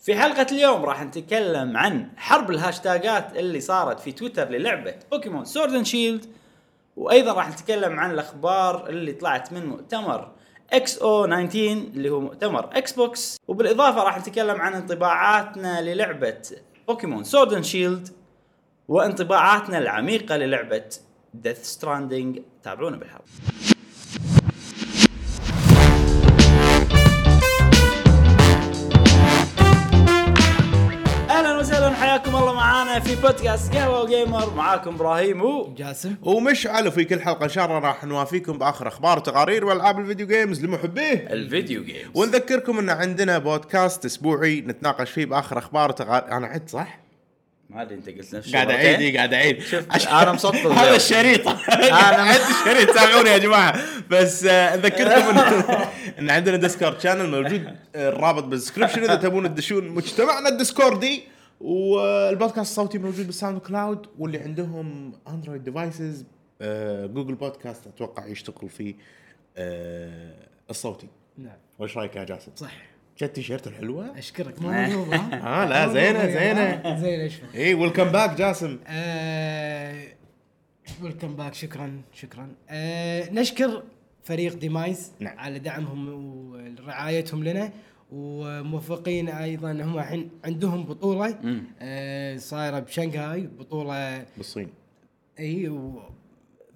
في حلقة اليوم راح نتكلم عن حرب الهاشتاجات اللي صارت في تويتر للعبة بوكيمون سورد اند شيلد وايضا راح نتكلم عن الاخبار اللي طلعت من مؤتمر اكس او 19 اللي هو مؤتمر اكس بوكس وبالاضافه راح نتكلم عن انطباعاتنا للعبه بوكيمون سورد اند شيلد وانطباعاتنا العميقه للعبه ديث ستراندنج تابعونا بالحلقه اهلا وسهلا حياكم الله معانا في بودكاست قهوه وجيمر معاكم ابراهيم و جاسم ومشعل في كل حلقه ان شاء الله راح نوافيكم باخر اخبار وتقارير والعاب الفيديو جيمز لمحبيه الفيديو جيمز ونذكركم ان عندنا بودكاست اسبوعي نتناقش فيه باخر اخبار وتقارير انا عد صح؟ ما ادري انت قلت نفس قاعد الشيء اعيد إيه، قاعد اعيد شفت، عشان- أنا مسطل اليوم. هذا الشريط انا عد الشريط سامحوني يا جماعه بس آه، نذكركم ان ان عندنا ديسكورد شانل موجود آه، الرابط بالدسكربشن اذا تبون تدشون مجتمعنا الديسكوردي والبودكاست الصوتي موجود بالساوند كلاود واللي عندهم آه، اندرويد ديفايسز جوجل بودكاست اتوقع يشتغل فيه آه، الصوتي نعم وش رايك يا جاسم؟ صح جت تيشيرت الحلوه؟ اشكرك مو مذوب ها آه، لا، زينة، زينة. زينه اشوف اي ويلكم باك إيه، جاسم آه، ويلكم باك شكرا شكرا آه، نشكر فريق ديمايز نعم. على دعمهم ورعايتهم لنا وموفقين ايضا هم الحين عندهم بطوله آه، صايره بشنغهاي بطوله بالصين اي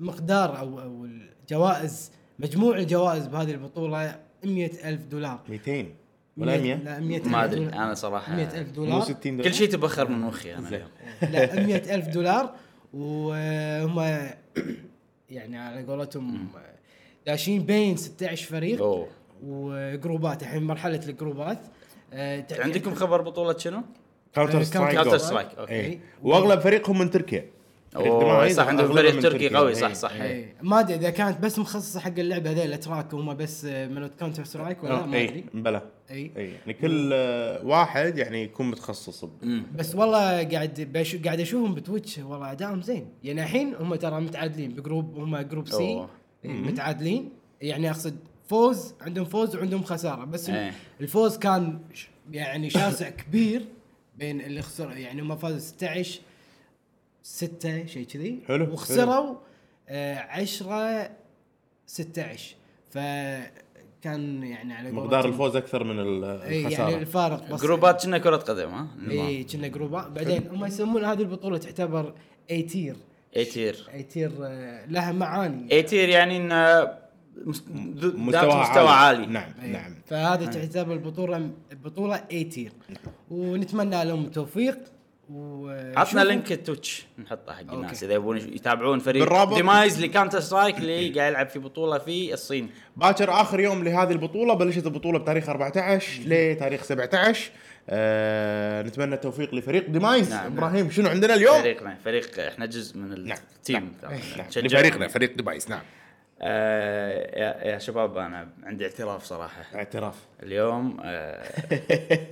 ومقدار او او الجوائز مجموع الجوائز بهذه البطوله 100 الف دولار 200 ولا 100 لا 100 ما ادري انا صراحه 100 الف مو دولار 60 كل شيء تبخر من مخي انا اليوم. لا 100 الف دولار وهم يعني على قولتهم داشين بين 16 فريق أوه. وجروبات الحين مرحله الجروبات آه، تع- عندكم خبر بطوله شنو؟ كاونتر كاونتر سترايك كاونتر سترايك اوكي ايه واغلب فريقهم من تركيا فريق أوه، دمايز صح عندهم أغلبهم فريق من تركي تركيا. قوي إيه. صح صح إيه. إيه، ما ادري اذا كانت بس مخصصه حق اللعبه هذيل الاتراك وهم بس آه، من كاونتر سترايك ولا ما إيه. اي ادري بلى اي اي إيه، يعني كل آه، واحد يعني يكون متخصص ب- بس والله قاعد بش... قاعد اشوفهم بتويتش والله ادائهم زين يعني الحين هم ترى متعادلين بجروب هم جروب سي إيه، أوه. متعادلين يعني اقصد فوز عندهم فوز وعندهم خساره بس إيه. الفوز كان ش- يعني شاسع كبير بين اللي خسر يعني هم فازوا 16 6 شيء كذي حلو، وخسروا آه، 10 16 فكان يعني على مقدار قولتهم- الفوز اكثر من ال- إيه، يعني الخساره الفارق بس جروبات كنا كره قدم ها؟ إيه. النظام. اي إيه، كنا جروبات بعدين هم يسمون هذه البطوله تعتبر اي تير ايتير اي تير آه، لها معاني ايتير يعني ان مس- ذو- ذات مستوى مستوى عالي نعم إي. نعم فهذه تعتبر البطوله بطوله اي تير ونتمنى لهم التوفيق و آه، عطنا شوفوا- لينك التويتش نحطه حق الناس اذا يبون يتابعون فريق بالرابط. ديمايز لكانتر سترايك اللي قاعد يلعب في بطوله في الصين باكر اخر يوم لهذه البطوله بلشت البطوله بتاريخ 14 لتاريخ 17 آه نتمنى التوفيق لفريق ديمايز نعم. ابراهيم شنو عندنا اليوم؟ فريقنا فريق احنا جزء من نعم. التيم نعم. نعم. لفريقنا فريق ديمايز نعم آه يا, يا شباب انا عندي اعتراف صراحه اعتراف اليوم آه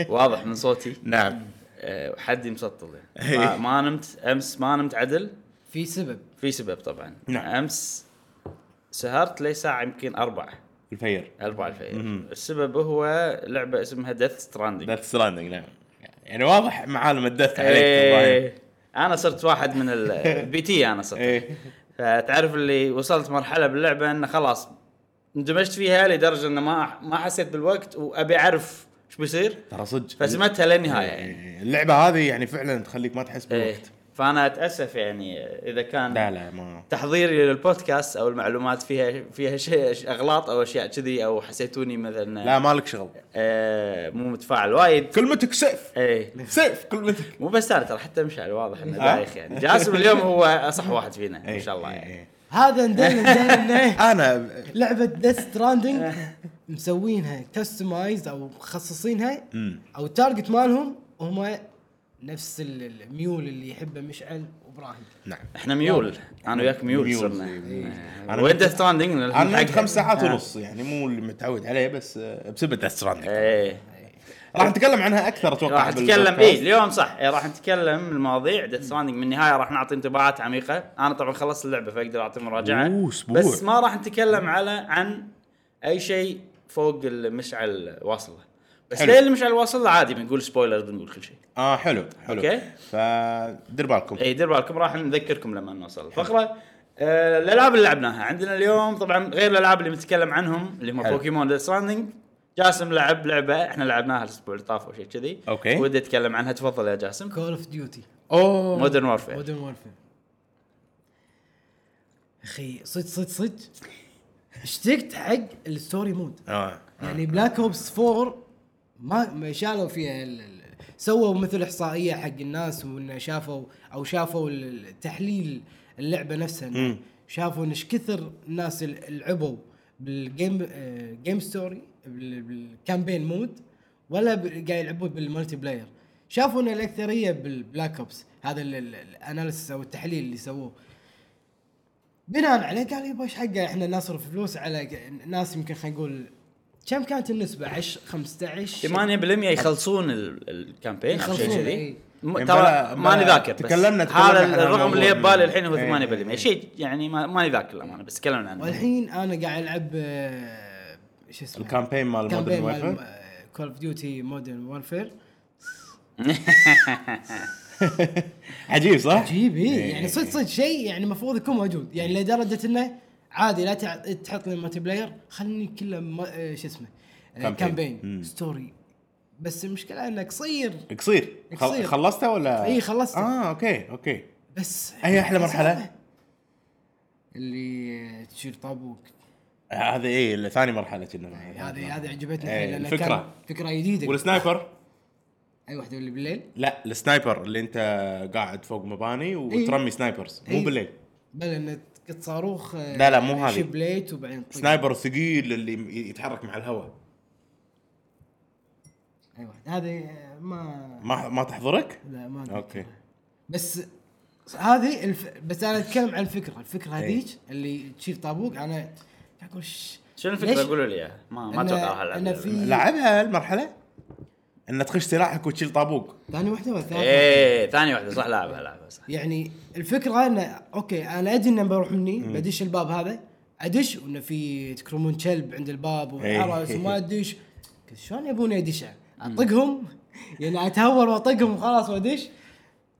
واضح من صوتي نعم آه حدي مسطل يعني. ما, ما نمت امس ما نمت عدل في سبب في سبب طبعا نعم. امس سهرت لي ساعه يمكن أربعة الفير أربعة الفجر السبب هو لعبه اسمها ديث ستراندنج ديث ستراندنج نعم يعني واضح معالم الدث عليك ابراهيم إيه. انا صرت واحد من ال- البي تي انا صرت ايه فتعرف اللي وصلت مرحله باللعبه انه خلاص اندمجت فيها لدرجه انه ما ما حسيت بالوقت وابي اعرف ايش بيصير ترى صدق فسمتها للنهايه يعني إيه، اللعبه هذه يعني فعلا تخليك ما تحس ايه بالوقت فانا اتاسف يعني اذا كان لا لا ما تحضيري للبودكاست او المعلومات فيها فيها شيء ش- اغلاط او اشياء كذي او حسيتوني مثلا لا مالك شغل آه مو متفاعل وايد كلمتك سيف ايه سيف كلمتك مو بس انا ترى حتى مشعل واضح انه آه. دايخ يعني جاسم اليوم هو اصح واحد فينا ان شاء الله إيه، يعني إيه. هذا ندل ندل انه انا لعبه ديث ستراندنج مسوينها كستمايز او مخصصينها مم. او التارجت مالهم هم نفس ال- الميول اللي يحبه مشعل وابراهيم نعم احنا ميول انا وياك ميول ميول، صرنا إيه. آه. أنا وين كنت- ديث ستراندنج انا نمت خمس ساعات إيه. آه. ونص يعني مو اللي متعود عليه بس آه، بسبب ديث ستراندنج ايه راح نتكلم عنها اكثر اتوقع راح نتكلم بالبودكاست. اي اليوم صح إيه راح نتكلم المواضيع ديث ستراندنج من النهايه راح نعطي انطباعات عميقه انا طبعا خلصت اللعبه فاقدر اعطي مراجعه أوه، أسبوع. بس ما راح نتكلم على عن اي شيء فوق المشعل واصله بس حلو. ليه اللي مش على الواصل عادي بنقول سبويلر بنقول كل شيء اه حلو حلو أوكي. إيه. فدير بالكم اي دير بالكم راح نذكركم لما نوصل الفقره آه، الالعاب اللي لعبناها عندنا اليوم طبعا غير الالعاب اللي بنتكلم عنهم اللي هم حلو. بوكيمون ديث ستراندنج جاسم لعب لعبه احنا لعبناها الاسبوع اللي طاف او شيء كذي أوكي. ودي اتكلم عنها تفضل يا جاسم كول اوف ديوتي اوه مودرن وورفير مودرن وورفير اخي صدق صدق صدق اشتقت حق الستوري مود آه. يعني بلاك اوبس 4 ما ما شالوا فيها ال- ال- سووا مثل احصائيه حق الناس وانه شافوا او شافوا ال- ال- تحليل اللعبه نفسها إنه مم. شافوا ان ايش كثر الناس ال- لعبوا بالجيم آه، جيم ستوري بال- بالكامبين مود ولا ب- قاعد يلعبوا بالمالتي بلاير شافوا ان الاكثريه بالبلاك اوبس هذا ال- ال- الاناليسس او التحليل اللي سووه بناء عليه قال يبا ايش حقه احنا نصرف فلوس على ك- ناس يمكن خلينا نقول كم كانت النسبه 10 15 8% يخلصون ال- الكامبين او شيء يخلصون، كذي إي. م- يعني ترى بلا- ماني بلا- ذاكر بس تكلمنا- تكلمنا هذا إحنا عن الرقم اللي الموضوع. ببالي الحين هو إي، 8% إي. شيء يعني ما- ماني ذاكر الامانه بس تكلمنا عنه والحين انا قاعد العب آه، شو اسمه آه، الكامبين مال مودرن وورفير كول اوف ديوتي مودرن وورفير عجيب صح؟ عجيب إيه. إيه. يعني صدق صدق شيء يعني المفروض يكون موجود يعني لدرجه انه عادي لا تع- تحط لي مالتي بلاير خلني كله ما- آه، شو اسمه آه، كامبين. كامبين مم. ستوري بس المشكله انه قصير قصير خل- قصير. خلصته ولا؟ إيه، خلصته. اه اوكي اوكي بس أي أحلى مرحلة؟ اللي تشيل طابوك هذه ايه ثاني مرحله كنا هذه هذه عجبتني إيه، حيل لأنها الفكرة. كان فكره جديده والسنايبر اي واحده اللي بالليل لا السنايبر اللي انت قاعد فوق مباني وترمي سنايبرز مو إيه. بالليل بل ان تقط صاروخ آه، لا لا، مو هذه. شبليت وبعدين طيب. طق. سنايبر ثقيل اللي يتحرك مع الهواء اي واحده هذه آه، ما ما ما تحضرك؟ لا ما أدري. اوكي بس هذه الف... بس انا اتكلم عن الفكره الفكره إيه. هذيك اللي تشيل طابوق انا قاعد اقول ش- شنو ليش؟ الفكره قولوا لي اياها ما ما إنه- اتوقع راح إنه ألعبها. في- لعبها المرحله ان تخش سلاحك وتشيل طابوق ثاني واحده ولا ثالث واحدة؟ ايه ثاني واحده صح لعبها لعبها صح يعني الفكره انه اوكي انا ادري انه بروح مني بدش الباب هذا ادش وانه في تكرمون كلب عند الباب إيه. وعرس وما ادش قلت شلون يبوني ادش اطقهم يعني اتهور واطقهم وخلاص إيه، وادش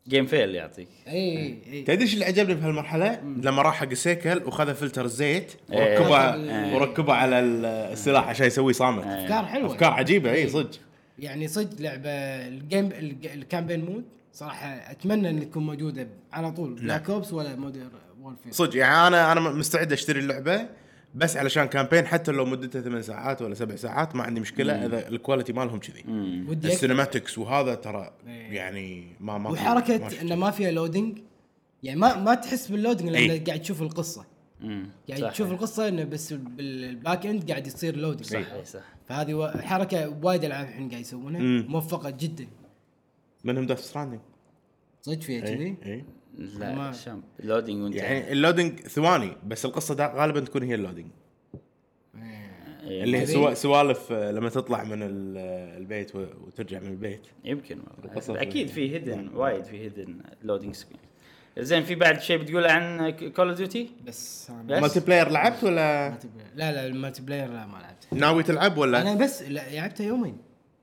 جيم فيل يعطيك اي اي تدري ايش اللي عجبني بهالمرحله؟ لما راح حق السيكل وخذ فلتر الزيت إيه. وركبه إيه. وركبه على ال- السلاح عشان يسويه صامت افكار حلوه افكار عجيبه إيه. اي صدق يعني صدق لعبه الجيم الج- الكامبين مود صراحه اتمنى ان تكون موجوده ب- على طول بلاك اوبس ولا مودر وورفير نعم. صدق يعني انا انا مستعد اشتري اللعبه بس علشان كامبين حتى لو مدتها 8 ساعات ولا 7 ساعات ما عندي مشكله اذا الكواليتي مالهم كذي ودي أكثر. السينماتكس وهذا ترى إيه. يعني ما ما ما وحركه شفت. انه ما فيها لودنج يعني ما ما تحس باللودنج إي. لان قاعد تشوف القصه امم قاعد يعني تشوف القصه انه بس بالباك اند قاعد يصير لودنج صح صح فهذه و- حركه وايد العاب الحين قاعد يسوونها مم. موفقه جدا منهم داث ستراندنج صدق فيها إيه. كذي لا ما- شامب لودينج وانت يعني اللودنج ثواني بس القصه دا غالبا تكون هي اللودنج إيه، اللي هي زي- سوا- سوالف آه، لما تطلع من ال- آه، البيت و- وترجع من البيت يمكن والله القصة اكيد في- في يعني. هيدن وايد في هيدن لودينج سكرين زين في بعد شيء بتقول عن كول اوف ديوتي؟ بس أنا بس؟ مالتي بلاير لعبت ولا ما تبي- لا لا المالتي بلاير لا ما لعبت ناوي تلعب ولا؟ انا بس لا- لعبتها يومين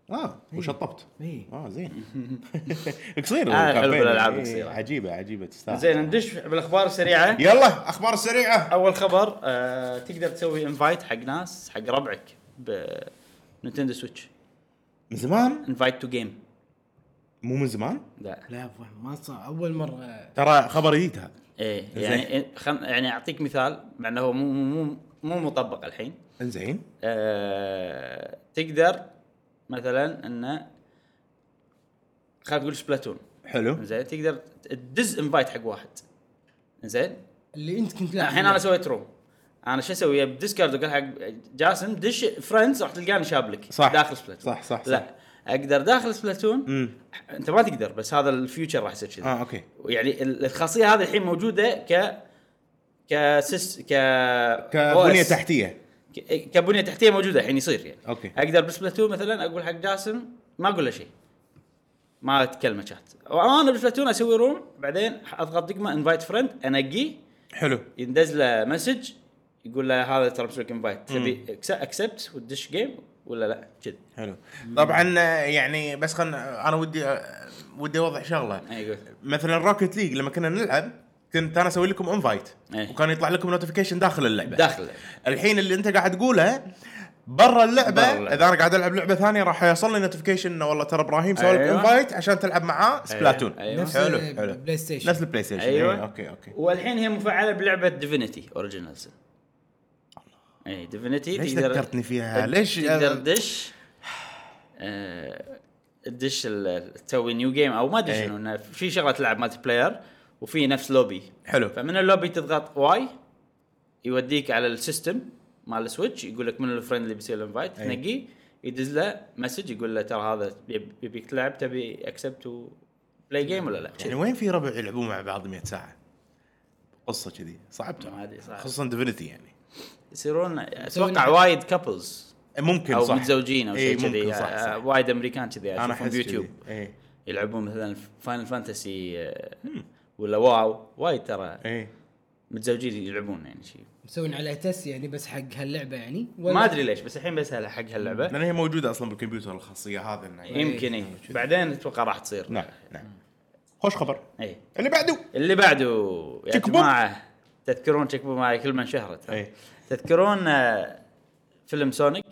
إيه. اه إيه. وشطبت اي اه زين قصير أنا أحب الكامبين. الألعاب إيه، القصيرة. عجيبه عجيبه تستاهل زين ندش بالاخبار السريعه يلا اخبار سريعه اول خبر آه تقدر تسوي انفايت حق ناس حق ربعك بنتندو سويتش من زمان انفايت تو جيم مو من زمان لا لا أبوه، ما صار اول مره ترى خبر جديد هذا ايه يعني خل... يعني اعطيك مثال مع انه هو مو مو مو مطبق الحين انزين آه، تقدر مثلا انه خلينا نقول سبلاتون حلو زين تقدر تدز انفايت حق واحد زين اللي انت كنت لاعب يعني. الحين انا سويت روم انا شو اسوي بديسكورد اقول حق جاسم دش فريندز راح تلقاني شابلك صح. داخل سبلاتون صح- صح- صح. لا اقدر داخل سبلاتون امم انت ما تقدر بس هذا الفيوتشر راح يصير كذا اه اوكي يعني ال- الخاصيه هذه الحين موجوده ك كسيس ك كبنيه OS. تحتيه ك- كبنيه تحتيه موجوده الحين يصير يعني أوكي. اقدر بسبلاتون مثلا اقول حق جاسم ما اقول له شيء ما اتكلم شات وانا بسبلاتون اسوي روم بعدين اضغط دقمه انفايت فريند انقيه حلو يندز له مسج يقول له هذا ترى مسوي انفايت تبي اكسبت وتدش جيم ولا لا كذي حلو طبعا آه، يعني بس خلنا انا ودي آه، ودي اوضح شغله اي قول مثلا روكت ليج لما كنا نلعب كنت انا اسوي لكم انفايت إيه. وكان يطلع لكم نوتيفيكيشن داخل اللعبه داخل الحين اللي انت قاعد تقوله برا اللعبه برا اللعبة. اذا انا قاعد العب لعبه ثانيه راح يوصل لي نوتيفيكيشن انه والله ترى ابراهيم سوى لك أيوة. انفايت عشان تلعب معاه سبلاتون أيوة. نفس حلو ال- حلو بلاي ستيشن. نفس البلاي ستيشن أيوة. أيوة. اوكي اوكي والحين هي مفعله بلعبه ديفينيتي اوريجينالز اي ديفينيتي ليش إيه، تقدر- ذكرتني فيها؟ ليش- تقدر تدش آه، تدش ال- تسوي نيو جيم او ما ادري إي. شنو إنه في شغله تلعب مالتي بلاير وفي نفس لوبي حلو فمن اللوبي تضغط واي يوديك على السيستم مال السويتش يقول لك من الفريند اللي بيسوي الانفايت أي. تنقيه يدز له مسج يقول له ترى هذا يب- يبيك تلعب تبي اكسبت بلاي جيم ولا لا؟ يعني وين في ربع يلعبون مع بعض 100 ساعه؟ قصه كذي صعب ما ترى أدري، صعب. خصوصا ديفينيتي يعني يصيرون اتوقع وايد كابلز ممكن او صح متزوجين او شيء إيه، ممكن كذي صح, صح. آه، وايد امريكان كذي انا اشوفهم احس بيوتيوب كذي. ايه يلعبون مثلا فاينل فانتسي آه، ولا واو وايد ترى ايه متزوجين يلعبون يعني شيء مسوين عليها تست يعني بس حق هاللعبه يعني ما ادري ليش بس الحين بس هلا حق هاللعبه لان هي موجوده اصلا بالكمبيوتر الخاصيه هذا انه يمكن اي بعدين اتوقع راح تصير نعم نعم خوش خبر اي اللي بعده اللي بعده يا تشيك بوم. جماعه تذكرون تشيك بوم هاي كلمه انشهرت إيه. تذكرون آه، فيلم سونيك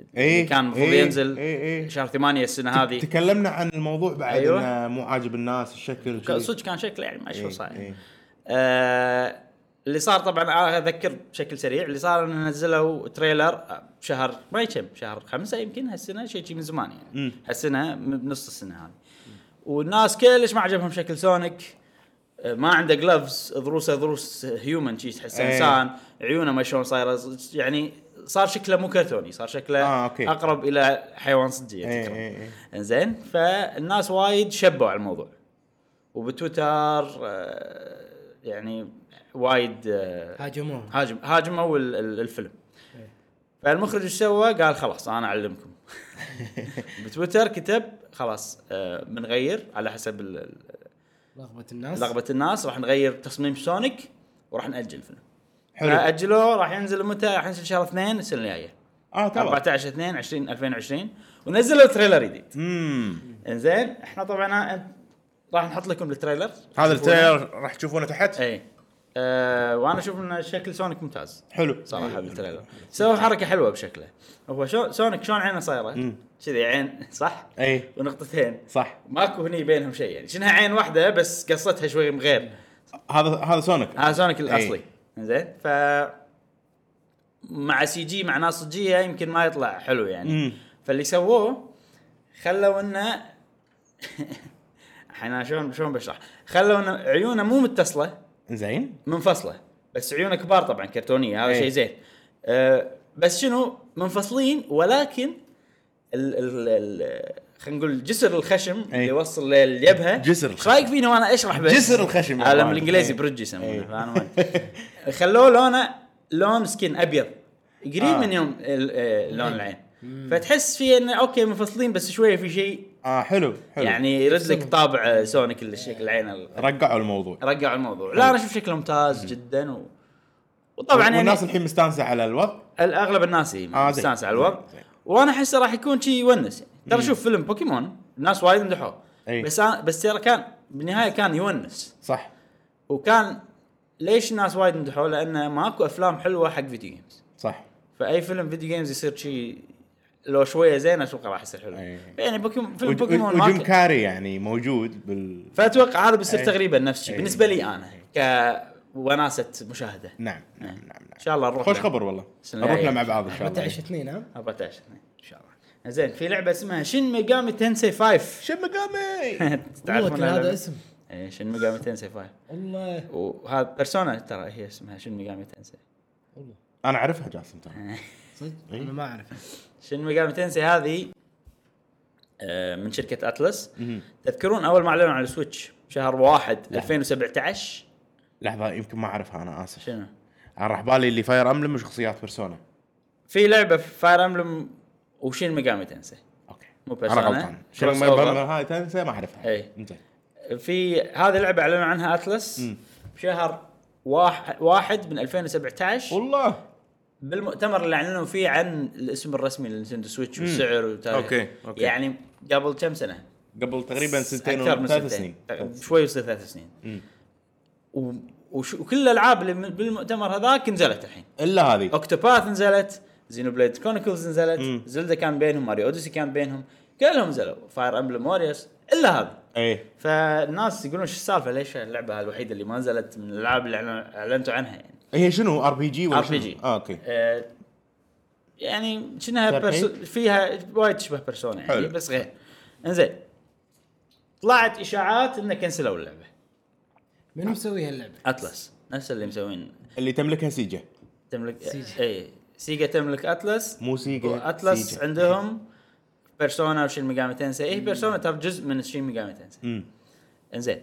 اللي إيه، كان المفروض إيه، ينزل إيه، إيه. شهر ثمانية السنه هذه تكلمنا عن الموضوع بعد أيوة. أيوة. انه مو عاجب الناس الشكل كان- صدق كان شكله يعني ما شو إيه، صاير إيه. آه، اللي صار طبعا أنا اذكر بشكل سريع اللي صار انه نزلوا تريلر آه، بشهر ما كم شهر خمسة يمكن هالسنه شيء شي من زمان يعني مم. هالسنه م- بنص السنه هذه والناس كلش ما عجبهم شكل سونيك آه، ما عنده جلافز ضروسه ضروس هيومن شي تحسه إيه. انسان عيونه ما شلون صايره ص- يعني صار شكله مو كرتوني صار شكله آه، أوكي. اقرب الى حيوان صجي إيه، تكرم. إيه، إيه. انزين فالناس وايد شبوا على الموضوع وبتويتر آه، يعني وايد آه، هاجموها هاجم هاجموا ال- ال- الفيلم فالمخرج ايش سوى؟ قال خلاص انا اعلمكم بتويتر كتب خلاص آه، بنغير على حسب ال- ال- لغبه الناس رغبه الناس راح نغير تصميم سونيك وراح ناجل الفيلم حلو اجلوه راح ينزل متى؟ راح ينزل شهر اثنين السنه الجايه اه ترى 14 2 20 2020 ونزلوا تريلر جديد امم انزين احنا طبعا أ- آه، راح نحط لكم التريلر هذا التريلر راح تشوفونه تحت اي أه وانا اشوف ان شكل سونيك ممتاز حلو صراحه بالتريلر سوى حركه حلوه بشكله هو شو سونيك شلون عينه صايره؟ مم. كذي عين صح؟ اي ونقطتين إيه، صح ماكو هني بينهم شيء يعني شنها عين واحده بس قصتها شوي مغير هذا هذا سونيك هذا سونيك الاصلي إيه. زين ف مع سي جي مع ناس صجيه يمكن ما يطلع حلو يعني مم. فاللي سووه خلوا انه احنا شلون شلون بشرح خلوا انه عيونه مو متصله زين منفصله بس عيونه كبار طبعا كرتونيه هذا إيه. شيء زين أه بس شنو منفصلين ولكن ال ال ال خلينا نقول جسر الخشم اللي يوصل للجبهه إيه. جسر ايش رايك فيني وانا اشرح بس جسر الخشم. هذا بالانجليزي إيه. برج يسمونه إيه. فانا ما- خلوه لونه لون سكين ابيض قريب آه. من يوم ال- آه، لون العين فتحس فيه انه اوكي منفصلين بس شويه في شيء اه حلو حلو إيه. يعني يرد لك طابع آه، سونيك اللي شكل العين ال- رقعوا الموضوع رجعوا الموضوع لا انا اشوف شكله ممتاز جدا و... وطبعا يعني والناس الحين مستانسه على الوضع الاغلب الناس هي آه، زين. مستانس على الوضع زين، زين. وانا احسه راح يكون شيء يونس يعني ترى شوف فيلم بوكيمون الناس وايد مدحوه أي. بس أنا بس ترى كان بالنهايه كان يونس صح وكان ليش الناس وايد مدحوه؟ لانه ماكو افلام حلوه حق فيديو جيمز صح فاي فيلم فيديو جيمز يصير شيء لو شويه زين اتوقع راح يصير حلو أي. يعني بوكيمون فيلم وج- بوكيمون وج- وجيم ماكو كاري يعني موجود بال فاتوقع هذا بيصير أي. تقريبا نفس الشيء أي. بالنسبه لي انا كوناسه مشاهده نعم نعم نعم نعم ان شاء الله نروح خوش له. خبر والله السنة نروح له الجاية. مع بعض ان شاء الله 14 2 ها 14 2 ان شاء الله زين في لعبه اسمها شين ميجامي تنسي 5 شم قامي والله كان تعرفون اللعبة؟ هذا اسم اي شين ميجامي تنسي 5 والله وهذا بيرسونا ترى هي اسمها شين ميجامي تنسي والله انا اعرفها جاسم ترى صدق انا ما اعرف شين ميجامي تنسي هذه آه، من شركه اتلس تذكرون اول ما اعلنوا عن السويتش شهر واحد 2017 لحظه يمكن ما اعرفها انا اسف شنو؟ انا راح بالي اللي فاير املم وشخصيات بيرسونا في لعبه فاير امبلم وشين ميجامي تنسي اوكي مو انا بيرسونا غلطان شنو كروس ما أوفر. برمر هاي تنسى ما اعرفها إي. زين في هذه اللعبه اعلنوا عنها اتلس بشهر واحد, واحد من 2017 والله بالمؤتمر اللي اعلنوا فيه عن الاسم الرسمي للنينتندو سويتش مم. والسعر وتاريخ أوكي، أوكي. يعني قبل كم سنه؟ قبل تقريبا سنتين اكثر من ثلاث سنتين سنين شوي يصير ثلاث سنين مم. و... وش... وكل الالعاب اللي من- بالمؤتمر هذاك نزلت الحين الا هذه اوكتوباث نزلت زينو بليد كرونيكلز مم. نزلت زلدا كان بينهم ماريو اوديسي كان بينهم كلهم نزلوا فاير امبلم واريوس الا هذا ايه فالناس يقولون شو السالفه ليش اللعبه الوحيده اللي ما نزلت من الالعاب اللي أعلن- اعلنتوا عنها يعني هي شنو ار بي جي ولا RPG. شنو؟ اه اوكي آه، يعني شنها ترحيب؟ برسو فيها وايد تشبه بيرسونا يعني حلو. بس غير انزين طلعت اشاعات انه كنسلوا اللعبه من مسوي هاللعبه؟ اتلس نفس اللي مسوين اللي تملكها سيجا تملك سيجا. اي سيجا تملك اتلس مو سيجا، واتلس سيجا. عندهم بيرسونا وشين ميجامي تنسي اي بيرسونا ترى جزء من شين ميجامي تنسي امم انزين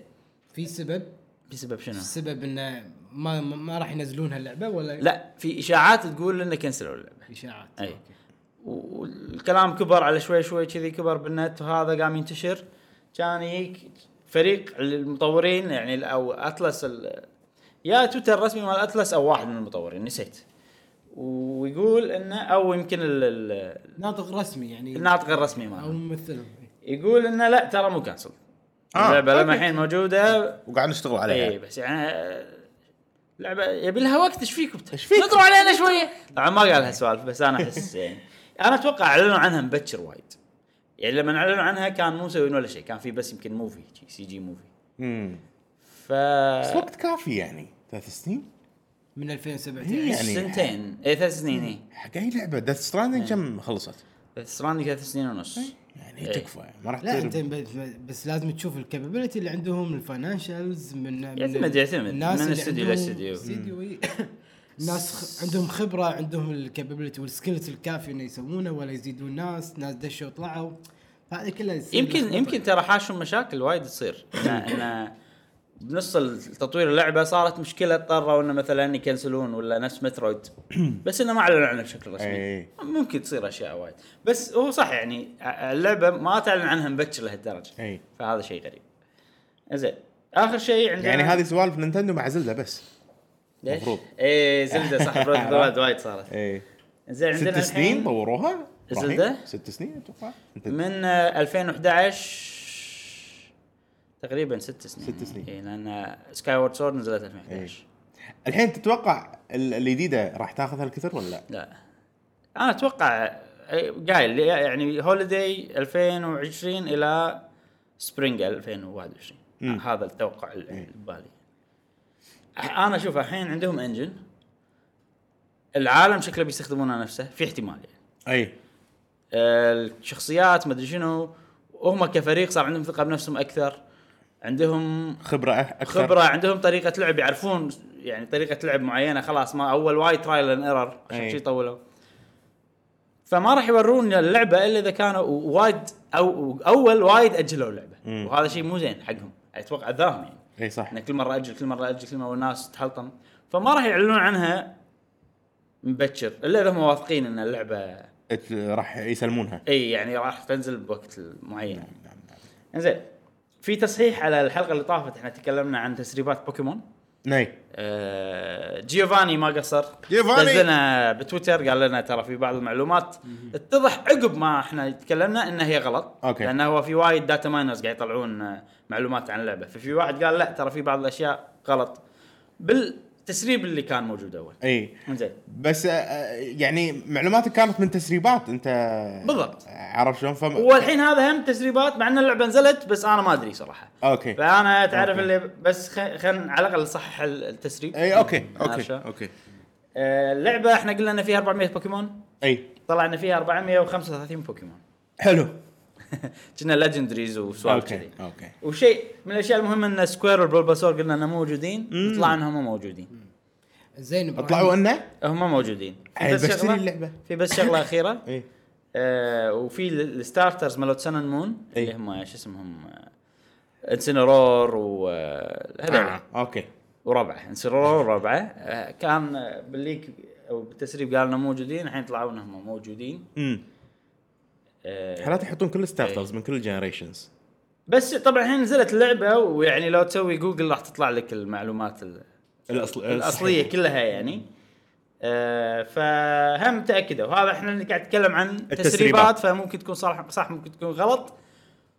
في سبب بسبب شنو؟ السبب انه ما ما- ما راح ينزلون هاللعبه ولا لا في اشاعات تقول انه كنسلوا اللعبه اشاعات اي والكلام كبر على شوي شوي كذي كبر بالنت وهذا قام ينتشر كان يجيك فريق المطورين يعني ال- او اتلس ال- يا تويتر رسمي مال اتلس او واحد من المطورين نسيت ويقول انه او يمكن ال- ال- ناطق رسمي يعني الناطق الرسمي او ماله ممثلهم يقول انه لا ترى مو كانسل آه، اللعبه لما أوكي. الحين موجوده وقاعد نشتغل عليها اي بس يعني آه، لعبه يبي لها وقت ايش فيكم؟ إيش فيك؟ نطروا علينا شويه طبعا ما قال هالسوالف بس انا احس يعني انا اتوقع اعلنوا عنها مبكر وايد يعني لما اعلنوا عنها كان مو مسويين ولا شيء كان في بس يمكن موفي شي سي جي موفي امم ف بس وقت كافي يعني ثلاث سنين من هي 2017 يعني سنتين اي ثلاث سنين إيه. اي حق اي لعبه ديث ستراندنج كم خلصت؟ ثلاث سنين ثلاث سنين ونص يعني إيه. تكفى ما راح لا تصير- انت ب- بس لازم تشوف الكابابيلتي اللي عندهم الفاينانشالز من من يعتمد- يعتمد. الناس من اللي استوديو عندهم- لاستوديو. استوديو إي. ناس خ... عندهم خبره عندهم الكابابيلتي والسكيلز الكافيه انه يسوونه ولا يزيدون ناس ناس دشوا وطلعوا هذه كلها يصير يمكن لخبطة. يمكن ترى حاشهم مشاكل وايد تصير إن- ان بنص تطوير اللعبه صارت مشكله اضطروا انه مثلا يكنسلون ولا نفس مترويد بس انه ما اعلنوا عنها بشكل رسمي إي. ممكن تصير اشياء وايد بس هو صح يعني ع- اللعبه ما تعلن عنها مبكر لهالدرجه إي. فهذا شيء غريب زين اخر شيء عندنا يعني هذه سوالف نينتندو مع زلده بس مفروض. اي زلده إيه، صح بريث وايد صارت ايه زين عندنا ست الحين سنين طوروها إبراهيم؟ زلدة؟ ست سنين اتوقع أنت- من آه، 2011 تقريبا ست سنين إيه، ست سنين. إيه. اي لان سكاي وورد سورد نزلت 2011 الحين تتوقع ال- الجديده راح تاخذ هالكثر ولا لا؟ لا انا اتوقع آه، قايل يعني هوليداي 2020 الى سبرينج 2021 مم. إيه. هذا التوقع اللي ببالي انا اشوف الحين عندهم انجن العالم شكله بيستخدمونه نفسه في احتمال يعني اي الشخصيات مدري شنو وهم كفريق صار عندهم ثقه بنفسهم اكثر عندهم خبره أ- اكثر خبره عندهم طريقه لعب يعرفون يعني طريقه لعب معينه خلاص ما اول وايد ترايل اند ايرور عشان أي. شي طولوا فما راح يورون اللعبه الا اذا كانوا وايد او اول وايد اجلوا اللعبه مم. وهذا شيء مو زين حقهم اتوقع اذاهم يعني اي إيه، صح انه كل مره اجل كل مره اجل كل مره والناس تحلطم فما راح يعلنون عنها مبكر الا اذا هم واثقين ان اللعبه ات- راح يسلمونها اي يعني راح تنزل بوقت معين نعم، نعم، نعم. انزين في تصحيح على الحلقه اللي طافت احنا تكلمنا عن تسريبات بوكيمون ناي آه، جيوفاني ما قصر جيوفاني! نزلنا بتويتر قال لنا ترى في بعض المعلومات اتضح عقب ما احنا تكلمنا ان هي غلط أوكي. لانه هو في وايد داتا ماينرز قاعد يطلعون آه، معلومات عن اللعبه ففي واحد قال لا ترى في بعض الاشياء غلط بالتسريب اللي كان موجود اول اي انزين بس آه، آه، يعني معلوماتك كانت من تسريبات انت بالضبط. عرفت شلون فم والحين هذا هم تسريبات مع ان اللعبه نزلت بس انا ما ادري صراحه اوكي فانا تعرف أوكي. إيه، اللي بس خ- خلينا على الاقل نصحح ال- التسريب اي اوكي اوكي عارفة. اوكي آه، اللعبه احنا قلنا ان فيها 400 بوكيمون اي طلع ان فيها 435 بوكيمون حلو كنا ليجندريز وسوالف اوكي كذي اوكي وشيء من الاشياء المهمه ان سكوير والبولباسور قلنا انهم موجودين طلع انهم موجودين زين إبراهيم. طلعوا انه هم موجودين في حيل بس بشتري شغلة- اللعبة. في بس شغله اخيره اي آه وفي ال- الستارترز مالت سن أند مون إي. اللي هم شو اسمهم آه، انسنرور و آه، هذول. آه، اوكي وربعه انسرور وربعه آه، كان آه، بالليك او بالتسريب قالوا انهم موجودين الحين طلعوا انهم موجودين امم آه، حالات يحطون كل ستارترز من كل الجنريشنز بس طبعا الحين نزلت اللعبه ويعني لو تسوي جوجل راح تطلع لك المعلومات ال- الاصل الاصليه كلها يعني آه، فهم تاكدوا هذا احنا اللي قاعد نتكلم عن تسريبات التسريبات. فممكن تكون صح صح ممكن تكون غلط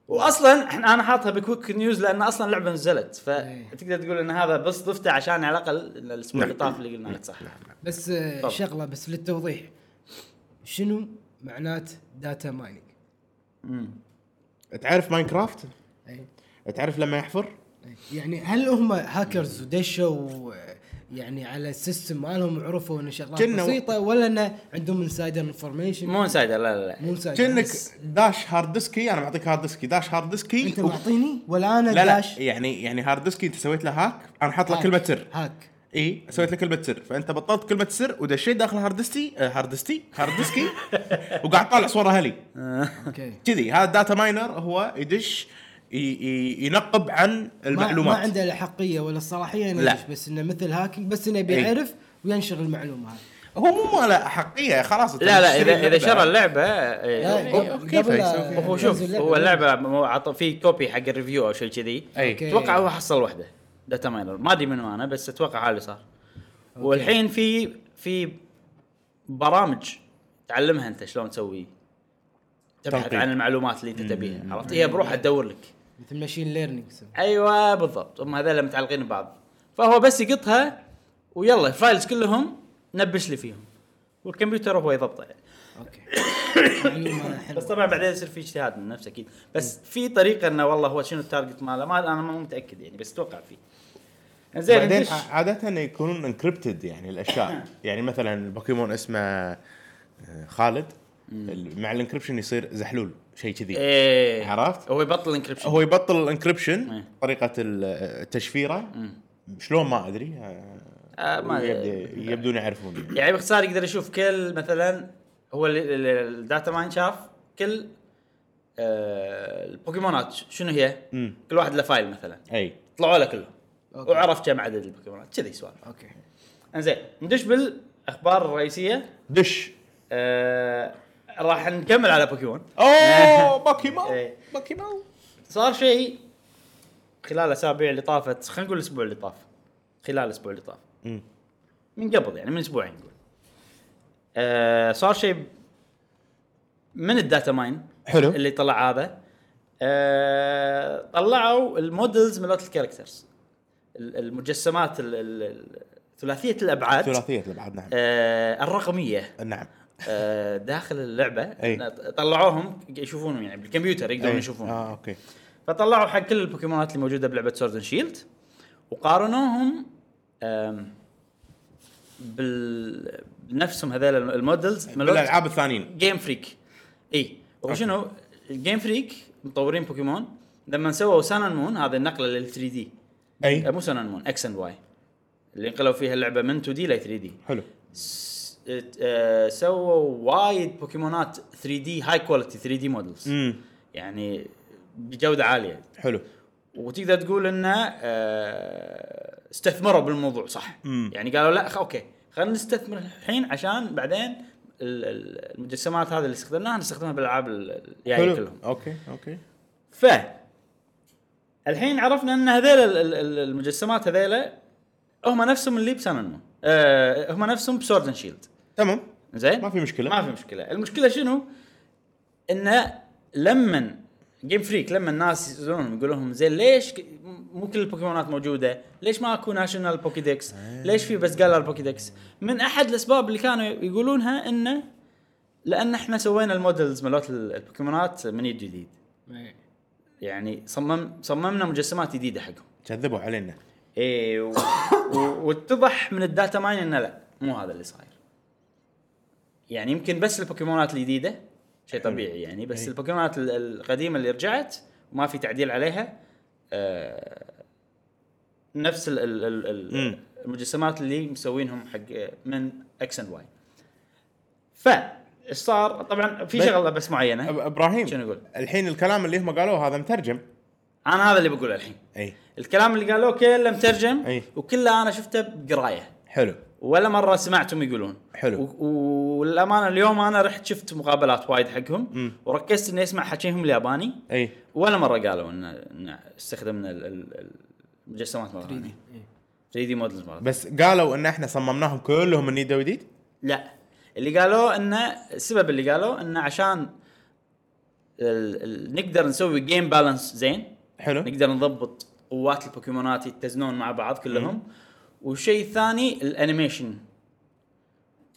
واصلا احنا انا حاطها بكويك نيوز لان اصلا اللعبه نزلت فتقدر تقول ان هذا بس ضفته عشان على الاقل الاسبوع اللي طاف اللي قلنا لك صح بس آه، تفضل. شغله بس للتوضيح شنو معنات داتا مايننج؟ تعرف ماينكرافت؟ أي. تعرف لما يحفر؟ إيه، يعني هل هم هاكرز ودشوا آه، يعني على السيستم مالهم عرفوا ان شغلات كنا- بسيطه ولا انه عندهم انسايدر انفورميشن مو انسايدر لا لا لا مو انسايدر كأنك داش هارد ديسكي انا معطيك هارد ديسكي داش هارد ديسكي انت و- معطيني ولا انا لا لا داش يعني يعني هارد ديسكي انت سويت له هاك انا حاط له هاك. كلمه سر هاك اي سويت له كلمه سر فانت بطلت كلمه سر ودشيت داخل هارد ديسكي آه، هارد ديسكي هارد ديسكي وقاعد طالع صور اهلي اوكي كذي هذا داتا ماينر هو يدش ي- ي- ينقب عن المعلومات ما, المعلومات عنده الاحقيه ولا الصلاحيه انه لا. يدش، بس انه مثل هاكينج بس انه إيه. بيعرف وينشر المعلومه هذه هو مو ماله احقيه خلاص أنت لا لا بتشتري اذا اذا اللعبة. شرى اللعبه إيه، أوكي، أوكي، قبل فيصل. لا هو تنزل شوف اللعبة. هو اللعبه مو عطى في كوبي حق الريفيو او شيء كذي اي أوكي. اتوقع هو حصل وحده داتا ماينر ما ادري منو انا بس اتوقع هذا اللي صار والحين في في برامج تعلمها انت شلون تسوي تبحث تنقيب. عن المعلومات اللي انت تبيها عرفت هي بروحها تدور لك مثل ماشين ليرنينج ايوه بالضبط هم هذول متعلقين ببعض فهو بس يقطها ويلا الفايلز كلهم نبش لي فيهم والكمبيوتر هو يضبطه يعني. اوكي معلومه بس حلوه طبعا بعدين يصير في اجتهاد من نفسه اكيد بس في طريقه انه والله هو شنو التارجت ماله ما انا مو متاكد يعني بس اتوقع فيه زين بعدين ندش- ع- عاده يكونون انكربتد يعني الاشياء يعني مثلا البوكيمون اسمه آه، خالد ال- مع الانكربشن يصير زحلول شيء كذي ايه عرفت؟ هو يبطل انكربشن هو يبطل الانكربشن إيه. طريقه ال- التشفيره شلون ما ادري آه، آه، ما- يبدو- يبدون يعرفون يعني. يعني باختصار يقدر يشوف كل مثلا هو ال- ال- ال- الداتا ماين شاف كل آه، البوكيمونات ش- شنو هي؟ مم. كل واحد له فايل مثلا اي طلعوا له كلهم أوكي. وعرف كم عدد البوكيمونات كذي سوالف اوكي انزين ندش بالاخبار الرئيسيه دش آه، راح نكمل على بوكيمون اوه بوكيمون إيه. بوكيمون صار شيء خلال الاسابيع اللي طافت خلينا نقول الاسبوع اللي طاف خلال الاسبوع اللي طاف مم. من قبل يعني من اسبوعين نقول آه صار شيء من الداتا ماين حلو اللي طلع هذا آه طلعوا المودلز مالت الكاركترز ال- المجسمات ال- ال- ال- ثلاثيه الابعاد ثلاثيه الابعاد نعم آه الرقميه نعم آه داخل اللعبه أي. طلعوهم يشوفونهم يعني بالكمبيوتر يقدرون إيه. يشوفونهم اه اوكي فطلعوا حق كل البوكيمونات اللي موجوده بلعبه سورد شيلد وقارنوهم آم، بال بنفسهم هذول المودلز بالالعاب الثانيين جيم فريك اي وشنو جيم فريك مطورين بوكيمون لما سووا سان مون هذه النقله لل 3 دي اي مو سان مون اكس اند واي اللي انقلوا فيها اللعبه من 2 دي ل 3 دي حلو سووا وايد بوكيمونات 3 دي هاي كواليتي 3 دي مودلز امم يعني بجوده عاليه حلو وتقدر تقول انه آه، استثمروا بالموضوع صح مم. يعني قالوا لا خ- اوكي خلينا نستثمر الحين عشان بعدين ال- ال- المجسمات هذه اللي استخدمناها نستخدمها بالالعاب ال- الجايه حلو كلهم اوكي اوكي ف الحين عرفنا ان هذيل ال- ال- ال- المجسمات هذيلا هم نفسهم اللي بسنن آه هم نفسهم بسورد شيلد تمام زين ما في مشكلة. ما في مشكله المشكله شنو انه لما جيم فريك لما الناس يسالونهم يقول لهم زين ليش ك- مو كل البوكيمونات موجوده؟ ليش ماكو ناشونال بوكيدكس؟ ليش في بس جالر بوكيدكس؟ من احد الاسباب اللي كانوا يقولونها انه لان احنا سوينا المودلز مالت ال- البوكيمونات من يد جديد إيه. يعني صمم صممنا مجسمات جديده حقهم كذبوا علينا ايه و... و... واتضح من الداتا ماين انه لا مو هذا اللي صاير يعني يمكن بس البوكيمونات الجديده شيء طبيعي يعني بس أي. البوكيمونات ال- القديمه اللي رجعت وما في تعديل عليها آه نفس ال ال ال ال مم. المجسمات اللي مسوينهم حق آه، من اكس اند واي ف ايش صار طبعا في بس- شغله بس معينه أب- ابراهيم شنو يقول؟ الحين الكلام اللي هم قالوه هذا مترجم انا هذا اللي بقوله الحين اي الكلام اللي قالوه كله مترجم أي. وكله انا شفته بقرايه حلو ولا مره سمعتهم يقولون حلو. و- و- والامانه اليوم انا رحت شفت مقابلات وايد حقهم مم. وركزت اني اسمع حكيهم الياباني اي إيه. ولا مره قالوا ان, إن استخدمنا ال- ال- المجسمات مره ثانيه 3 دي مودلز مالت بس قالوا ان احنا صممناهم كلهم من يد وجديد لا اللي قالوا انه السبب اللي قالوا انه عشان ال... ال... نقدر نسوي جيم بالانس زين حلو نقدر نضبط قوات البوكيمونات يتزنون مع بعض كلهم وشيء ثاني الانيميشن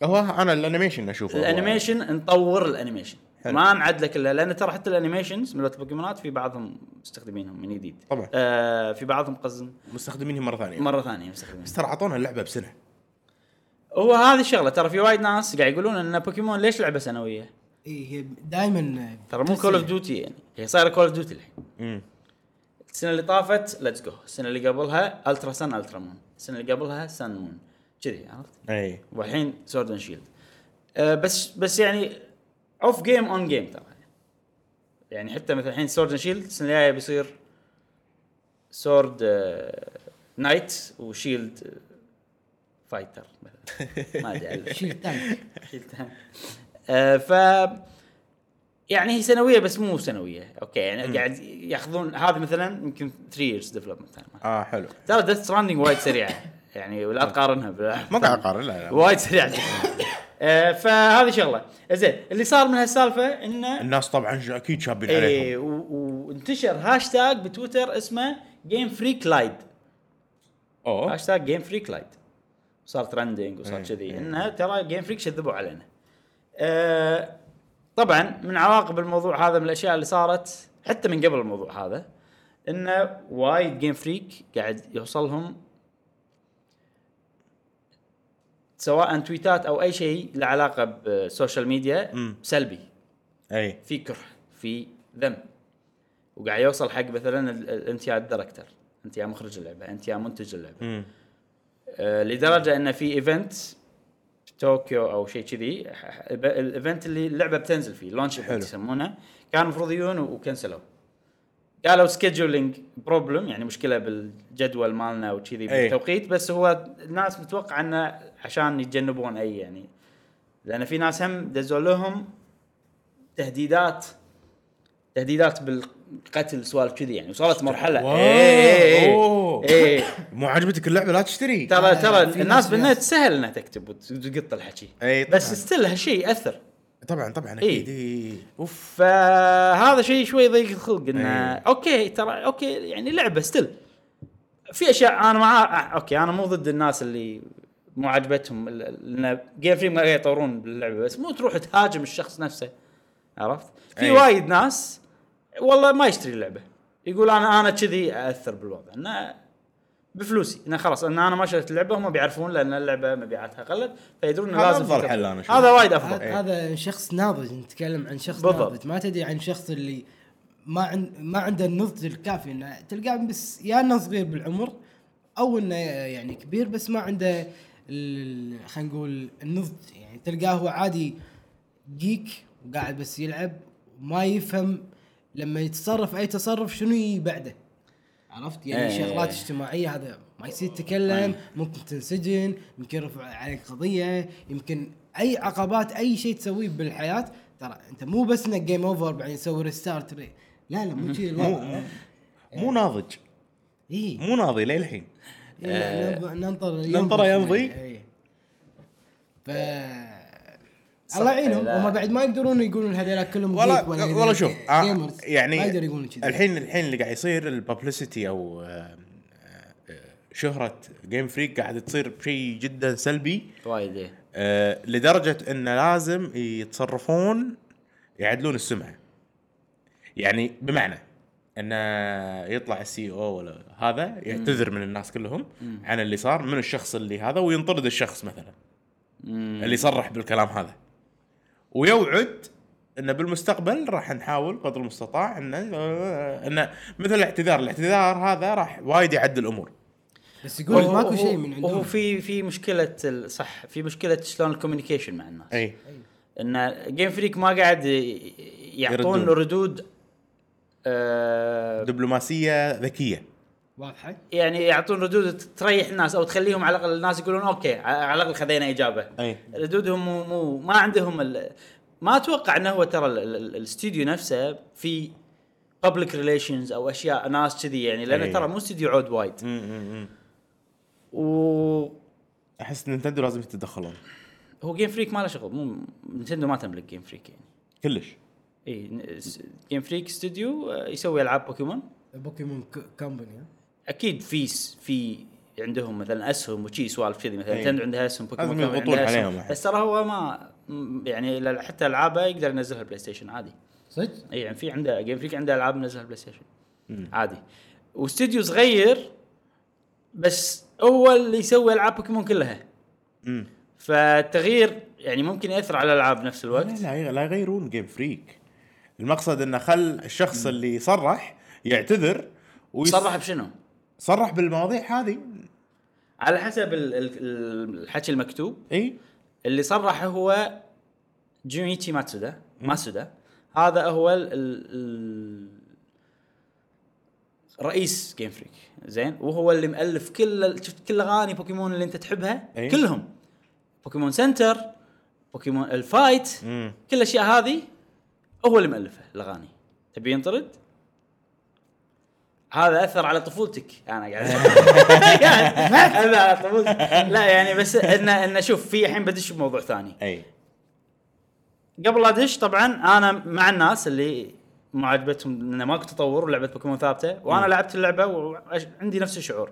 هو انا الانيميشن اشوفه هو. الانيميشن نطور الانيميشن حلو. ما نعد لك الا لان ترى حتى الانيميشنز مالت البوكيمونات في بعضهم مستخدمينهم من جديد طبعاً. آه في بعضهم قصد مستخدمينها مره ثانيه مره ثانيه مستخدمين بس ترى اعطونا اللعبه بسنه هو هذه الشغله ترى في وايد ناس قاعد يقولون ان بوكيمون ليش لعبه سنويه؟ إيه، هي دائما ترى مو كول اوف ديوتي يعني هي صايره كول اوف ديوتي الحين امم السنه اللي طافت ليتس جو السنه اللي قبلها الترا سن الترا مون السنه اللي قبلها سن مون كذي عرفت اي والحين سورد اند شيلد آه، بس بس يعني اوف جيم اون جيم ترى يعني حتى مثلا الحين سورد اند شيلد السنه الجايه بيصير آه، سورد نايت وشيلد فايتر مثلا آه، ما ادري شيل تانك شلتها آه، ف يعني هي سنويه بس مو سنويه اوكي يعني قاعد ياخذون هذا مثلا يمكن 3 years ديفلوبمنت تايم اه حلو ترى ديث ستراندنج وايد سريعه يعني ولا تقارنها بال- ما قاعد اقارن لا لا وايد سريعه آه، فهذه شغله زين اللي صار من هالسالفه انه الناس طبعا ش- اكيد شابين إيه، عليهم و- وانتشر هاشتاج بتويتر اسمه جيم فريك لايد اوه هاشتاج جيم فريك لايت صار ترندنج وصار إيه، كذي إيه. انه ترى جيم فريك شذبوا علينا. أه طبعا من عواقب الموضوع هذا من الاشياء اللي صارت حتى من قبل الموضوع هذا انه وايد جيم فريك قاعد يوصلهم سواء تويتات او اي شيء له علاقه بالسوشيال ميديا مم. سلبي اي في كره في ذم وقاعد يوصل حق مثلا ال- ال- انت يا الدايركتر انت يا مخرج اللعبه انت يا منتج اللعبه امم آه، لدرجه ان في ايفنت طوكيو او شيء كذي ح- ح- ب- الايفنت اللي اللعبه بتنزل فيه لونش حلو. ايفنت يسمونه كان المفروض يجون و- وكنسلوا قالوا سكيدجولينج بروبلم يعني مشكله بالجدول مالنا وكذي بالتوقيت بس هو الناس متوقع انه عشان يتجنبون اي يعني لان في ناس هم دزوا لهم تهديدات تهديدات بالقتل سوالف كذي يعني وصلت مرحله واو. إيه، أوه. اي مو عجبتك اللعبه لا تشتري إيه. ترى ترى في ناس الناس بالنت ناس. سهل انها تكتب وت- وتقط الحكي إي إيه، طبعاً. بس ستيل هالشيء اثر طبعا طبعا اكيد إي. اوف فهذا آه، شيء شوي ضيق الخلق انه إي. اوكي ترى اوكي يعني لعبه ستيل في اشياء انا مع آه، اوكي انا مو ضد الناس اللي مو عجبتهم ال- ال- لان جيم فري ما قاعد يطورون باللعبه بس مو تروح تهاجم الشخص نفسه عرفت؟ في إي. وايد ناس والله ما يشتري اللعبه يقول انا انا كذي اثر بالوضع انه بفلوسي انه خلاص ان انا ما شريت اللعبه هم بيعرفون لان اللعبه مبيعاتها قلت فيدرون انه هذا لازم أفضل في- حل أنا إيه. أشوف. هذا وايد افضل هذا هذا شخص ناضج نتكلم عن شخص بالضبط. ناضج ما تدري عن شخص اللي ما عن ما عنده النضج الكافي انه تلقاه بس يا انه صغير بالعمر او انه يعني كبير بس ما عنده ال- خلينا نقول النضج يعني تلقاه هو عادي جيك وقاعد بس يلعب وما يفهم لما يتصرف اي تصرف شنو يجي بعده عرفت يعني إيه. شغلات اجتماعيه هذا ما يصير تتكلم ممكن تنسجن يمكن رفع عليك قضيه يمكن اي عقبات اي شيء تسويه بالحياه ترى انت مو بس انك جيم اوفر بعدين تسوي ريستارت لا لا إيه. مو كذي الوضع مو ناضج اي مو ناضي للحين إيه، آه، ننطر ننطر يمضي. شوي، إيه. ف الله يعينهم لا. هم بعد ما يقدرون يقولون هذول كلهم والله geek ولا والله شوف آه، gamers. ما يعني يقدرون يقولون كذي الحين الحين اللي قاعد يصير الببلسيتي او آه، آه، شهرة جيم فريك قاعد تصير بشيء جدا سلبي وايد إيه. آه، لدرجة انه لازم يتصرفون يعدلون السمعة يعني بمعنى انه يطلع السي او ولا هذا يعتذر من الناس كلهم عن اللي صار من الشخص اللي هذا وينطرد الشخص مثلا مم. اللي صرح بالكلام هذا ويوعد انه بالمستقبل راح نحاول قدر المستطاع ان انه مثل الاعتذار، الاعتذار هذا راح وايد يعدل الامور. بس يقول وهو- ماكو وهو- شيء من عندهم وهو في في مشكله ال- صح في مشكله شلون الكوميونيكيشن مع الناس اي ان جيم فريك ما قاعد ي- يعطون يردون. ردود آه دبلوماسيه ذكيه. واضحه يعني يعطون ردود تريح الناس او تخليهم على الاقل الناس يقولون اوكي ع- على الاقل خذينا اجابه اي ردودهم مو, مو ما عندهم ال... ما اتوقع انه هو ترى ال- ال- ال- الاستوديو نفسه في بابليك ريليشنز او اشياء ناس كذي يعني لانه إيه. ترى مو استوديو عود وايد و احس نينتندو لازم يتدخلون هو جيم فريك ما له شغل مو نتندو ما تملك جيم فريك يعني كلش اي ن- س- جيم فريك استوديو آه، يسوي العاب بوكيمون بوكيمون كومباني اكيد في س- في عندهم مثلا اسهم وشي سوالف كذي مثلا إي. نتندو عندها اسهم بوكيمون لازم كمان يضغطون عندها أسهم. عليهم أحد. بس ترى هو ما م- يعني ل- حتى العابه يقدر ينزلها بلاي ستيشن عادي صدق؟ اي يعني في عنده جيم فريك عنده العاب منزلها بلاي ستيشن عادي واستوديو صغير بس هو اللي يسوي العاب بوكيمون كلها امم فالتغيير يعني ممكن ياثر على الالعاب بنفس لا الوقت لا يغ- لا يغيرون جيم فريك المقصد انه خل الشخص اللي صرح يعتذر ويص- صرح بشنو؟ صرح بالمواضيع هذه على حسب ال- ال- الحكي المكتوب اي اللي صرح هو جونيتشي ماتسودا ماسودا هذا هو ال ال ال رئيس جيم فريك زين وهو اللي مؤلف كل ال- شفت كل اغاني بوكيمون اللي انت تحبها إي. كلهم بوكيمون سنتر بوكيمون الفايت امم كل الاشياء هذه هو اللي مؤلفها الاغاني تبي ينطرد؟ هذا اثر على طفولتك انا قاعد يعني هذا على طفولتك لا يعني بس ان ان شوف في الحين بدش بموضوع ثاني اي قبل لا ادش طبعا انا مع الناس اللي ما عجبتهم انه ماكو تطور ولعبه بوكيمون ثابته وانا لعبت اللعبه وعندي نفس الشعور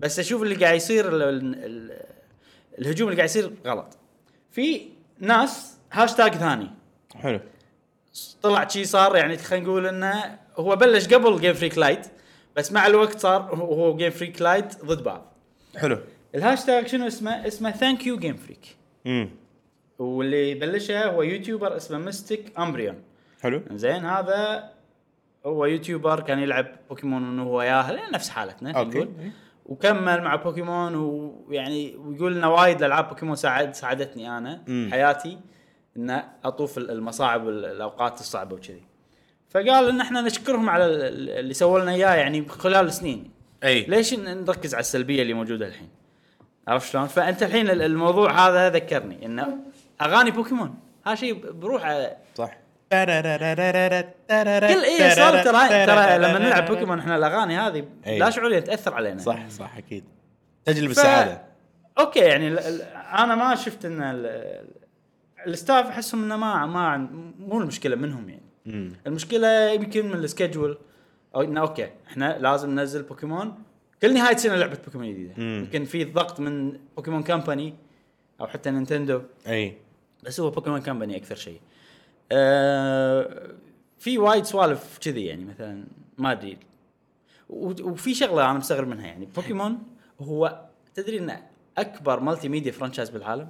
بس اشوف اللي قاعد يصير ال ال ال الهجوم اللي قاعد يصير غلط في ناس هاشتاج ثاني حلو طلع شي صار يعني خلينا نقول انه هو بلش قبل جيم فريك لايت بس مع الوقت صار هو- هو جيم فريك لايت ضد بعض حلو الهاشتاج شنو اسمه اسمه ثانك يو جيم فريك امم واللي بلشها هو يوتيوبر اسمه ميستيك امبريون حلو زين هذا هو يوتيوبر كان يلعب بوكيمون من هو ياهل يعني نفس حالتنا خلينا اوكي نقول. وكمل مع بوكيمون ويعني ويقول انه وايد العاب بوكيمون ساعد ساعدتني انا مم. حياتي ان اطوف ال- المصاعب وال- الاوقات الصعبه وكذي فقال ان احنا نشكرهم على ال- ال- اللي سووا لنا اياه يعني خلال سنين اي ليش ن- نركز على السلبيه اللي موجوده الحين عرفت شلون فانت الحين ال- الموضوع هذا ذكرني انه اغاني بوكيمون هذا شيء بروحه صح كل كل اي إيه، صار ترى ترى لما نلعب بوكيمون احنا الاغاني هذه إي. لا شعوريا تاثر علينا إيه. صح صح اكيد تجلب ف- السعاده اوكي يعني ال- ال- انا ما شفت ان ال- ال- الستاف احسهم انه ما ما عن- مو المشكله منهم يعني امم المشكله يمكن من السكجول او انه اوكي احنا لازم ننزل بوكيمون كل نهايه سنه لعبه بوكيمون جديده مم. يمكن في ضغط من بوكيمون كامباني او حتى نينتندو اي بس هو بوكيمون كامباني اكثر شيء. آه في وايد سوالف كذي يعني مثلا ما ادري و- وفي شغله انا مستغرب منها يعني بوكيمون هو تدري انه اكبر مالتي ميديا فرانشايز بالعالم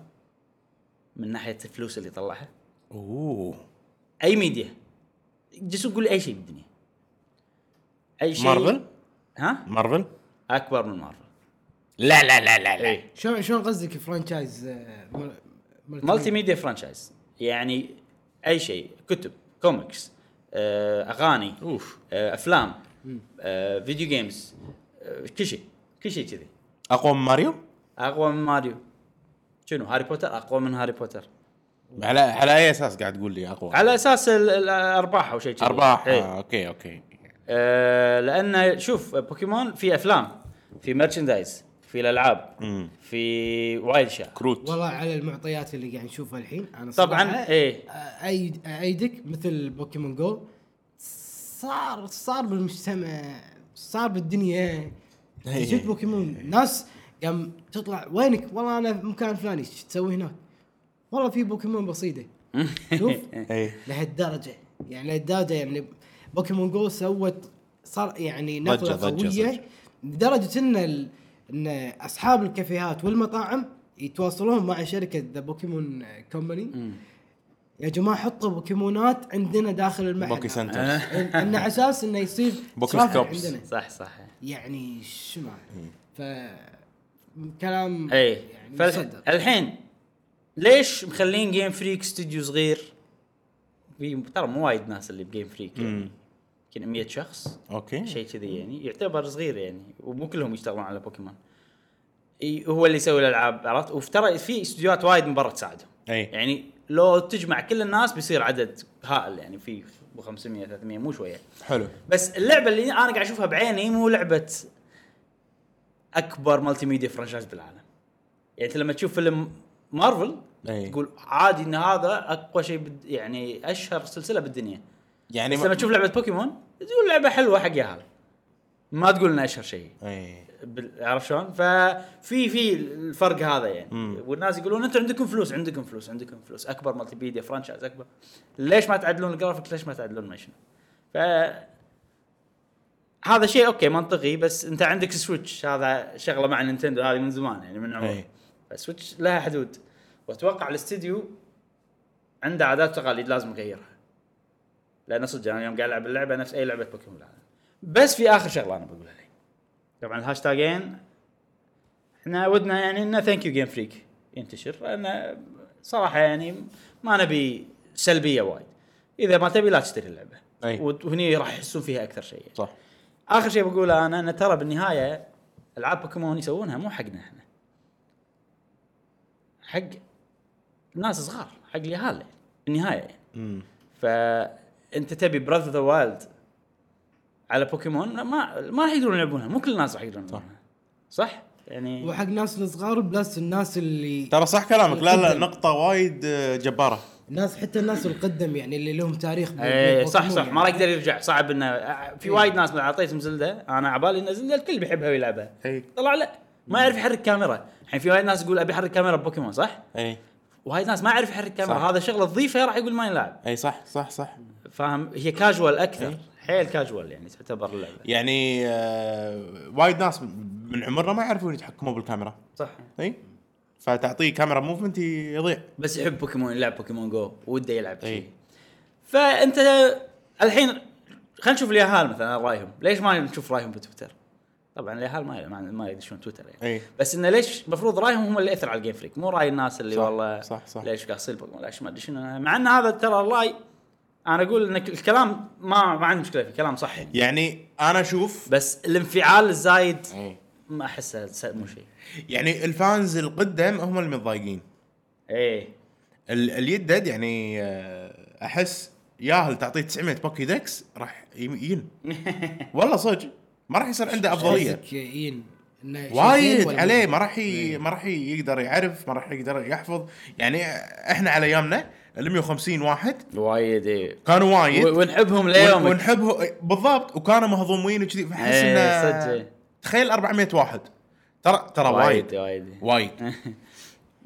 من ناحيه الفلوس اللي طلعها اوه اي ميديا جس قول اي شيء بالدنيا اي شيء مارفل؟ ها مارفل اكبر من مارفل لا لا لا لا لا اي شلون شلون قصدك فرانشايز آه، مل- مالتي ميديا فرانشايز يعني اي شيء كتب كوميكس آه، اغاني اوف آه، افلام آه، فيديو جيمز آه، كل شيء كل شيء كذي اقوى من ماريو؟ اقوى من ماريو شنو هاري بوتر اقوى من هاري بوتر على على اي اساس قاعد تقول لي اقوى؟ على اساس ال- الارباح او شيء كذي ارباح إيه. آه، اوكي اوكي آه، لان شوف بوكيمون في افلام في مرشندايز في الالعاب مم. في وايد اشياء كروت والله على المعطيات اللي قاعد نشوفها الحين انا طبعاً، صراحة إيه. أأيد- ايدك مثل بوكيمون جو صار صار بالمجتمع صار بالدنيا إيه. جت بوكيمون ناس قام تطلع وينك والله انا في مكان فلاني ايش تسوي هناك والله في بوكيمون بسيطه شوف اي لهالدرجه يعني لهالدرجه يعني بوكيمون جو سوت صار يعني نقله ضجة- ضجة- ضجة. قويه لدرجه ان ال... ان اصحاب الكافيهات والمطاعم يتواصلون مع شركه ذا بوكيمون كومباني يا جماعه حطوا بوكيمونات عندنا داخل المعرض بوكي سنتر إن- ان على اساس انه يصير بوكي ترافيك ستوبس. عندنا صح صح يعني شو معنى ف كلام اي يعني مصدق. فالحين إيه. ليش مخلين جيم فريك استوديو صغير في ترى مو وايد ناس اللي بجيم فريك يعني يمكن 100 شخص اوكي شيء كذي يعني يعتبر صغير يعني ومو كلهم يشتغلون على بوكيمون إي، هو اللي يسوي الالعاب عرفت وترى في استديوهات وايد من برا تساعدهم اي يعني لو تجمع كل الناس بيصير عدد هائل يعني في 500 300 مو شويه حلو بس اللعبه اللي انا قاعد اشوفها بعيني مو لعبه اكبر مالتي ميديا فرانشايز بالعالم يعني انت لما تشوف فيلم مارفل أي. تقول عادي ان هذا اقوى شيء بد... يعني اشهر سلسله بالدنيا يعني بس لما تشوف لعبه بوكيمون تقول لعبه حلوه حق يا هذا ما تقول انها اشهر شيء اي بال- عرفت شلون؟ ففي في الفرق هذا يعني والناس يقولون انتم عندكم فلوس عندكم فلوس عندكم فلوس اكبر مالتي ميديا فرانشايز اكبر ليش ما تعدلون الجرافيك ليش ما تعدلون ما شنو؟ ف هذا شيء اوكي منطقي بس انت عندك سويتش هذا شغله مع نينتندو هذه من زمان يعني من عمر إيه. فسويتش لها حدود واتوقع الاستديو عنده عادات وتقاليد لازم يغيرها لان صدق انا يوم قاعد العب اللعبه نفس اي لعبه بوكيمون بالعالم. بس في اخر شغله انا بقولها لك طبعا الهاشتاجين احنا ودنا يعني ان ثانك يو جيم فريك ينتشر لان صراحه يعني ما نبي سلبيه وايد اذا ما تبي لا تشتري اللعبه أي. وت- وهني راح يحسون فيها اكثر شيء يعني. صح اخر شيء بقوله انا ان ترى بالنهايه العاب بوكيمون يسوونها مو حقنا احنا حق ناس صغار حق اليهال يعني. بالنهايه يعني. امم فانت تبي براذ ذا وايلد على بوكيمون لا، ما ما راح يقدرون يلعبونها مو كل الناس راح يقدرون يلعبونها صح؟ يعني وحق ناس الصغار بلس الناس اللي ترى صح كلامك لا لا نقطة وايد آه، جبارة ناس حتى الناس القدم يعني اللي لهم تاريخ بال- ايه بالبوكيمون صح صح يعني. ما راح يقدر يرجع صعب انه آه، في وايد ناس لو اعطيتهم زلده انا عبالي ان زلده الكل بيحبها ويلعبها اي طلع لا ما يعرف يحرك كاميرا الحين في وايد ناس يقول ابي احرك كاميرا بوكيمون صح؟ اي وهاي ناس ما يعرف يحرك كاميرا صح. هذا شغله تضيفه راح يقول ما يلعب اي إيه، صح صح صح فاهم هي كاجوال اكثر إيه. حيل كاجوال يعني تعتبر اللعبه يعني آه، وايد ناس من عمرنا ما يعرفون يتحكمون بالكاميرا صح اي فتعطيه كاميرا موفمنت يضيع بس يحب بوكيمون يلعب بوكيمون جو وده يلعب إي. شيء فانت الحين خلينا نشوف اليهال مثلا رايهم ليش ما نشوف رايهم بتويتر طبعا اليهال ما ما- ما يدشون تويتر يعني اي بس انه ليش المفروض رايهم هم اللي ياثر على الجيم فريك مو راي الناس اللي صح، والله صح، صح. ليش قاعد يصير بوكيمون ليش ما ادري شنو مع ان هذا ترى الراي انا اقول ان الكلام ما ما عندي مشكله فيه كلام صح يعني انا اشوف بس الانفعال الزايد أي. ما احسه س- مو شيء يعني الفانز القدم هم اللي متضايقين ايه ال- اليدد يعني آه، احس ياهل تعطيه 900 بوكي ديكس راح يمين والله صدق ما راح يصير عنده افضليه شيزكيين. إنه شيزين وايد ولا- عليه ما راح إيه. ي... ما راح يقدر يعرف ما راح يقدر يحفظ يعني احنا على ايامنا ال 150 واحد وايد ايه كانوا وايد و- ونحبهم ون- ليومك ونحبه بالضبط وكانوا مهضومين وكذي فاحس إيه، انه صدق. تخيل 400 واحد ترى ترى وايد وايد وايد وايد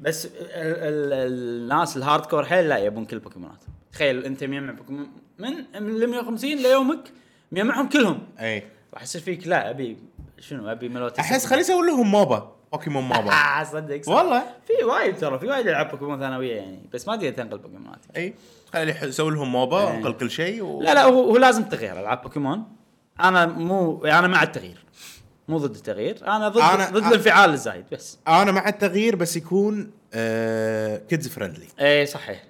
بس ال- ال- الناس الهارد كور حيل لا يبون كل بوكيمونات تخيل انت مجمع بوكيمون من من 150 ليومك مجمعهم كلهم اي راح يصير فيك لا ابي شنو ابي ملوتي احس خلي يسوي لهم موبا بوكيمون موبا آه صدق صدق. والله. في وايد ترى في وايد العاب بوكيمون ثانويه يعني بس ما تقدر تنقل بوكيمونات اي خلي يح- يسوي لهم موبا إيه. وانقل كل شيء و... لا لا هو, هو لازم تغيير العاب بوكيمون انا مو انا مع التغيير مو ضد التغيير انا ضد أنا- ضد أ- الانفعال الزايد بس انا مع التغيير بس يكون آه كيدز فريندلي اي إيه، صحيح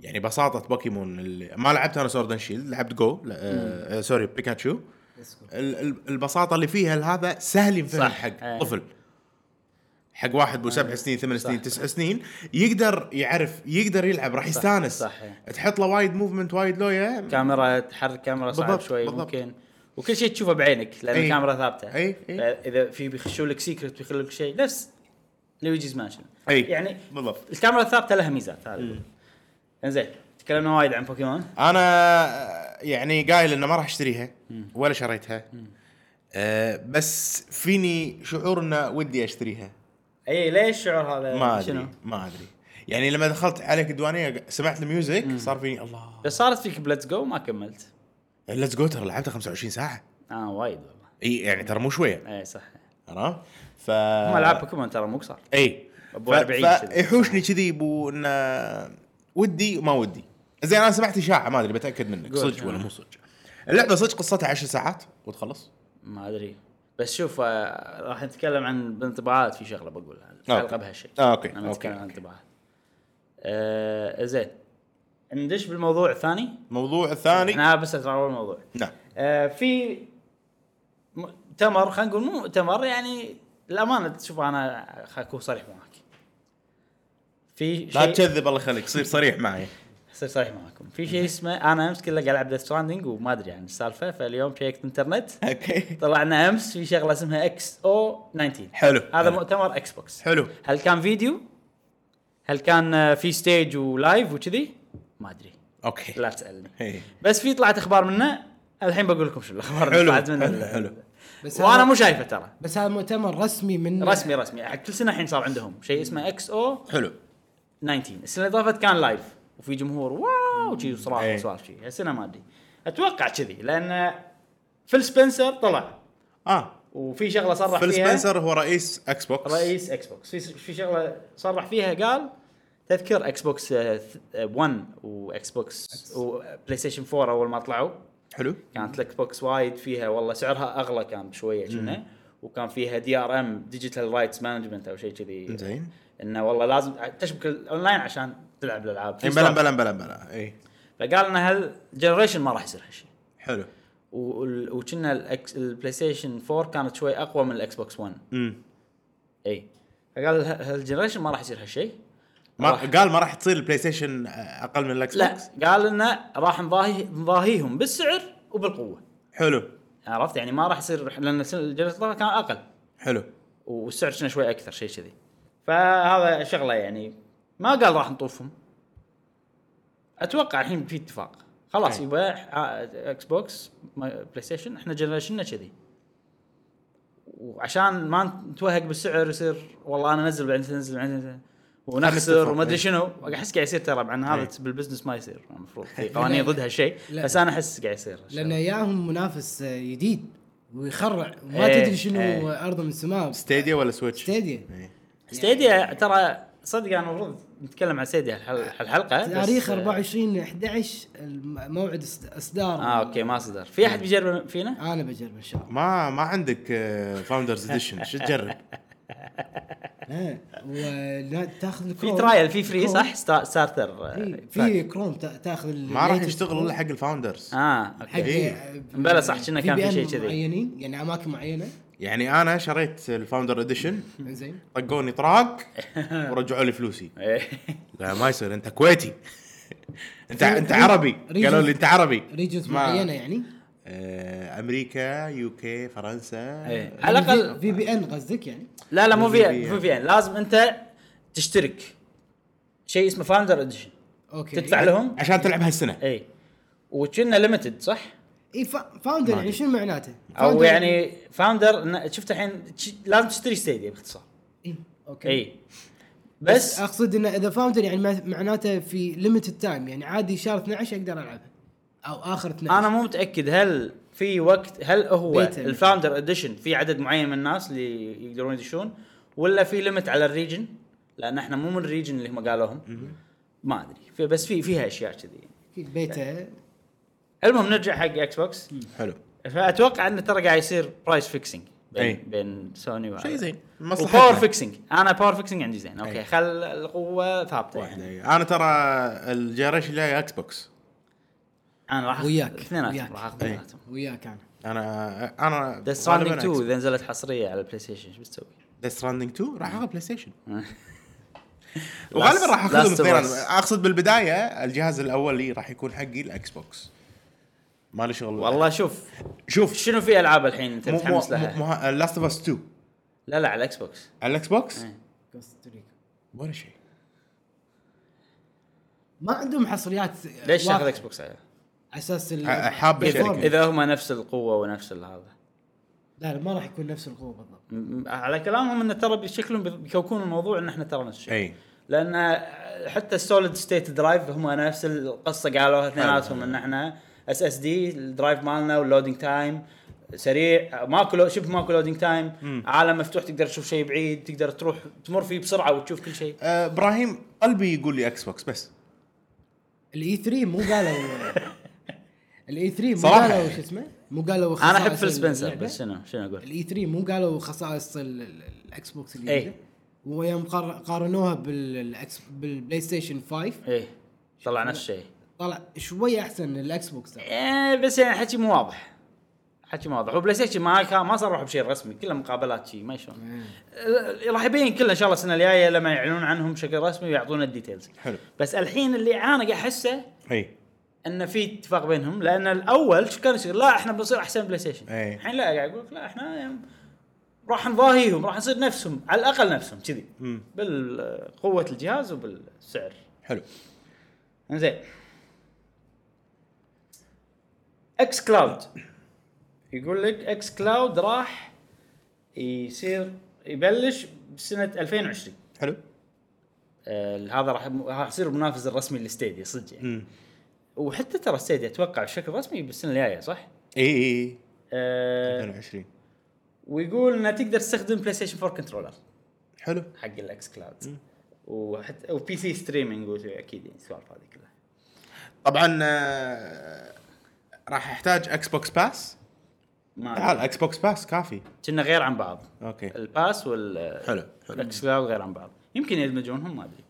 يعني بساطه بوكيمون اللي ما لعبت انا سورد شيلد لعبت جو لا، آه آه، سوري بيكاتشو ال- ال- البساطه اللي فيها هذا سهل ينفهم صح. حق ايه. طفل حق واحد بو سبع سنين ثمان سنين تسع سنين يقدر يعرف يقدر يلعب راح يستانس صح، ايه. تحط له وايد موفمنت وايد لويا كاميرا تحرك كاميرا صعب بالضبط، شوي بالضبط. إيه. ممكن وكل شيء تشوفه بعينك لان أي. الكاميرا ثابته أي، أي. اذا في بيخشوا لك سيكرت بيخلوا لك شيء نفس لويجيز مانشن اي يعني بالضبط الكاميرا الثابته لها ميزات هذا انزين تكلمنا وايد عن بوكيمون انا آه، يعني قايل انه ما راح اشتريها ولا شريتها أه بس فيني شعور انه ودي اشتريها اي إيه، ليش شعور هذا ما ادري ما ادري يعني لما دخلت عليك الديوانيه سمعت الميوزك صار فيني الله بس صارت فيك بلتس جو ما كملت ليتس جو ترى لعبتها 25 ساعه اه وايد والله اي يعني ترى مو شويه اي صح عرفت؟ ف هم العاب بوكيمون ترى مو قصار اي أبو ف- 40 كذي. فيحوشني كذي بو انه ودي وما ودي زين انا سمعت اشاعه ما ادري بتاكد منك قول. صدق ولا مو صدق اللعبه صدق قصتها 10 ساعات وتخلص ما ادري بس شوف آه، راح نتكلم عن انطباعات في شغله بقولها الحلقه بهالشيء آه، أوكي، لما نتكلم أوكي، عن أوكي. انطباعات آه زين ندش بالموضوع الثاني الموضوع الثاني انا بس ترى اول موضوع نعم آه في مؤتمر خلينا نقول مو مؤتمر يعني الامانه شوف انا خليني اكون صريح معك في لا شيء تكذب الله يخليك صير صريح معي صير صريح معاكم في شيء اسمه انا امس كله قاعد العب ديث ستراندنج وما ادري عن السالفه فاليوم شيكت انترنت اوكي طلعنا امس في شغله اسمها اكس او 19 حلو. هذا حلو. مؤتمر اكس بوكس حلو. هل كان فيديو؟ هل كان آه، في ستيج ولايف وكذي؟ ما ادري اوكي لا تسالني إيه. بس في طلعت اخبار منه الحين بقول لكم شو الاخبار اللي حلو طلعت منه حلو حلو بس وانا هذا- مو شايفه ترى بس هذا مؤتمر رسمي من رسمي رسمي حق كل سنه الحين صار عندهم شيء اسمه اكس او حلو 19 السنه اللي طافت كان لايف وفي جمهور واو شي وصراخ إيه. وسوالف شي هالسنه ما ادري اتوقع كذي لان فيل سبنسر طلع اه وفي شغله صرح فيل فيها سبنسر هو رئيس اكس بوكس رئيس اكس بوكس في في شغله صرح فيها قال تذكر آه، اكس بوكس 1 واكس بوكس وبلاي ستيشن 4 اول ما طلعوا حلو كانت الاكس بوكس وايد فيها والله سعرها اغلى كان شويه كنا وكان فيها دي ار ام ديجيتال رايتس مانجمنت او شيء كذي زين انه والله لازم تشبك الاونلاين عشان تلعب الالعاب في إيه، بلا سوالف. بلا بلا بلا إيه، اي فقال ان هالجنريشن ما راح يصير هالشيء حلو وال- وكنا الأكس- البلاي ستيشن 4 كانت شوي اقوى من الاكس بوكس 1 امم اي فقال ه- هالجنريشن ما راح يصير هالشيء ما راح- قال ما راح تصير البلاي ستيشن آه، اقل من الاكس لا بوكس قال انه راح نضاهي نضاهيهم بالسعر وبالقوه حلو عرفت يعني ما راح يصير لان السنة- الجنريشن اللي طافت كان اقل حلو والسعر كنا شوي اكثر شيء كذي فهذا شغله يعني ما قال راح نطوفهم اتوقع الحين في اتفاق خلاص أي. إيه. يبقى ع- اكس بوكس ما- بلاي ستيشن احنا جنريشننا كذي وعشان ما نتوهق بالسعر يصير والله انا انزل بعدين تنزل بعدين ونخسر اتفاق، وما إيه. ادري أي. شنو احس قاعد يصير ترى مع ان هذا أي. بالبزنس ما يصير المفروض في قوانين ضد هالشيء لا. بس انا احس قاعد يصير لان ياهم منافس آه، جديد ويخرع وما إيه، تدري شنو إيه. ارض من السماء ستيديا ولا سويتش؟ ستيديا إيه. ستيديا ترى صدق انا المفروض نتكلم عن ستيديا الحل- الحلقه بس- تاريخ 24 11 الم- موعد است- اصدار اه اوكي ما صدر في احد بيجرب فينا؟ انا بجرب ان شاء الله ما ما عندك فاوندرز اديشن شو تجرب؟ ها، إيه. ولا تاخذ في الكروم ترايل في فري كروم. صح؟ ستا- ستارتر آه، في- باك. في كروم تا- تاخذ ال- ما راح latest يشتغل كروم. الا حق الفاوندرز اه حق اوكي إيه. بلا صح، كنا كان في VPN شيء كذي. معينين يعني اماكن معينه يعني انا شريت الفاوندر اديشن زين طقوني طراق ورجعوا لي فلوسي إيه. لا ما يصير انت كويتي انت انت عربي قالوا لي انت عربي ريجنز ما- معينه يعني آه، امريكا يو كي فرنسا إيه. آه، على الأقل- يعني في بي ان قصدك يعني لا لا مو في VPN. مو في يعني. لازم انت تشترك شيء اسمه فاوندر اديشن اوكي تدفع لهم عشان تلعب هالسنه اي إيه. وكنا ليمتد صح؟ اي فا- فاوندر يعني شنو معناته؟ او فاوندر يعني فاوندر شفت الحين تش- لازم تشتري ستيديا باختصار إي، اوكي اي إيه. بس اقصد انه اذا فاوندر يعني ما- معناته في ليمتد تايم يعني عادي شهر 12 اقدر العبها او اخر 12 نعم. انا مو متاكد هل في وقت هل هو بيتا. يعني. الفاوندر اديشن في عدد معين من الناس اللي يقدرون يدشون ولا في ليمت على الريجن لان احنا مو من الريجن اللي هم قالوهم ما ادري في بس في فيها اشياء كذي اكيد بيتا المهم نرجع حق اكس بوكس حلو فاتوقع انه ترى قاعد يصير برايس فيكسنج أي. بين, بين سوني و شيء زين باور مصلحه فيكسنج انا باور فيكسنج عندي زين اوكي أي. خل القوه ثابته واحدة. يعني. انا ترى الجنريشن اللي اكس بوكس انا راح آخذ وياك. وياك. اثنيناتهم راح اخذ أي. اثنيناتهم وياك انا انا انا ذا ستراندنج 2 اذا نزلت حصريه على البلاي ستيشن شو بتسوي؟ ذا ستراندنج 2 راح اخذ بلاي ستيشن Last- وغالبا راح اخذهم Last of اثنين Us. اقصد بالبدايه الجهاز الاول لي راح يكون حقي الاكس بوكس ما له شغل والله شوف شوف شنو في العاب الحين انت مو مو آه، متحمس لها؟ مو لاست اوف اس 2 لا لا على الاكس بوكس على الاكس بوكس إيه. كوستاريكا ولا شيء ما عندهم حصريات ليش واضحة. تاخذ اكس بوكس عليها؟ على اساس ال- ح- حاب الفورم. الشركة. اذا هما نفس القوه ونفس ال- هذا لا لا ما راح يكون نفس القوه بالضبط م- م- على كلامهم انه ترى بشكلهم بي- بيكوكون الموضوع ان احنا ترى نفس الشيء اي لان حتى السوليد ستيت درايف هم نفس القصه قالوها اثنيناتهم ان احنا اس اس دي الدرايف مالنا واللودنج تايم سريع ماكو لو- شبه ماكو لودنج تايم عالم مفتوح تقدر تشوف شيء بعيد تقدر تروح تمر فيه بسرعه وتشوف كل شيء آه، ابراهيم قلبي يقول لي اكس بوكس بس الاي 3 E مو قالوا الاي 3 مو صراحة. يعني. قالوا شو اسمه مو قالوا انا احب خصائص فيل سبنسر اللعبة. بس شنو شنو اقول؟ الاي 3 مو قالوا خصائص ال- ال- الاكس بوكس الجديده إيه. ويوم قار- قارنوها بالاكس بالبلاي ستيشن 5 ايه طلع نفس الشيء طلع شوي احسن الاكس بوكس إيه، بس يعني حكي مو واضح حكي ما واضح وبلاي ستيشن ما كان ما صرحوا بشيء رسمي كلها مقابلات شيء ما شلون ال- راح يبين كله ان شاء الله السنه الجايه لما يعلنون عنهم بشكل رسمي ويعطونا الديتيلز حلو. بس الحين اللي انا قاعد احسه إيه. اي ان في اتفاق بينهم لان الاول شو كان يصير؟ لا احنا بنصير احسن بلاي ستيشن إيه. الحين لا قاعد يقول لك لا احنا يعني راح نضاهيهم راح نصير نفسهم على الاقل نفسهم كذي مم. بالقوه الجهاز وبالسعر حلو انزين اكس كلاود يقول لك اكس كلاود راح يصير يبلش بسنه 2020 حلو آه هذا راح راح يصير المنافس الرسمي للستيديا صدق يعني امم وحتى ترى السيدي اتوقع بشكل رسمي بالسنه الجايه صح؟ اي اي أه 22 ويقول انه تقدر تستخدم بلاي ستيشن 4 كنترولر حلو حق الاكس كلاود وحتى وبي سي ستريمنج اكيد يعني السوالف هذه كلها طبعا آه، راح يحتاج اكس بوكس باس تعال ما اكس بوكس باس كافي كنا غير عن بعض اوكي الباس وال حلو حلو الاكس كلاود غير عن بعض يمكن يدمجونهم ما ادري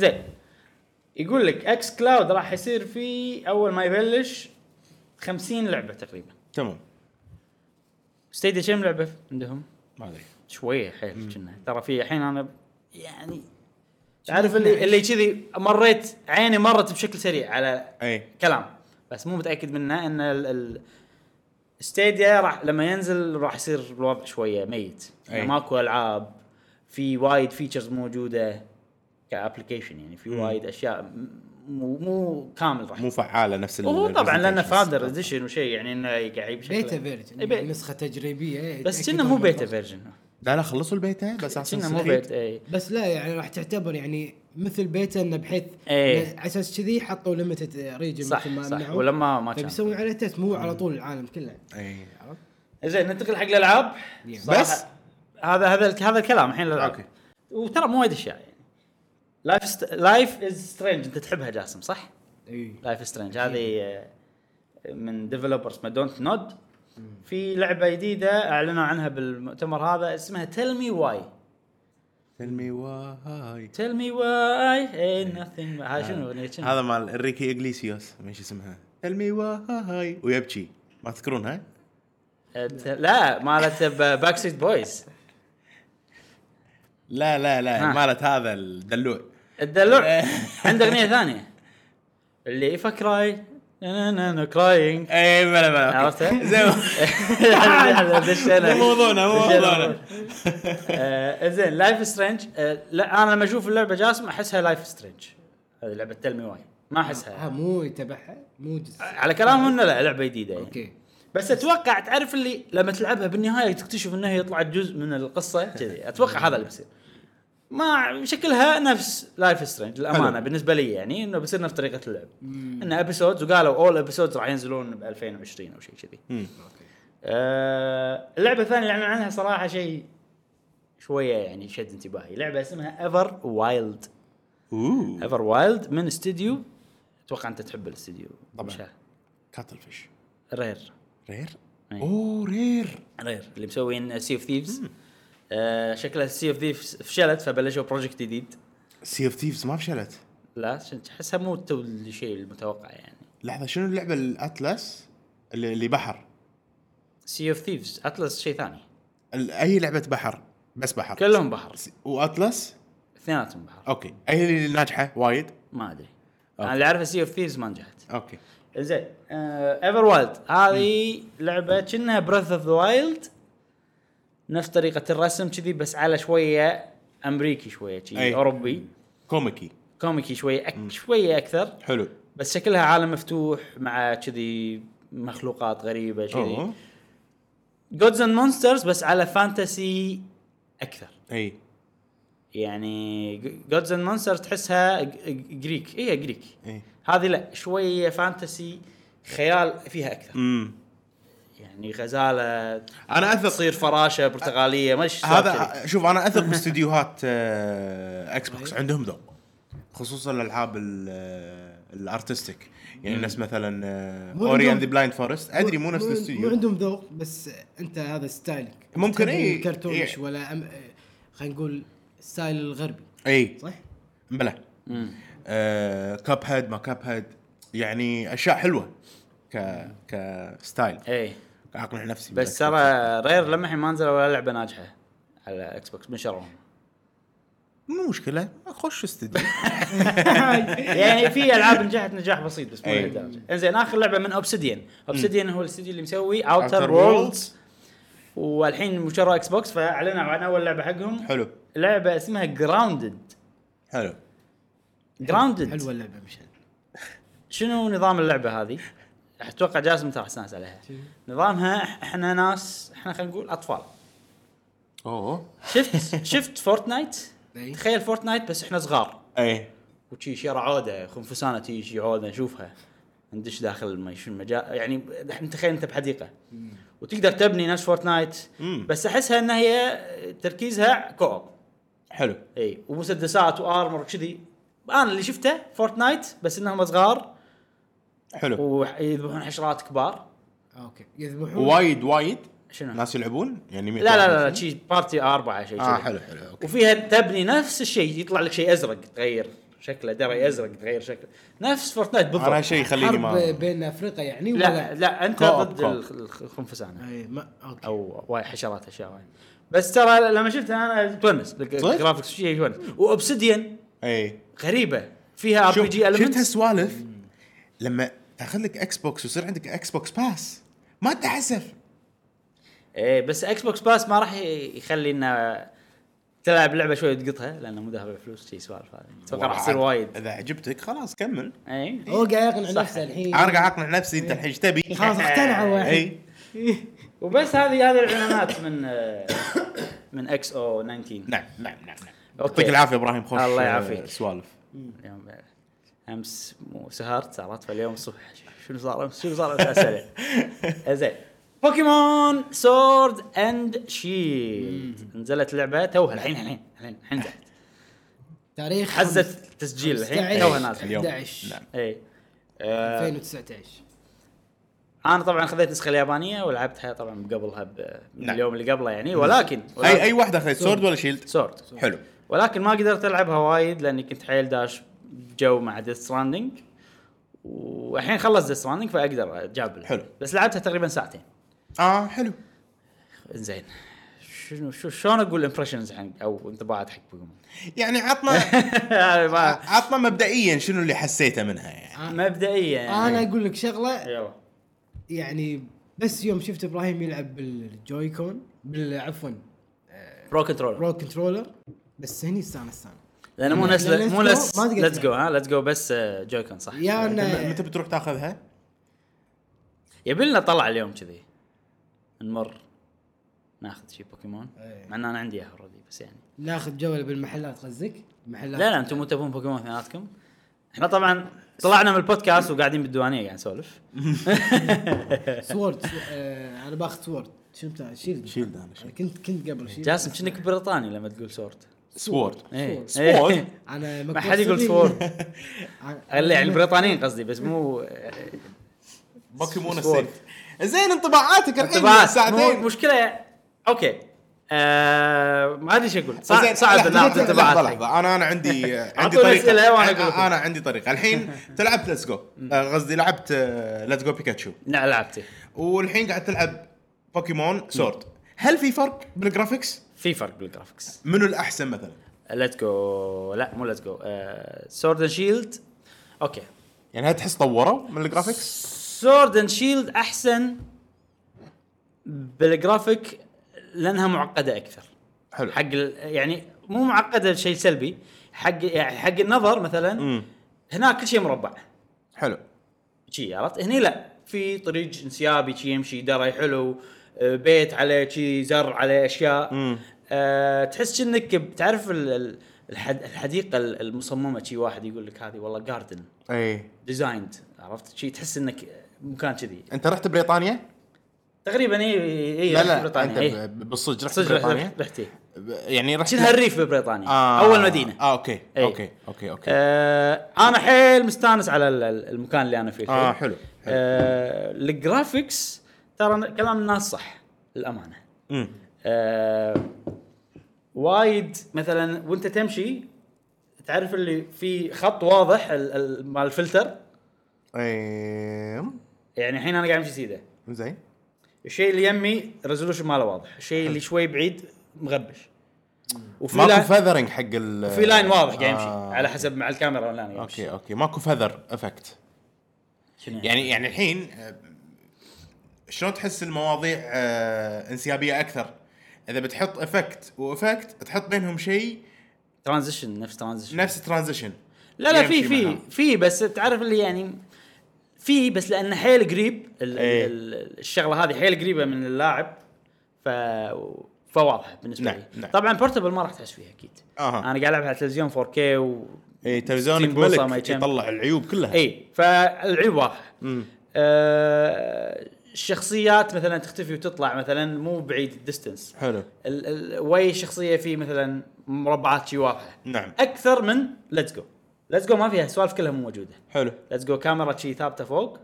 زين يقول لك اكس كلاود راح يصير في اول ما يبلش 50 لعبه تقريبا تمام ستيديا كم لعبه عندهم؟ ما ادري شويه حيل كنا ترى في الحين انا يعني تعرف اللي اللي كذي مريت عيني مرت بشكل سريع على اي كلام بس مو متاكد منه ان ال- ال ستيديا راح لما ينزل راح يصير الوضع شويه ميت يعني أي. ماكو العاب في وايد فيتشرز موجوده كابلكيشن يعني في وايد اشياء م- مو مو كامل راح مو فعاله نفس ال- وهو طبعا لانه presentations. فاندر اديشن وشيء يعني انه قاعد يجيب شكله- بيتا فيرجن إي إيه، بي- يعني نسخه تجريبيه بس يتأكدون كنا مو من بيتا الأصل. فيرجن لا لا خلصوا البيتا بس كنا اساسا مو إيه. بيتا اي بس لا يعني راح تعتبر يعني مثل بيتا انه بحيث إيه. إنه على اساس كذي حطوا ليمتد ريجن صح مثل ما صح منعوا. ولما ما كان فبيسوون عليه تيست مو على طول العالم كله اي زين ننتقل حق الالعاب Yeah. صراحة بس؟ هذا هذا هذا الكلام الحين الالعاب أوكي. وترى مو وايد اشياء يعني لايف ست... لايف از سترينج انت تحبها جاسم صح؟ اي لايف سترينج هذه آه، من ديفلوبرز ما دونت نود في لعبه جديده اعلنوا عنها بالمؤتمر هذا اسمها تيل مي واي تيل مي واي تيل مي واي اي نثينج هاي شنو اغنيه شنو؟ هذا مال انريكي اغليسيوس من شو اسمها تيل مي واي ويبكي ما تذكرونها؟ آه، ت- لا مالت باك ستريت بويز لا لا لا ها. مالت هذا الدلوع الدلوع عنده اغنيه ثانيه اللي اف كراي انا انا كراينج اي بلا بلا عرفت؟ زين دشينا مو موضوعنا، مو دشينا. موضوعنا. آه، زين لايف سترينج آه، لا انا لما اشوف اللعبه جاسم احسها لايف سترينج هذه لعبه تلمي واي ما ها احسها آه، مو يتبعها مو جزء آه. على كلامهم انه لا لعبه جديده يعني اوكي بس اتوقع تعرف اللي لما تلعبها بالنهايه تكتشف انها هي طلعت جزء من القصه كذي اتوقع هذا اللي بيصير ما شكلها نفس لايف سترينج الامانه حلو. بالنسبه لي يعني انه بيصير نفس طريقه اللعب انه ابيسودز وقالوا اول ابيسودز راح ينزلون ب 2020 او شيء كذي آه، اللعبه الثانيه اللي اعلن عنها صراحه شيء شويه يعني شد انتباهي لعبه اسمها ايفر وايلد اوه ايفر وايلد من استديو اتوقع انت تحب الاستديو طبعاً. مشاه. كاتل فيش رير رير إي. اوه رير رير اللي مسوين سي اوف ثيفز شكلها سي اوف ثيفز فشلت فبلشوا بروجكت جديد سي اوف تيفز ما فشلت لا عشان تحسها مو تو الشيء المتوقع يعني لحظه شنو اللعبه الاتلس اللي, اللي بحر سي اوف ثيفز اتلس شيء ثاني ال- اي لعبه بحر بس بحر كلهم بحر س- واتلس اثنيناتهم بحر اوكي اي اللي ناجحه وايد ما ادري أوكي. انا اللي اعرفه سي اوف ثيفز ما نجحت اوكي زين ايفر وايلد هذه لعبه كنا بريث اوف ذا وايلد نفس طريقه الرسم كذي بس على شويه امريكي شويه أي. شي اوروبي كوميكي كوميكي شويه أك شويه اكثر حلو بس شكلها عالم مفتوح مع كذي مخلوقات غريبه كذي اوه جودز اند مونسترز بس على فانتسي اكثر اي يعني جودز اند مونسترز تحسها ج- ج- جريك هي جريك اي هذه لا شويه فانتسي خيال فيها اكثر امم يعني غزاله انا اثق تصير فراشه برتغاليه ما ايش هذا شوف انا اثق باستديوهات آه، اكس طيب. بوكس عندهم ذوق خصوصا الالعاب ال- آه، الارتستيك يعني نفس آه، مثلا مو اوري اند عندهم- ذا بلايند فورست ادري مو نفس مو الاستوديو عندهم ذوق بس انت هذا ستايلك ممكن إي. إيه كرتونش إي. ولا أم... آه، خلينا نقول الستايل الغربي اي صح؟ بلا كاب هيد ما كاب هيد يعني اشياء حلوه ك كستايل اي اقنع نفسي إيه، بس بالأكس بوكس. ترى رير لما الحين ما نزلوا ولا لعبه ناجحه على اكس بوكس من شرهم مو مشكله خش استديو يعني في العاب نجحت نجاح بسيط بس مو أي. لهالدرجه انزين اخر لعبه من اوبسيديان اوبسيديان هو الاستديو اللي مسوي اوتر Outer وورلدز Worlds. والحين مشترى اكس بوكس فاعلنوا عن اول لعبه حقهم حلو لعبه اسمها جراوندد حلو حلوه جراوندد اللعبه مشان شنو نظام اللعبه هذه؟ اتوقع جاسم ترى استانس عليها نظامها احنا ناس احنا خلينا نقول اطفال اوه شفت شفت فورتنايت إيه. إي. تخيل فورتنايت بس احنا صغار اي وشي شيرة عوده خنفسانه تيجي عوده نشوفها ندش داخل ما شو المجال يعني ب- انت تخيل انت بحديقه وتقدر تبني نفس فورتنايت مم. بس احسها انها هي تركيزها كوب حلو اي ومسدسات وارمر وكذي انا اللي شفته فورتنايت بس انهم صغار حلو ويذبحون حشرات كبار اوكي آه، يذبحون وايد وايد شنو؟ ناس يلعبون يعني لا لا لا, لا شي بارتي اربعه شيء اه كذي. حلو حلو اوكي وفيها تبني نفس الشيء يطلع لك شيء ازرق تغير شكله دري ازرق تغير شكله نفس فورتنايت انا بالضبط هالشيء يخليني حرب ما بين افريقيا يعني لا ولا لا انت كوب، ضد كوب. الخ- الخ- الخنفسانه اي ما اوكي او واي حشرات اشياء وايد بس ترى لما شفتها انا تونس طيب. الجرافكس شيء تونس واوبسيديان اي غريبه فيها ار بي إيه. شوف جي شفت المنتس هالسوالف لما تاخذ لك اكس بوكس ويصير عندك اكس بوكس باس ما تحسف ايه بس اكس بوكس باس ما راح ي- يخلي انه تلعب لعبه شوي تقطها لانه مو دافع فلوس شي سوالف هذه اتوقع راح يصير وايد إيه. اذا عجبتك خلاص كمل اي هو قاعد يقنع صح. نفسه الحين انا قاعد اقنع نفسي انت الحين ايش تبي؟ إيه. خلاص اقتنع إيه. الواحد اي وبس هذه هذه الاعلانات من آه، من اكس او 19 نعم نعم نعم نعم. اوكي يعطيك العافيه ابراهيم خوش الله آه، يعافيك. سوالف اليوم آه، امس مو سهرت سهرت فاليوم الصبح ش- شنو صار امس شنو صار امس اسئله آه، زين بوكيمون سورد اند شيلد نزلت لعبه توها الحين الحين الحين الحين نزلت. تاريخ حزه تسجيل الحين 15 توها نازله إيه، اليوم 11. نعم اي آه، 2019 انا طبعا خذيت النسخه اليابانيه ولعبتها طبعا قبلها ب- من نعم. اليوم اللي قبله يعني ولكن اي اي واحده اخذت سورد ولا شيلد؟ سورد حلو ولكن ما قدرت العبها وايد لاني كنت حيل داش جو مع ديث ستراندنج والحين خلص ديث ستراندنج فاقدر اجابل حلو. بس لعبتها تقريبا ساعتين اه حلو زين شنو شو شلون اقول امبريشنز عن او انطباعات حق بوكيمون يعني عطنا ما- عطنا مبدئيا شنو اللي حسيته منها يعني مبدئيا يعني. انا اقول لك شغله يلا يعني بس يوم شفت ابراهيم يلعب بالجويكون بال- عفوا برو كنترول برو كنترولر بس هني استانست انا لانه مو نفس لأن مو Let's Go نفس ما تقدر ليتس جو ها ليتس جو بس آه، جويكون صح يا متى- انا متى بتروح تاخذها؟ يبي لنا طلع اليوم كذي نمر ناخذ شي بوكيمون إيه. مع ان انا عندي اياها اوريدي بس يعني ناخذ جوله بالمحلات قصدك؟ محلات لا لا انتم مو تبون بوكيمون اثنيناتكم احنا طبعا طلعنا من البودكاست وقاعدين بالديوانيه قاعد نسولف سورد سو- آه، انا باخذ سورد شنو بتاع شيلد شيلد انا أنا كنت كنت قبل شيلد جاسم كأنك بريطاني لما تقول سورد سورد إيه. سورد؟ إيه. انا ما حد يقول سورد يعني البريطانيين قصدي بس مو بوكيمون سورد. السيف زين انطباعاتك الحين انطباعات مو- ساعتين مشكله اوكي آه ما ادري شو اقول صع- زين، صعب ناخذ لحظة، لحظة، لحظة، انطباعات لحظة انا انا عندي عندي أعطوني أسئلة وأنا أقول لكم. انا أنا عندي طريقه الحين انت لعبت ليتس جو آه، قصدي لعبت آه، ليتس جو بيكاتشو لا لعبتي والحين قاعد تلعب بوكيمون سورد هل في فرق بالجرافيكس؟ في فرق بالجرافكس منو الاحسن مثلا؟ ليتس جو لا مو آه، ليتس جو سورد اند شيلد اوكي يعني هل تحس طوروا من الجرافيكس؟ سورد اند شيلد احسن بالجرافيك لانها معقده اكثر حلو حق ال- يعني مو معقده شيء سلبي حق يعني حق النظر مثلا مم. هناك كل شيء مربع حلو شي عرفت هني لا في طريق انسيابي شي يمشي دري حلو آه، بيت عليه شي زرع عليه اشياء مم. أه تحس انك بتعرف ال- ال- الحد- الحديقه ال- المصممه شي واحد يقول لك هذه والله جاردن اي ديزايند عرفت شي تحس انك مكان كذي انت رحت بريطانيا؟ تقريبا اي اي لا لا إيه، بريطانيا اي انت ب- بالصدق رحت صدق بريطانيا؟ رحت- رحت إي. ب- يعني رحت شنها الريف ببريطانيا آه اول مدينه اه اوكي إيه. اوكي اوكي اوكي آه انا حيل مستانس على ال- ال- المكان اللي انا فيه الحين. آه، حلو، حلو. آه الجرافيكس ترى كلام الناس صح الامانه مم. آه وايد مثلا وانت تمشي تعرف اللي في خط واضح ال- ال- مال الفلتر ايه يعني الحين انا قاعد امشي سيده إيه، زين الشيء اللي يمي ريزولوشن ماله واضح الشيء اللي شوي بعيد مغبش وفي ماكو لاين فذرنج حق ال في لاين واضح قاعد يمشي آه، على حسب مع الكاميرا ولا انا يمشي. اوكي اوكي ماكو فذر افكت شنو يعني؟ يعني يعني الحين آه، شلون تحس المواضيع آه، انسيابيه اكثر؟ اذا بتحط افكت وافكت تحط بينهم شيء ترانزيشن نفس ترانزيشن نفس ترانزيشن لا لا في يمشي في معها. في بس تعرف اللي يعني في بس لانه حيل قريب ال- إيه. ال- الشغله هذه حيل قريبه من اللاعب ف فواضحه بالنسبه نعم، لي نعم. آه. طبعا بورتبل ما راح تحس فيها اكيد أها. انا قاعد العب على تلفزيون 4K و اي 60 تلفزيونك بوصة ما إيه، ملك يجمع. يطلع العيوب كلها اي فالعيب واضحه مم. آه، الشخصيات مثلا تختفي وتطلع مثلا مو بعيد الديستنس حلو ال- ال- وي شخصيه في مثلا مربعات شي واضحه نعم اكثر من ليتس جو ليتس جو ما فيها سوالف كلها مو موجوده حلو ليتس جو كاميرا شي ثابته فوق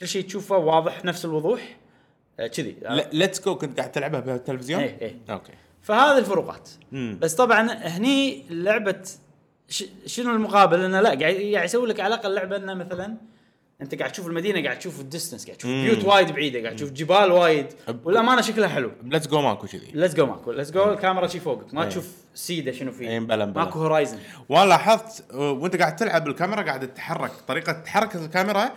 كل شيء تشوفه واضح نفس الوضوح آه، كذي آه، ليتس جو كنت قاعد تلعبها بالتلفزيون؟ إيه، إيه. اوكي فهذه الفروقات مم. بس طبعا هني لعبه ش... شنو المقابل انه لا قاعد قاعد يسوي لك على الاقل لعبه انه مثلا انت قاعد تشوف المدينه قاعد تشوف الديستنس قاعد تشوف مم. بيوت وايد بعيده قاعد تشوف جبال وايد أب- والامانه شكلها حلو ليتس جو ماكو كذي ليتس جو ماكو ليتس جو الكاميرا شي فوقك ما إيه. تشوف سيده شنو إيه، فيه بلا- بلا. إيه. ماكو هورايزن وانا لاحظت آه، وانت قاعد تلعب الكاميرا قاعد تتحرك طريقه حركه الكاميرا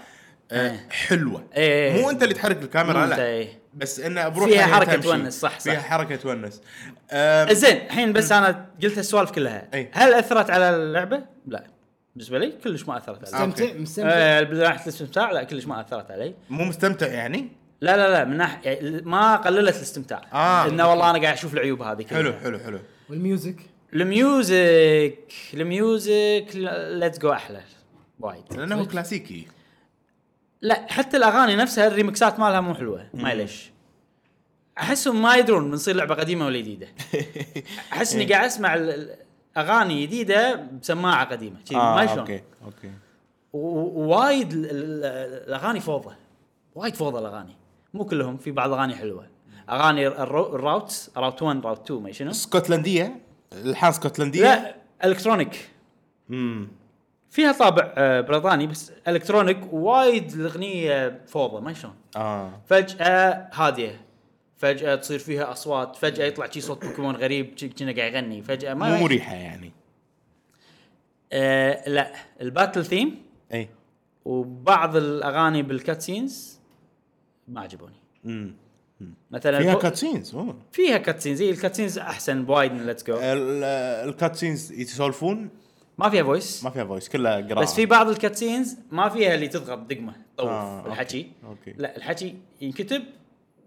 آه، إيه. حلوه إيه. مو انت اللي تحرك الكاميرا مو أنت، لا إيه. بس انه بروحها فيها هي حركة تمشي. تونس، صح، صح. فيها حركه تونس آه، آم، زين الحين بس انا قلت السوالف كلها إيه. هل اثرت على اللعبه؟ لا بالنسبه لي كلش ما اثرت علي مستمتع أوكي. مستمتع آه، من ناحيه الاستمتاع لا كلش ما اثرت علي مو مستمتع يعني؟ لا لا لا من ناحيه يعني ما قللت الاستمتاع آه. انه والله انا قاعد اشوف العيوب هذه كلها حلو حلو حلو والميوزك الميوزك الميوزك ليتس جو احلى وايد لانه هو كلاسيكي لا حتى الاغاني نفسها الريمكسات مالها مو حلوه ما ليش احسهم ما يدرون بنصير لعبه قديمه ولا جديده احس اني قاعد اسمع ال- ال- اغاني جديده بسماعه قديمه شي إيه، آه، ما شلون اوكي اوكي و- ووايد ال- ال- ال- الاغاني فوضى وايد فوضى الاغاني مو كلهم في بعض الاغاني حلوه اغاني الرو- الراوتس راوت 1 راوت 2 ما شنو اسكتلنديه الحان اسكتلنديه لا الكترونيك امم فيها طابع آه، بريطاني بس الكترونيك وايد الاغنيه فوضى ما شلون اه فجاه هاديه فجاه تصير فيها اصوات فجاه يطلع شي صوت بوكيمون غريب شي- كنا قاعد يغني فجاه ما مو مريحه يعني آه لا الباتل ثيم اي وبعض الاغاني بالكاتسينز ما عجبوني امم مثلا فيها البو- كاتسينز اوه فيها كاتسينز زي الكاتسينز احسن بوايد من ليتس جو ال- الكاتسينز يسولفون ما فيها فويس ما فيها فويس كلها قراءه بس في بعض الكاتسينز ما فيها اللي تضغط دقمه طوف آه، آه أوكي، الحكي أوكي. لا الحكي ينكتب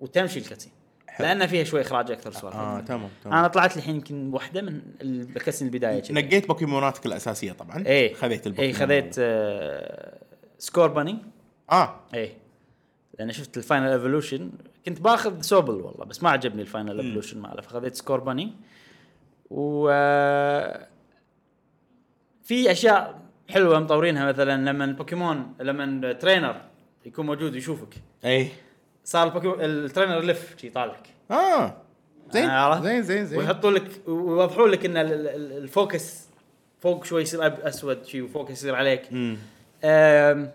وتمشي الكاتسين لان فيها شوي اخراج اكثر سوالف اه تمام تمام انا طلعت الحين يمكن واحده من الكاتسين البدايه كذي. نقيت بوكيموناتك الاساسيه طبعا ايه خذيت البوكيمون اي خذيت آه سكور باني اه اي لان شفت الفاينل ايفولوشن كنت باخذ سوبل والله بس ما عجبني الفاينل ايفولوشن ماله فخذيت سكور باني و آه، في اشياء حلوه مطورينها مثلا لما البوكيمون لما ترينر يكون موجود ويشوفك اي صار البوكيمون الترينر يلف شي يطالعك اه زين عرفت؟ زين زين إيه. زين ويحطوا لك ويوضحوا لك ان ال- ال- ال- الفوكس فوق شوي يصير أب- اسود شي وفوكس يصير عليك مم. أم،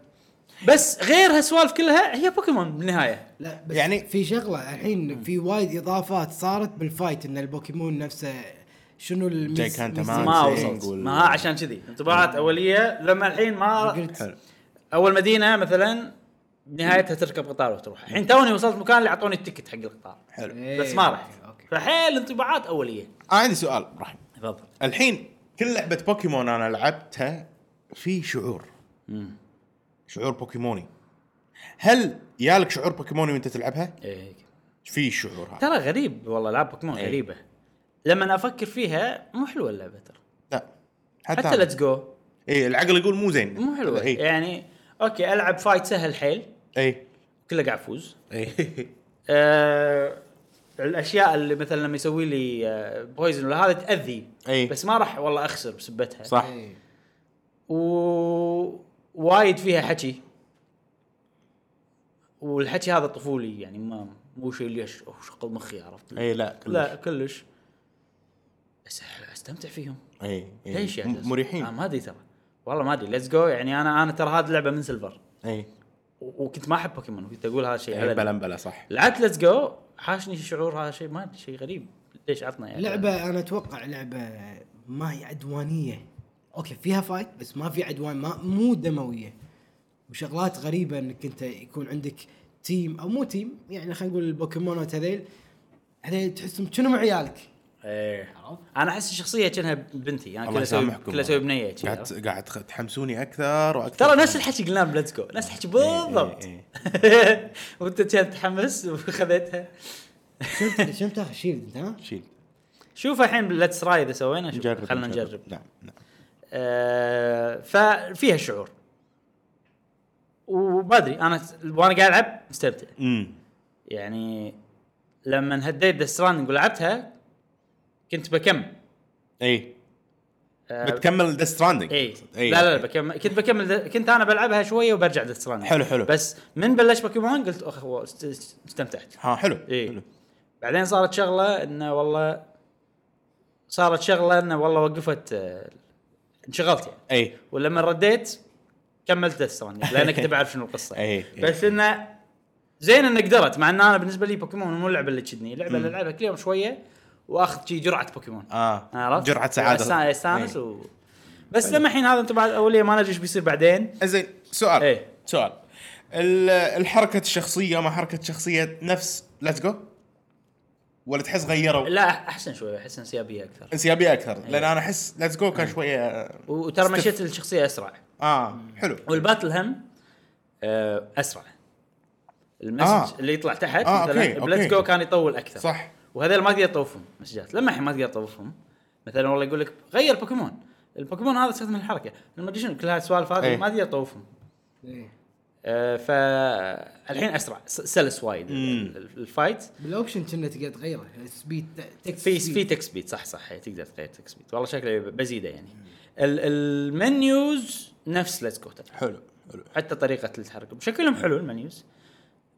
بس غير هالسوالف كلها هي بوكيمون بالنهايه لا بس يعني- يعني في شغله الحين في وايد اضافات صارت بالفايت ان البوكيمون نفسه شنو جاي الميز كان ميز- تمام. ما زين وصلت قول. ما عشان كذي انطباعات اوليه لما الحين ما قلت حلو اول مدينه مثلا بنهايتها تركب قطار وتروح الحين توني وصلت مكان اللي اعطوني التكت حق القطار حلو إيه، بس ما رحت أوكي، أوكي. فحيل انطباعات اوليه آه عندي سؤال ابراهيم تفضل الحين كل لعبه بوكيمون انا لعبتها في شعور شعور بوكيموني هل يالك شعور بوكيموني وانت تلعبها؟ إيه. في شعور هذا ترى غريب والله العاب بوكيمون إيه. غريبه لما افكر فيها مو حلوه اللعبه ترى لا حتى أنا. ليتس جو اي العقل يقول مو زين إيه. مو حلوه اي يعني اوكي العب فايت سهل حيل إيه. اي كله قاعد افوز إيه. اي آه الاشياء اللي مثلا لما يسوي لي آه بويزن ولا هذا تاذي أي. بس ما راح والله اخسر بسبتها إيه. صح إيه. و- وايد فيها حكي والحكي هذا طفولي يعني ما مو شيء اللي يش- أوه، شغل مخي عرفت اي إيه، لا كلش. لا كلش بس أح- استمتع فيهم اي اي ليش يعني م- إيه، مريحين آه ما ادري ترى والله ما ادري ليتس جو يعني انا انا ترى هذه اللعبه من سيلفر اي و- وكنت ما احب بوكيمون كنت اقول هذا شيء يعني إيه. بلا علني. بلا صح لعبت ليتس جو حاشني شعور هذا شيء ما ادري شيء غريب ليش عطنا يعني لعبه انا اتوقع لعبه ما هي عدوانيه اوكي فيها فايت بس ما في عدوان ما مو دمويه وشغلات غريبه انك انت يكون عندك تيم او مو تيم يعني خلينا نقول البوكيمونات هذيل هذيل تحسهم شنو مع عيالك ايه انا احس الشخصيه كانها بنتي يعني انا الله كلها اسوي يسامحكم كلها اسوي بنيه شي. قاعد قاعد تخ- تحمسوني اكثر واكثر ترى نفس الحكي قلنا بليتس جو نفس الحكي إيه، بالضبط وانت كنت متحمس وخذيتها شفت شنو تاخذ شيلد انت ها؟ شيل شوف الحين ليتس راي اذا سوينا شوف نجرب خلينا نجرب نعم نعم آه، ففيها شعور وما ادري انا وانا قاعد العب مستمتع امم يعني لما هديت ذا ستراندنج ولعبتها كنت بكمل اي آه، إيه. بتكمل ذا ستراندنج اي إيه. إيه. لا لا, لا بكمل كنت بكمل د- كنت انا بلعبها شويه وبرجع ذا ستراندنج حلو، حلو. بس من بلش بوكيمون قلت اخ هو است- است- استمتعت ها حلو اي حلو. بعدين صارت شغله انه والله صارت شغله انه والله وقفت آه، انشغلت يعني اي ولما رديت كملت السوني لان كنت بعرف شنو القصه إيه، إيه. بس انه زين اني قدرت مع ان انا بالنسبه لي بوكيمون مو اللعبه اللي تشدني اللعبه اللي العبها كل يوم شويه واخذ شي جرعه بوكيمون اه جرعه سعاده أسا- إيه. استانس و... بس لما الحين هذا انت بعد اوليه ما ندري ايش بيصير بعدين زين سؤال إيه. سؤال ال- الحركه الشخصيه ما حركه شخصيه نفس ليتس جو ولا تحس غيروا لا إيه. احسن شوي احس انسيابيه اكثر انسيابيه اكثر لان انا احس ليتس جو كان شويه وترى استف- مشيت الشخصيه اسرع اه حلو والباتل هم آه، اسرع المسج آه. اللي يطلع تحت آه، أوكي، مثلا أوكي. بليتس جو كان يطول اكثر صح وهذول ما تقدر تطوفهم مسجات لما الحين ما تقدر تطوفهم مثلا والله يقول لك غير بوكيمون البوكيمون هذا استخدم الحركه لما شنو كل هاي السوالف هذه إيه. ما تقدر تطوفهم إيه. آه فالحين اسرع س- سلس وايد ال- ال- الفايت بالاوبشن كنا تقدر تغيره سبيد تكس في في تكس بيت صح صح إيه، تقدر تغير تكس بيت والله شكله بزيده يعني ال- المنيوز نفس ليتس جو حلو حلو حتى طريقه التحرك شكلهم حلو المنيوز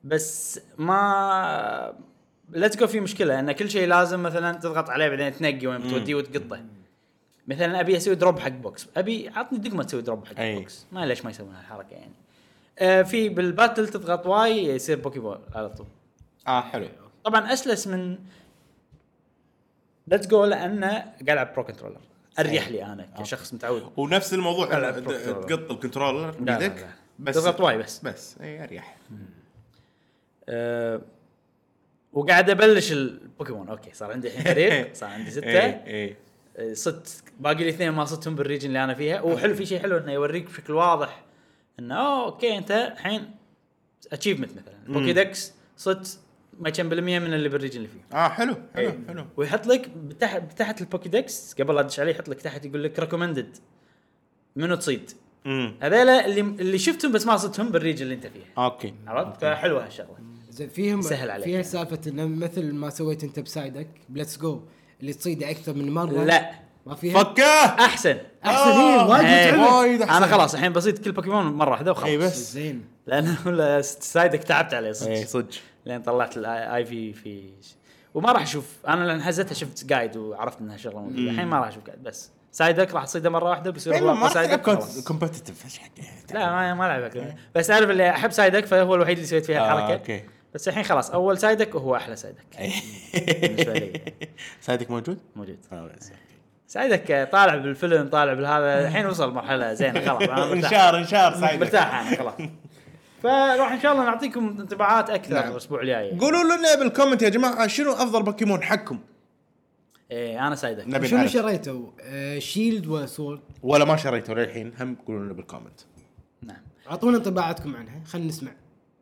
بس ما ليتس جو في مشكله ان كل شيء لازم مثلا تضغط عليه بعدين تنقي وين بتوديه وتقطه مثلا ابي اسوي دروب حق بوكس ابي عطني دقمه تسوي دروب حق أي. بوكس ما ليش ما يسوون هالحركه يعني آه في بالباتل تضغط واي يصير بوكي بول على طول اه حلو طبعا اسلس من ليتس جو لانه قاعد العب برو كنترولر اريح لي انا كشخص متعود ونفس الموضوع لا، إن- بروكتور. تقط الكنترولر لا، لا، بيدك لا. تضغط واي بس. بس إيه، اي اريح أه وقاعد ابلش البوكيمون اوكي صار عندي الحين فريق صار عندي سته اي اي أه، صدت باقي لي اثنين ما صدتهم بالريجن اللي انا فيها وحلو في شيء حلو انه يوريك بشكل واضح انه أوه، اوكي انت الحين اتشيفمنت مثلا بوكي دكس صدت ما كم بالمية من اللي بالريجن اللي فيه اه حلو حلو إيه. حلو ويحط لك تحت تحت البوكي دكس قبل لا ادش عليه يحط لك تحت يقول لك ريكومندد منو تصيد امم هذيلا اللي اللي شفتهم بس ما صدتهم بالريجن اللي انت فيها اوكي عرفت فحلوه هالشغله زين فيهم سهل عليك فيها يعني. سالفه انه مثل ما سويت انت بسايدك بليتس جو اللي تصيده اكثر من مره لا ما فيها فكه احسن احسن هي آه، وايد إيه. متعبه وايد أحسن. انا خلاص الحين بصيد كل بوكيمون مره واحده وخلاص اي إيه، بس زين لانه ولا سايدك تعبت عليه اي صدق إيه، صدق لين طلعت الاي في في وما راح اشوف انا لان حزتها شفت قايد وعرفت انها شغله موجوده الحين ما راح اشوف قايد بس سايدك راح تصيده مره واحده بيصير إيه، ما هو ما أقوى راح تلعب سايدك كونت- خلاص. كومبتتف ايش حق يعني؟ لا ما ما العبها بس اعرف اللي احب سايدك فهو الوحيد اللي سويت فيها آه، الحركه أوكي. بس الحين خلاص اول سايدك وهو احلى سايدك إيه. بالنسبة لي. سايدك موجود؟ موجود آه، بس. سايدك طالع بالفيلم طالع بالهذا الحين وصل مرحله زينه خلاص أنا مرتاح. انشار انشار سايدك مرتاح انا خلاص فراح ان شاء الله نعطيكم انطباعات اكثر نعم. الاسبوع الجاي قولوا لنا بالكومنت يا جماعه شنو افضل بوكيمون حقكم؟ ايه انا سايدك نبي شنو نعرف شريتوا؟ آه شيلد وسورد ولا ما شريته للحين هم قولوا لنا بالكومنت نعم اعطونا انطباعاتكم عنها خلينا نسمع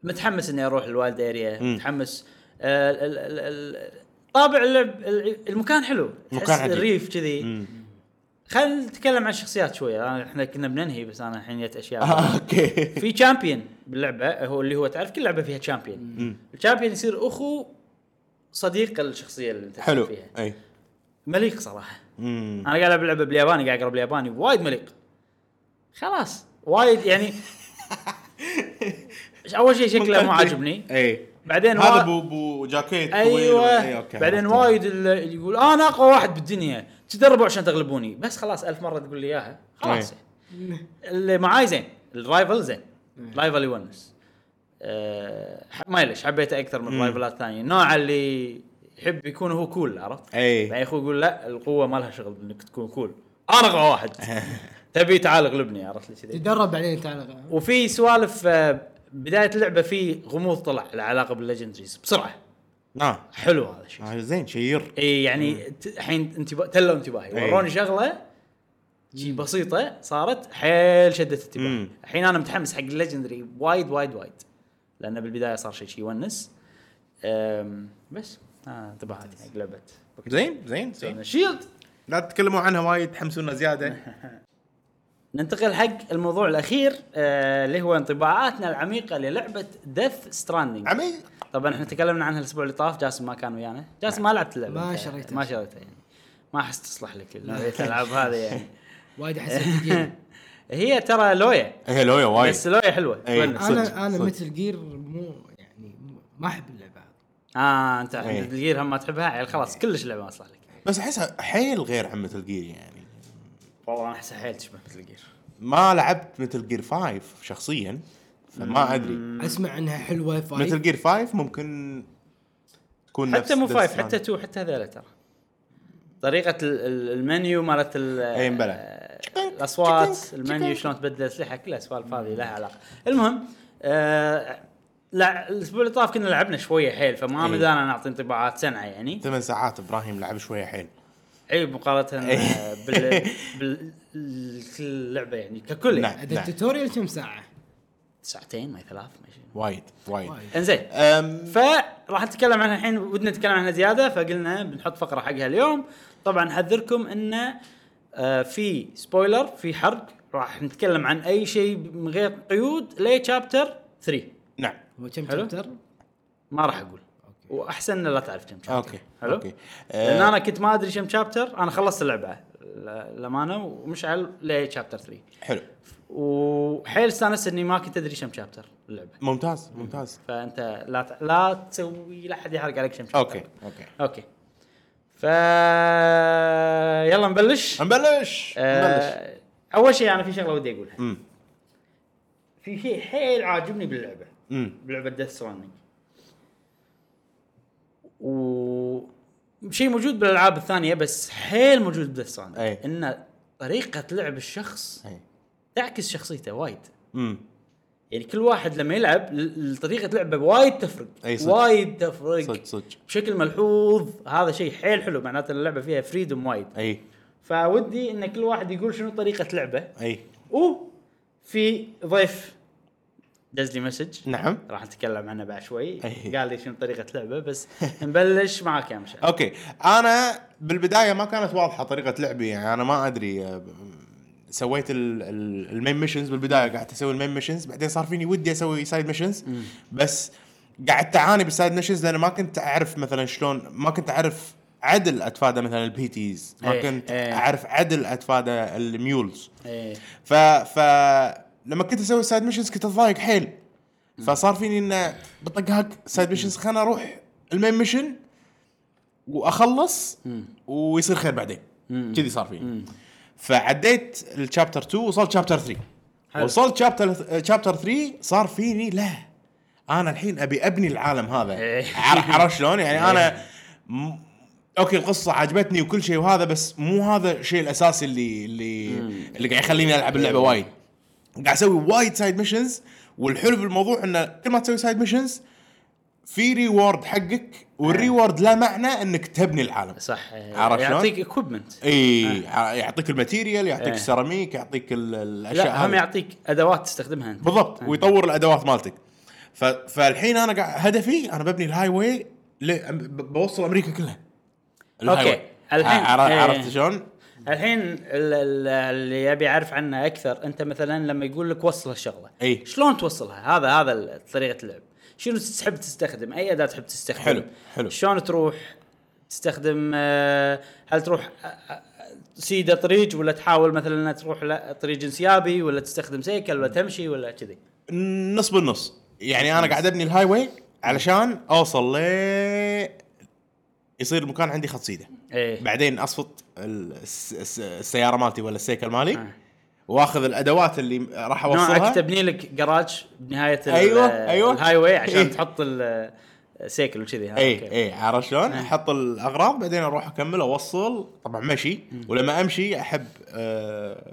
متحمس اني اروح الوايلد اريا مم. متحمس آه، ال- ال- ال- ال- طابع اللعب ال- المكان حلو مكان تحس عجيب. الريف كذي مم. خلينا نتكلم عن الشخصيات شويه أنا- احنا كنا بننهي بس انا الحين جت اشياء آه، اوكي في تشامبيون باللعبه هو اللي هو تعرف كل لعبه فيها تشامبيون التشامبيون يصير اخو صديق الشخصيه اللي انت حلو فيها اي مليق صراحه مم. انا قاعد العب لعبه بالياباني قاعد اقرا بالياباني وايد مليق خلاص وايد يعني اول شيء شكله مو عاجبني اي بعدين إيه. هذا وا- بو بو جاكيت طويل و- ايوه إي، أوكي، بعدين عرفت. وايد ال- اللي يقول انا اقوى واحد بالدنيا تدربوا عشان تغلبوني بس خلاص ألف مره تقول لي اياها خلاص إيه. اللي معاي زين الرايفل زين رايفل يونس آه، ما ليش حبيته اكثر إيه. من رايفلات ثانيه النوع اللي يحب يكون هو كول عرفت؟ إي. بعدين اخوي يعني يقول لا القوه ما لها شغل انك تكون كول انا اقوى واحد تبي تعال اغلبني عرفت لي كذي تدرب بعدين تعال وفي سوالف آه، بدايه اللعبه في غموض طلع العلاقه بالليجندريز بسرعه اه حلو هذا الشيء آه، زين شير اي يعني ت- الحين انتبه تلوا انتباهي إي. وروني شغله شي بسيطه صارت حيل شدت انتباهي مم. الحين انا متحمس حق الليجندري وايد وايد وايد لان بالبدايه صار شيء شي يونس أم، بس آه انتباهاتي حق لعبه زين زين زين شيلد لا تتكلموا عنها وايد تحمسونا زياده ننتقل حق الموضوع الاخير آه، اللي هو انطباعاتنا العميقه للعبه ديث ستراندنج عمي طبعا احنا تكلمنا عنها الاسبوع اللي طاف جاسم ما كان ويانا جاسم ما لعبت اللعبه ما أنت- شريتها. ما شريتها يعني ما احس تصلح لك نوعية الالعاب هذه يعني وايد احس ثقيل. هي ترى لويا هي لويا وايد بس لويا حلوه إيه. تونس. صدق، انا انا صدق. مثل جير مو يعني مو- ما احب اللعبه هذه اه انت عند إيه. الجير هم ما تحبها يعني خلاص كلش لعبه ما تصلح لك بس احسها حيل غير عن مثل جير يعني والله انا احسها حيل تشبه مثل الجير ما لعبت مثل جير 5 شخصيا فما ادري اسمع عنها حلوه فايد مثل جير 5 ممكن تكون نفس حتى مو Death فايف Stranding. حتى تو حتى هذول ترى طريقه ال- ال- المنيو مالت ال- إيه، مبلى. آه، تشيكينج، الاصوات تشيكينج، المنيو تشيكينج. شلون تبدل اسلحه كل السوالف هذه لها علاقه المهم آه، لا الاسبوع اللي طاف كنا لعبنا شويه حيل فما إيه. مدانا نعطي انطباعات سنعه يعني ثمان ساعات ابراهيم لعب شويه حيل عيب مقارنه إيه. آه، بال باللعبه يعني ككل يعني نعم. هذا التوتوريال كم ساعه؟ ساعتين ما هي ثلاث ما شيء وايد وايد وايد. انزين أم، فراح نتكلم عنها الحين ودنا نتكلم عنها زياده فقلنا بنحط فقره حقها اليوم طبعا نحذركم انه آه، في سبويلر في حرق راح نتكلم عن اي شيء من غير قيود لشابتر 3 نعم هو كم حلو. تشابتر؟ ما راح اقول واحسن إن لا تعرف كم شابتر اوكي حلو اوكي لان أه، انا كنت ما ادري كم شابتر انا خلصت اللعبه ل- للامانه ومشعل لشابتر 3 أه، حلو وحيل استانست اني ما كنت ادري كم شابتر اللعبه ممتاز ممتاز فانت لا ت... لا تسوي لا احد يحرق عليك كم شابتر اوكي اوكي اوكي ف يلا نبلش نبلش نبلش آه... اول شيء انا في شغله ودي اقولها امم في شيء حيل عاجبني باللعبه امم بلعبه ديث ستراندنج و شيء موجود بالالعاب الثانيه بس حيل موجود بديث ستراندنج أي. ان طريقه لعب الشخص تعكس شخصيته وايد امم يعني كل واحد لما يلعب ل- ل- طريقه لعبه وايد تفرق أي صدق. وايد تفرق صدق صدق بشكل ملحوظ هذا شيء حيل حلو معناته اللعبه فيها فريدوم وايد اي فودي ان كل واحد يقول شنو طريقه لعبه اي وفي ضيف دز لي مسج نعم راح نتكلم عنه بعد شوي أي. قال لي شنو طريقه لعبه بس نبلش معك يا مشعل اوكي انا بالبدايه ما كانت واضحه طريقه لعبي يعني انا ما ادري آه، سويت ال- ال- المين ميشنز بالبدايه قعدت اسوي المين ميشنز بعدين صار فيني ودي اسوي سايد ميشنز بس قعدت اعاني بالسايد ميشنز لان ما كنت اعرف مثلا شلون ما كنت اعرف عدل اتفادى مثلا البي تيز ما إيه، كنت إيه. اعرف عدل اتفادى الميولز ايه ف ف لما كنت اسوي سايد ميشنز كنت اتضايق حيل فصار فيني انه بطق هاك سايد ميشنز خلنا اروح المين ميشن واخلص ويصير خير بعدين كذي صار فيني فعديت الشابتر 2 وصلت شابتر 3 حلو. وصلت شابتر شابتر 3 صار فيني لا انا الحين ابي ابني العالم هذا إيه. عرف- عرفت شلون يعني انا م... اوكي القصه عجبتني وكل شيء وهذا بس مو هذا الشيء الاساسي اللي اللي اللي قاعد يخليني العب اللعبه إيه. وايد قاعد اسوي وايد سايد ميشنز والحلو بالموضوع انه كل ما تسوي سايد ميشنز في ريورد حقك والريورد له معنى انك تبني العالم صح إيه. عرفت شلون؟ يعطيك اكوبمنت اي يعطيك الماتيريال يعطيك إيه. السيراميك يعطيك ال- الاشياء لا هم إيه. هذه. يعطيك ادوات تستخدمها انت بالضبط ويطور الادوات مالتك ف... فالحين انا قاعد هدفي انا ببني الهاي واي ل... ب- بوصل امريكا كلها الهاي أوكي. واي. الحين- ع- عر- إيه. عرفت شلون؟ الحين ال- ال- اللي ابي اعرف عنه اكثر انت مثلا لما يقول لك وصل هالشغله أي. شلون توصلها هذا هذا ال- طريقه اللعب شنو تحب تستخدم اي اداه تحب تستخدم حلو، حلو. شلون تروح تستخدم آه، هل تروح آه، آه، سيده طريق ولا تحاول مثلا تروح لطريق انسيابي ولا تستخدم سيكل ولا تمشي ولا كذي نص بالنص يعني انا قاعد ابني الهاي واي علشان اوصل ل يصير المكان عندي خط سيده ايه بعدين اصفط ال- الس- الس- السياره مالتي ولا السيكل مالي آه. واخذ الادوات اللي راح اوصلها نوعك تبني لك جراج بنهايه ال- أيوة، أيوة. الهاي واي إيه. عشان تحط السيكل وكذي ها، اي أوكي. آه. اي إيه، عرفت شلون؟ احط الاغراض بعدين اروح اكمل اوصل طبعا مشي ولما امشي احب آه،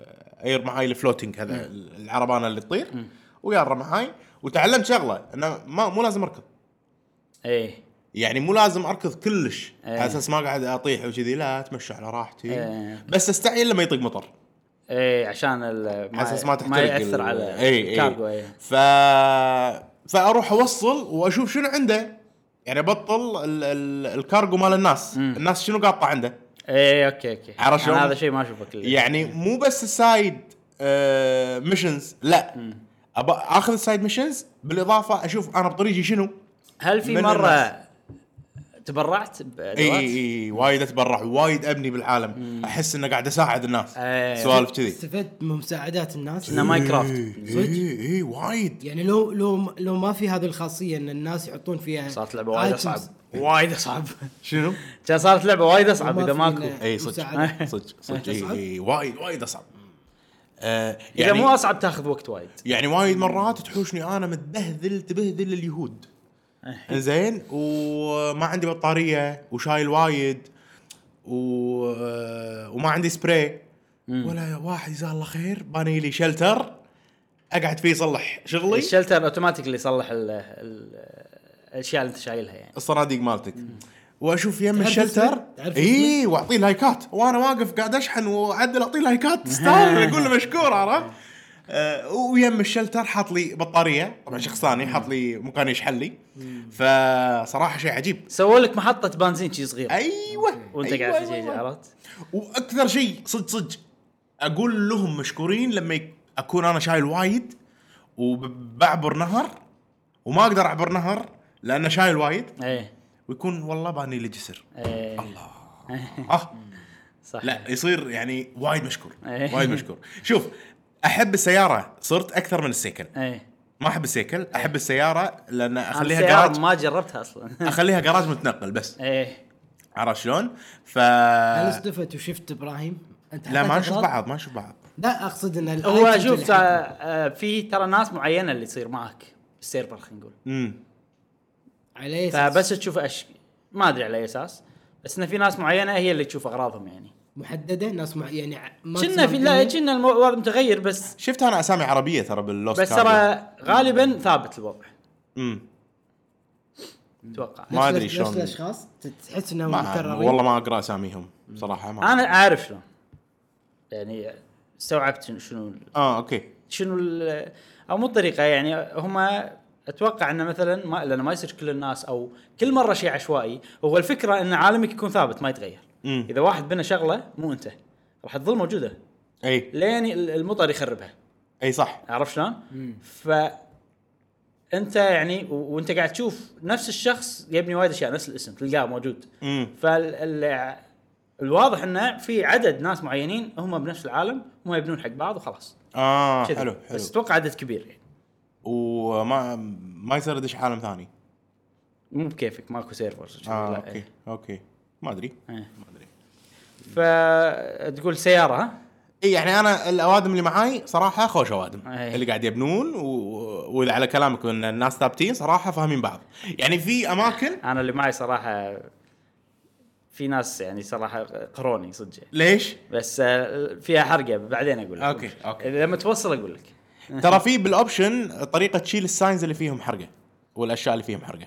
اير معاي الفلوتنج هذا العربانه اللي تطير ويارة معاي وتعلمت شغله انه ما مو لازم اركض اي يعني مو لازم اركض كلش إيه. على اساس ما قاعد اطيح وكذي لا اتمشى على راحتي إيه. بس استعجل لما يطق مطر اي إيه، عشان ال- على اساس ما تحترق ما ياثر ال- إيه، على إيه. اي الكارغو اي اي ف فاروح اوصل واشوف شنو عنده يعني بطل ال... ال... الكارغو مال الناس مم. الناس شنو قاطع عنده اي اوكي اوكي عرفت إيه، أنا شلون؟ هذا شيء ما اشوفه كله يعني مو بس السايد آه... ميشنز لا أبا اخذ السايد ميشنز بالاضافه اشوف انا بطريقي شنو هل في من مره الناس. تبرعت اي بادوات؟ اي اي إيه، وايد اتبرع وايد ابني بالعالم احس اني قاعد اساعد الناس إيه. سوالف كذي استفدت من مساعدات الناس إنه ما- ماينكرافت. اي اي إيه، وايد يعني لو لو لو ما في هذه الخاصيه ان الناس يحطون فيها صارت لعبه وايد items اصعب وايد اصعب شنو؟ كان صارت لعبه وايد وما اصعب اذا في ماكو إلا اي صدق مساعدة. صدق صدق أصعب؟ اي اي وايد وايد اصعب آه اذا يعني مو اصعب تاخذ وقت وايد يعني وايد مرات تحوشني انا متبهذل تبهذل اليهود زين وما عندي بطاريه وشايل وايد و... آه، وما عندي سبراي ولا واحد جزاه الله خير باني لي شلتر اقعد فيه صلح شغلي الشلتر اوتوماتيكلي يصلح ال- ال- الاشياء اللي انت شايلها يعني الصناديق مالتك واشوف يم تعرف الشلتر اسمه؟ تعرف اي واعطيه لايكات وانا واقف قاعد اشحن واعدل اعطيه لايكات ستار اقول له مشكور عرفت آه، ويم الشلتر حاط لي بطاريه طبعا شخصاني حاط لي مكان يشحن لي فصراحه شيء عجيب سووا لك محطه بنزين شي صغير ايوه وانت أيوة، قاعد أيوة، تجي أيوة. عرفت؟ واكثر شيء صدق صدق اقول لهم مشكورين لما يك- اكون انا شايل وايد وبعبر نهر وما اقدر اعبر نهر لانه شايل وايد ايه ويكون والله باني لي جسر ايه الله آه. صح لا يصير يعني وايد مشكور إيه. وايد مشكور شوف احب السياره صرت اكثر من السيكل ايه ما احب السيكل احب السياره لان اخليها اخليها إيه. السيارة جراج ما جربتها اصلا اخليها جراج متنقل بس ايه عرفت شلون ف آه. هل استفدت وشفت ابراهيم؟ انت لا ما حطيت نشوف أغراض؟ بعض ما نشوف بعض لا اقصد ان ال هو items شوف اللي حطيتها. آه، في ترى ناس معينه اللي تصير معك بالسيرفر خلينا نقول امم عليه فبس تشوف اش ما ادري على اي اساس بس انه في ناس معينه هي اللي تشوف اغراضهم يعني محدده ناس مع يعني ع- ما كنا في لا تسمع كنا الوضع متغير بس شفت انا اسامي عربيه ترى باللوست بس ترى غالبا ثابت الوضع امم اتوقع ما نفس- أدري نفس شلون. الاشخاص تحس انهم ما مكررين والله ما اقرا اساميهم صراحه ما انا اعرف شلون يعني استوعبت شنو- شنو اه اوكي شنو ال- او مو الطريقه يعني هم اتوقع انه مثلا ما لانه ما يصير كل الناس او كل مره شيء عشوائي هو الفكره ان عالمك يكون ثابت ما يتغير مم. اذا واحد بنى شغله مو انت راح تظل موجوده اي لين ال- المطر يخربها اي صح عرفت شلون؟ ف انت يعني و- وانت قاعد تشوف نفس الشخص يبني وايد اشياء نفس الاسم تلقاه موجود امم فال الواضح انه في عدد ناس معينين هم بنفس العالم هم يبنون حق بعض وخلاص اه كذي. حلو حلو بس اتوقع عدد كبير يعني وما ما يصير ادش عالم ثاني مو بكيفك ماكو سيرفرز اه اوكي اوكي ما ادري إيه. ما ادري فتقول سياره ها؟ اي يعني انا الاوادم اللي معاي صراحه خوش اوادم أي. اللي قاعد يبنون و... واذا على كلامك ان الناس ثابتين صراحه فاهمين بعض يعني في اماكن انا اللي معي صراحه في ناس يعني صراحه قروني صدق يعني. ليش؟ بس آه، فيها حرقه بعدين اقول لك أوكي، أوكي. لما توصل اقول لك ترى في بالاوبشن طريقه تشيل الساينز اللي فيهم حرقه والاشياء اللي فيهم حرقه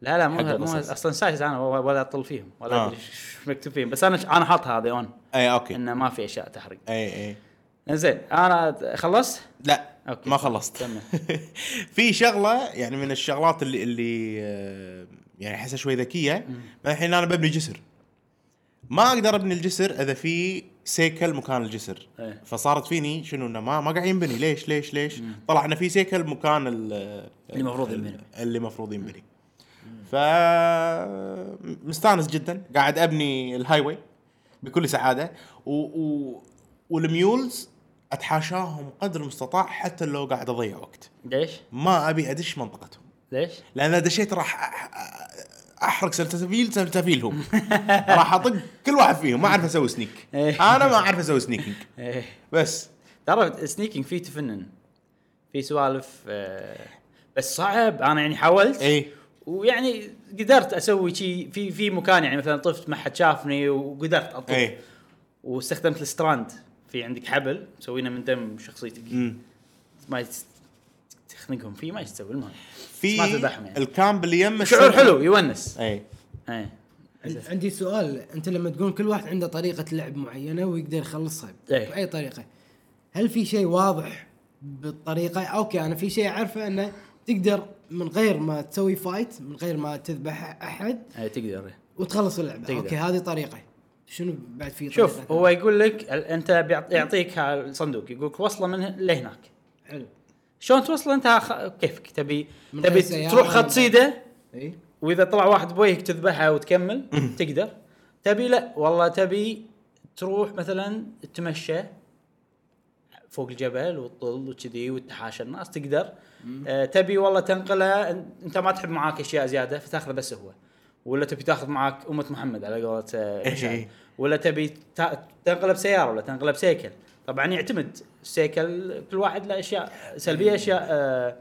لا لا مو حق مو القصص. اصلا سايز انا و- ولا اطل فيهم ولا آه. ادري ايش مكتوب فيهم بس انا انا حاطها هذه اون اي اوكي انه ما في اشياء تحرق اي اي زين انا خلصت إيه، لا أوكي. ما خلصت كمل. في شغله يعني من الشغلات اللي اللي آه، يعني احسها شوي ذكيه الحين انا ببني جسر ما اقدر ابني الجسر اذا في سيكل مكان الجسر إيه. فصارت فيني شنو انه ما ما قاعد ينبني ليش ليش ليش طلع انه في سيكل مكان ال- اللي مفروض ينبني. اللي المفروض ينبني ف مستانس جدا قاعد ابني الهاي واي بكل سعاده و... و... والميولز اتحاشاهم قدر المستطاع حتى لو قاعد اضيع وقت ليش؟ ما ابي ادش منطقتهم ليش؟ لان اذا دشيت راح أح- أح- احرق سلسفيل سلسفيلهم راح اطق كل واحد فيهم ما اعرف اسوي سنيك إيه. انا ما اعرف اسوي سنيكينج ايه بس ترى سنيكينج فيه تفنن في سوالف آه، بس صعب انا يعني حاولت اي ويعني قدرت اسوي شيء في في مكان يعني مثلا طفت ما حد شافني وقدرت اطف اي واستخدمت الستراند في عندك حبل مسوينه من دم شخصيتك مم. ما يت- تخنقهم فيه ما يستوي المهم بس في ما تذبحهم يعني الكامب اللي إيه. يمه شعور حلو يونس إيه. اي اي عندي سؤال انت لما تقول كل واحد عنده طريقه لعب معينه ويقدر يخلصها إيه. باي طريقه هل في شيء واضح بالطريقه اوكي انا في شيء اعرفه انه تقدر من غير ما تسوي فايت من غير ما تذبح احد اي تقدر وتخلص اللعبه تقدر. اوكي هذه طريقه شنو بعد في طريقة شوف ثانية؟ هو يقول لك ال- انت بيعط- يعطيك ها- الصندوق يقول لك وصله من هنا لهناك حلو شلون توصل انت خ... كيفك تبي من غير تبي سيارة تروح ولا- خط سيده اي واذا طلع واحد بوجهك تذبحه وتكمل تقدر تبي لا والله تبي تروح مثلا تمشى فوق الجبل وتطل وكذي وتحاشى الناس تقدر آه تبي والله تنقلها أن- انت ما تحب معاك اشياء زياده فتاخذه بس هو ولا تبي تاخذ معاك امه محمد على قولة آه، مشعل. إيه. ولا تبي تا- تنقلها بسياره ولا تنقلها بسيكل طبعا يعتمد السيكل كل واحد له اشياء سلبيه اشياء آه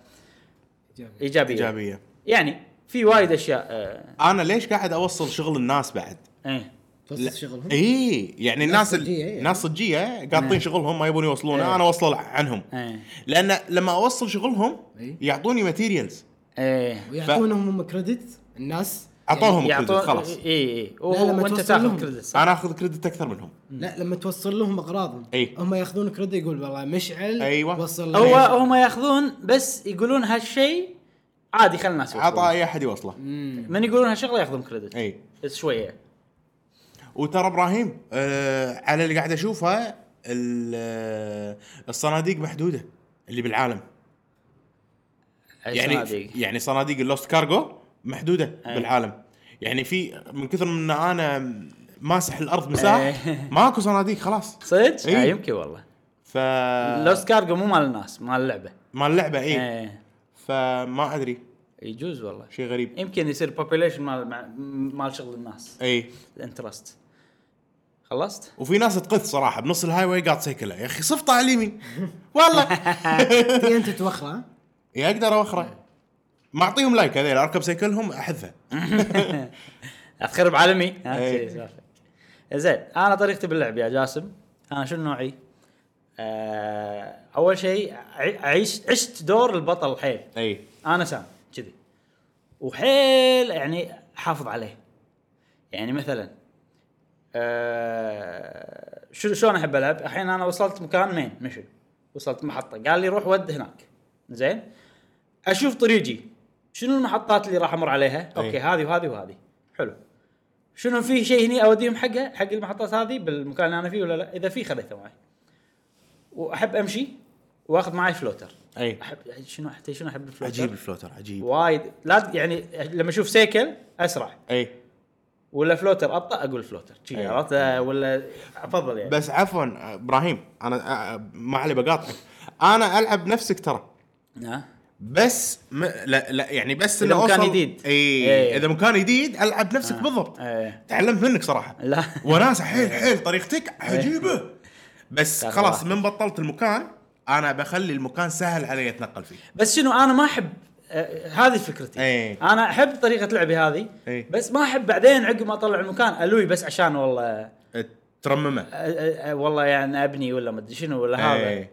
إيجابي. ايجابيه, إيجابية. ايجابيه يعني في وايد اشياء آه انا ليش قاعد اوصل شغل الناس بعد؟ ايه توصل شغلهم اي يعني الناس صجية، إيه. الناس صجيه قاطين شغلهم ما يبون يوصلونه إيه. انا اوصل عنهم ايه لان لما اوصل شغلهم إيه. يعطوني ماتيريالز ايه ويعطونهم هم كريدت الناس اعطوهم يعطون- إيه، كريدت خلاص اي اي لا، لما وانت توصل تاخذ لهم. كريدت صح؟ انا اخذ كريدت اكثر منهم لا لما توصل لهم اغراضهم إي. هم ياخذون كريدت يقول والله مشعل أيوة. وصل هو لنا. هم ياخذون بس يقولون هالشيء عادي خلنا الناس عطى يوصلون. اي احد يوصله من يقولون هالشغله ياخذون كريدت اي بس شويه وترى ابراهيم آه على اللي قاعد اشوفه ال- آه، الصناديق محدوده اللي بالعالم يعني صناديق. إيه. يعني صناديق اللوست كارجو محدوده أي. بالعالم يعني في من كثر من إن انا ماسح الارض مساح أي. ماكو صناديق خلاص صدق؟ إي. اي يمكن والله ف لوست كارجو مو مال الناس مال اللعبه مال اللعبه اي ايه فما ادري يجوز والله شيء غريب يمكن يصير بوبيليشن مال مع- مال شغل الناس اي انترست خلصت؟ وفي ناس تقث صراحه بنص الهاي واي قاعد سيكله يا اخي صفطه على اليمين والله تي انت توخى ها؟ يا اقدر اوخره معطيهم لايك هذيل اركب سيكلهم احذفه تخرب عالمي ها، إي. شي سوالفك. آه، زين انا طريقتي باللعب يا جاسم انا شنو نوعي؟ آه اول شيء أع- اعيش عشت دور البطل حيل اي انا سام كذي وحيل يعني حافظ عليه يعني مثلا آه شو شلون احب العب؟ الحين انا وصلت مكان مين مشي وصلت محطه قال لي روح ود هناك زين اشوف طريقي شنو المحطات اللي راح امر عليها؟ أي. اوكي هذه وهذه وهذه حلو شنو في شيء هني اوديهم حقه حق المحطات هذه بالمكان اللي انا فيه ولا لا؟ اذا في خذيته معي واحب امشي واخذ معي فلوتر اي احب شنو حتى شنو احب الفلوتر عجيب الفلوتر عجيب وايد لا ت- يعني لما اشوف سيكل اسرع اي ولا فلوتر ابطا اقول فلوتر شي أي. عرفت آه، ولا افضل يعني أيوة. بس عفوا ابراهيم انا آه، ما علي بقاطعك انا العب نفسك ترى آه. ها؟ بس م... لا لا يعني بس إذا إنه مكان أوصل- جديد. اي إيه. اذا مكان جديد العب نفسك بالضبط إيه. تعلمت منك صراحه لا. وناسه حيل حيل طريقتك عجيبه بس تاخذ خلاص راحتك. من بطلت المكان انا بخلي المكان سهل علي اتنقل فيه بس شنو انا ما احب آه، هذه فكرتي أي. انا احب طريقه لعبي هذه أي. بس ما احب بعدين عقب ما اطلع المكان الوي بس عشان والله ترممه آه، آه، آه، والله يعني ابني ولا ما ادري شنو ولا هذا إيه.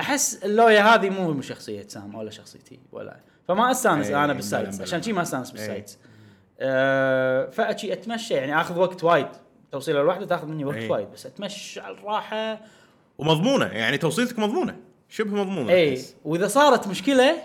احس اللويا هذه مو من شخصيه سام ولا شخصيتي ولا فما استانس إيه، انا بلا- بالسايتس بلا. عشان شي ما استانس إيه. بالسايتس أه فاجي اتمشى يعني اخذ وقت وايد توصيله الواحده تاخذ مني وقت إيه. وايد بس اتمشى على الراحه ومضمونه يعني توصيلتك مضمونه شبه إيه، مضمونه اي أحس. واذا إيه، صارت مشكله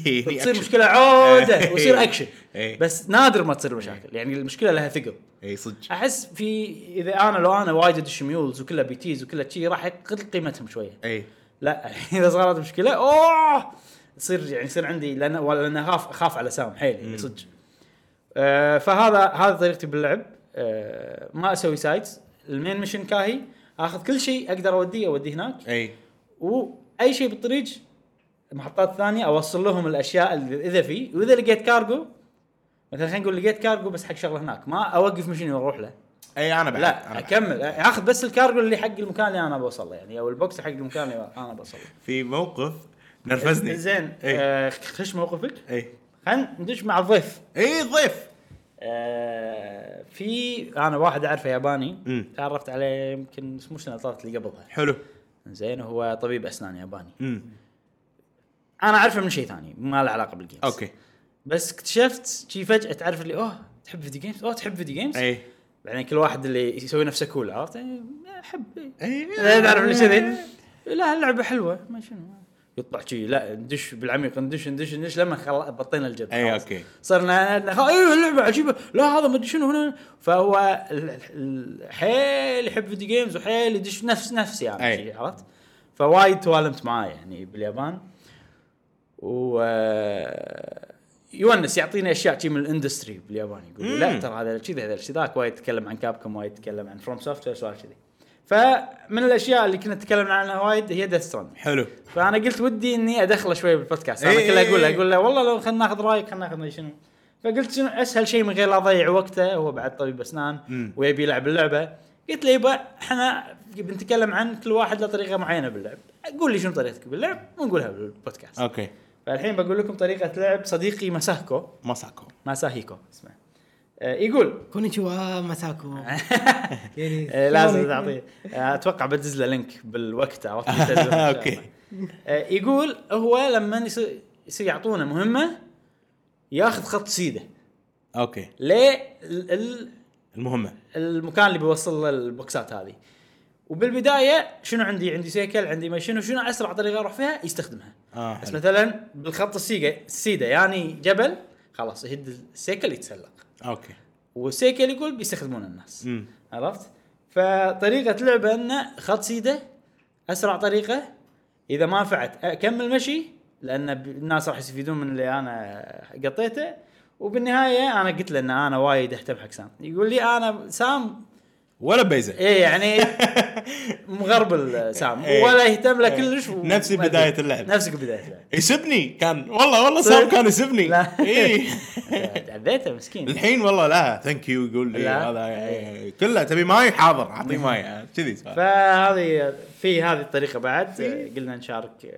تصير رياكشن. مشكله عوده إيه. ويصير اكشن إيه. بس نادر ما تصير مشاكل يعني المشكله لها ثقل اي إيه، صدق احس في اذا انا لو انا وايد ادش ميولز وكلها بي تيز وكلها شي راح يقل قيمتهم شويه اي لا اذا صارت مشكله اوه تصير يعني يصير عندي لان ولا لان اخاف اخاف على سام حيل يعني صدق آه فهذا هذا طريقتي باللعب آه ما اسوي سايتس المين ميشن كاهي اخذ كل شيء اقدر اوديه اوديه هناك اي واي شيء بالطريق محطات ثانيه اوصل لهم الاشياء اللي اذا في واذا لقيت كارجو مثلا خلينا نقول لقيت كارجو بس حق شغله هناك ما اوقف مشيني واروح له اي انا بعد إيه، أنا لا بعد. اكمل اخذ بس الكارجو اللي حق المكان اللي انا بوصل له يعني او البوكس حق المكان اللي انا بوصل له في موقف نرفزني إيه، إيه، زين اي آه، خش موقفك اي خلينا ندش مع الضيف اي إيه، ضيف آه، في انا واحد اعرفه ياباني مم. تعرفت عليه يمكن بس مو السنه اللي طافت اللي قبلها حلو زين هو طبيب اسنان ياباني امم انا اعرفه من شيء ثاني ما له علاقه بالجيمز اوكي بس اكتشفت شي فجاه تعرف اللي اوه تحب فيديو جيمز اوه تحب فيديو جيمز اي بعدين كل واحد اللي يسوي نفسه كول عرفت يعني احب إيه. اي لا تعرف ليش كذي لا اللعبه حلوه ما شنو يطلع شي لا ندش بالعميق ندش ندش ندش لما خل... بطينا الجد اي خلاص. اوكي صرنا نخ- ايوه اللعبه عجيبه لا هذا ما ادري شنو هنا فهو ال- ال- حيل يحب فيديو جيمز وحيل يدش نفس نفسي يعني أي. شي، عرفت فوايد توالمت معاه يعني باليابان و آه، يونس يعطينا اشياء شي من الاندستري باليابان يقول لي، لا مم. ترى هذا كذي هذا شي ذاك وايد يتكلم عن كابكم وايد يتكلم عن فروم سوفت وير سوالف كذي فمن الاشياء اللي كنا نتكلم عنها وايد هي ديث ستراند حلو فانا قلت ودي اني ادخله شوي بالبودكاست انا إيه كله إيه اقول له إيه. اقول له والله لو خلينا ناخذ رايك خلينا ناخذ مدري شنو فقلت شنو اسهل شيء من غير لا اضيع وقته هو بعد طبيب اسنان مم. ويبي يلعب اللعبه قلت له يبا احنا بنتكلم عن كل واحد له طريقه معينه باللعب قول لي شنو طريقتك باللعب ونقولها بالبودكاست اوكي فالحين بقول لكم طريقه لعب صديقي مساهكو مساكو مساهيكو اسمه آه، يقول كونيتشوا آه، مساكو يعني آه، لازم تعطيه آه، اتوقع بدز له لينك بالوقت عرفت بدز له إن شاء أوكي. الله. آه، يقول هو لما يصير يصير يعطونا مهمه ياخذ خط سيده اوكي للمكان المهمه اللي بيوصل له البوكسات هذه وبالبدايه شنو عندي عندي سيكل عندي ما شنو شنو اسرع طريقه اروح فيها يستخدمها آه، بس حلو. مثلا بالخط السيقه السيده يعني جبل خلاص يهد السيكل يتسلق اوكي والسيكل يقول بيستخدمونه الناس امم عرفت؟ فطريقة لعبه انه خط سيده اسرع طريقة اذا ما نفعت اكمل مشي لان ب- الناس راح يستفيدون من اللي انا قطيته وبالنهاية انا قلت له ان انا وايد اهتم حق سام يقول لي انا سام ولا بيزه ايه يعني مغربل سام إيه. ولا يهتم له إيه. كلش و- نفس ما أدري. بداية اللعب. نفسك بداية اللعب يسبني كان والله والله صدق؟ سام كان يسبني إيه. لا. اي تعذيته مسكين الحين والله لا ثانك يو يقول لي لا. هذا إيه، كله تبي ماي حاضر اعطيه ماي كذي سؤال. فهذه في هذه الطريقة بعد قلنا نشارك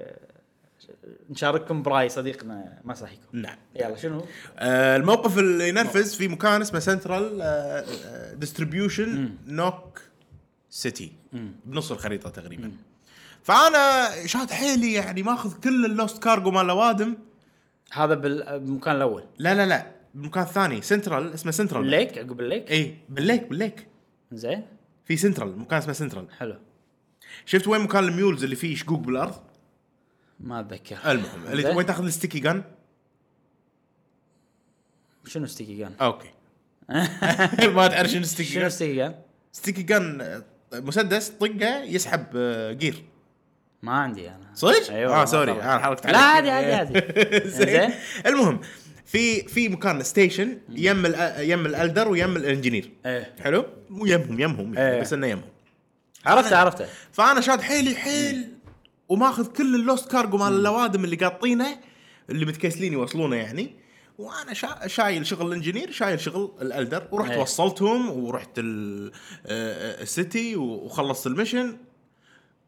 نشارككم براي صديقنا مساهيكو نعم يلا شنو؟ آه، الموقف اللي ينرفز في مكان اسمه آه، سنترال ديستريبيوشن نوك سيتي بنص الخريطه تقريبا فانا شاد حيلي يعني ماخذ كل اللوست كارجو مال وادم هذا بال- بالمكان الاول لا لا لا بالمكان الثاني سنترال اسمه سنترال الليك عقب الليك اي بالليك بالليك زين في سنترال مكان اسمه سنترال حلو شفت وين مكان الميولز اللي فيه شقوق بالارض ما اتذكر المهم اللي زين. وين تاخذ الستيكي جن شنو ستيكي جان؟ اوكي ما تعرف شنو ستيكي شنو جن ستيكي جان؟ ستيكي جن مسدس طقه يسحب آه، جير ما عندي انا صدق؟ أيوة، اه ما سوري طلع. انا حركت إيه. لا عادي عادي عادي زين زين. المهم في في مكان ستيشن يم ال- يم الالدر ويم الانجينير ايه حلو ويمهم يمهم يعني إيه. بس انه يمهم عرفته عرفته فانا شاد حيلي حيل وماخذ كل اللوست كارجو مال اللوادم اللي قاطينه اللي متكسلين يوصلونه يعني وانا شا... شايل شغل الانجينير شايل شغل الالدر ورحت إيه. وصلتهم ورحت ال... آه، السيتي وخلصت المشن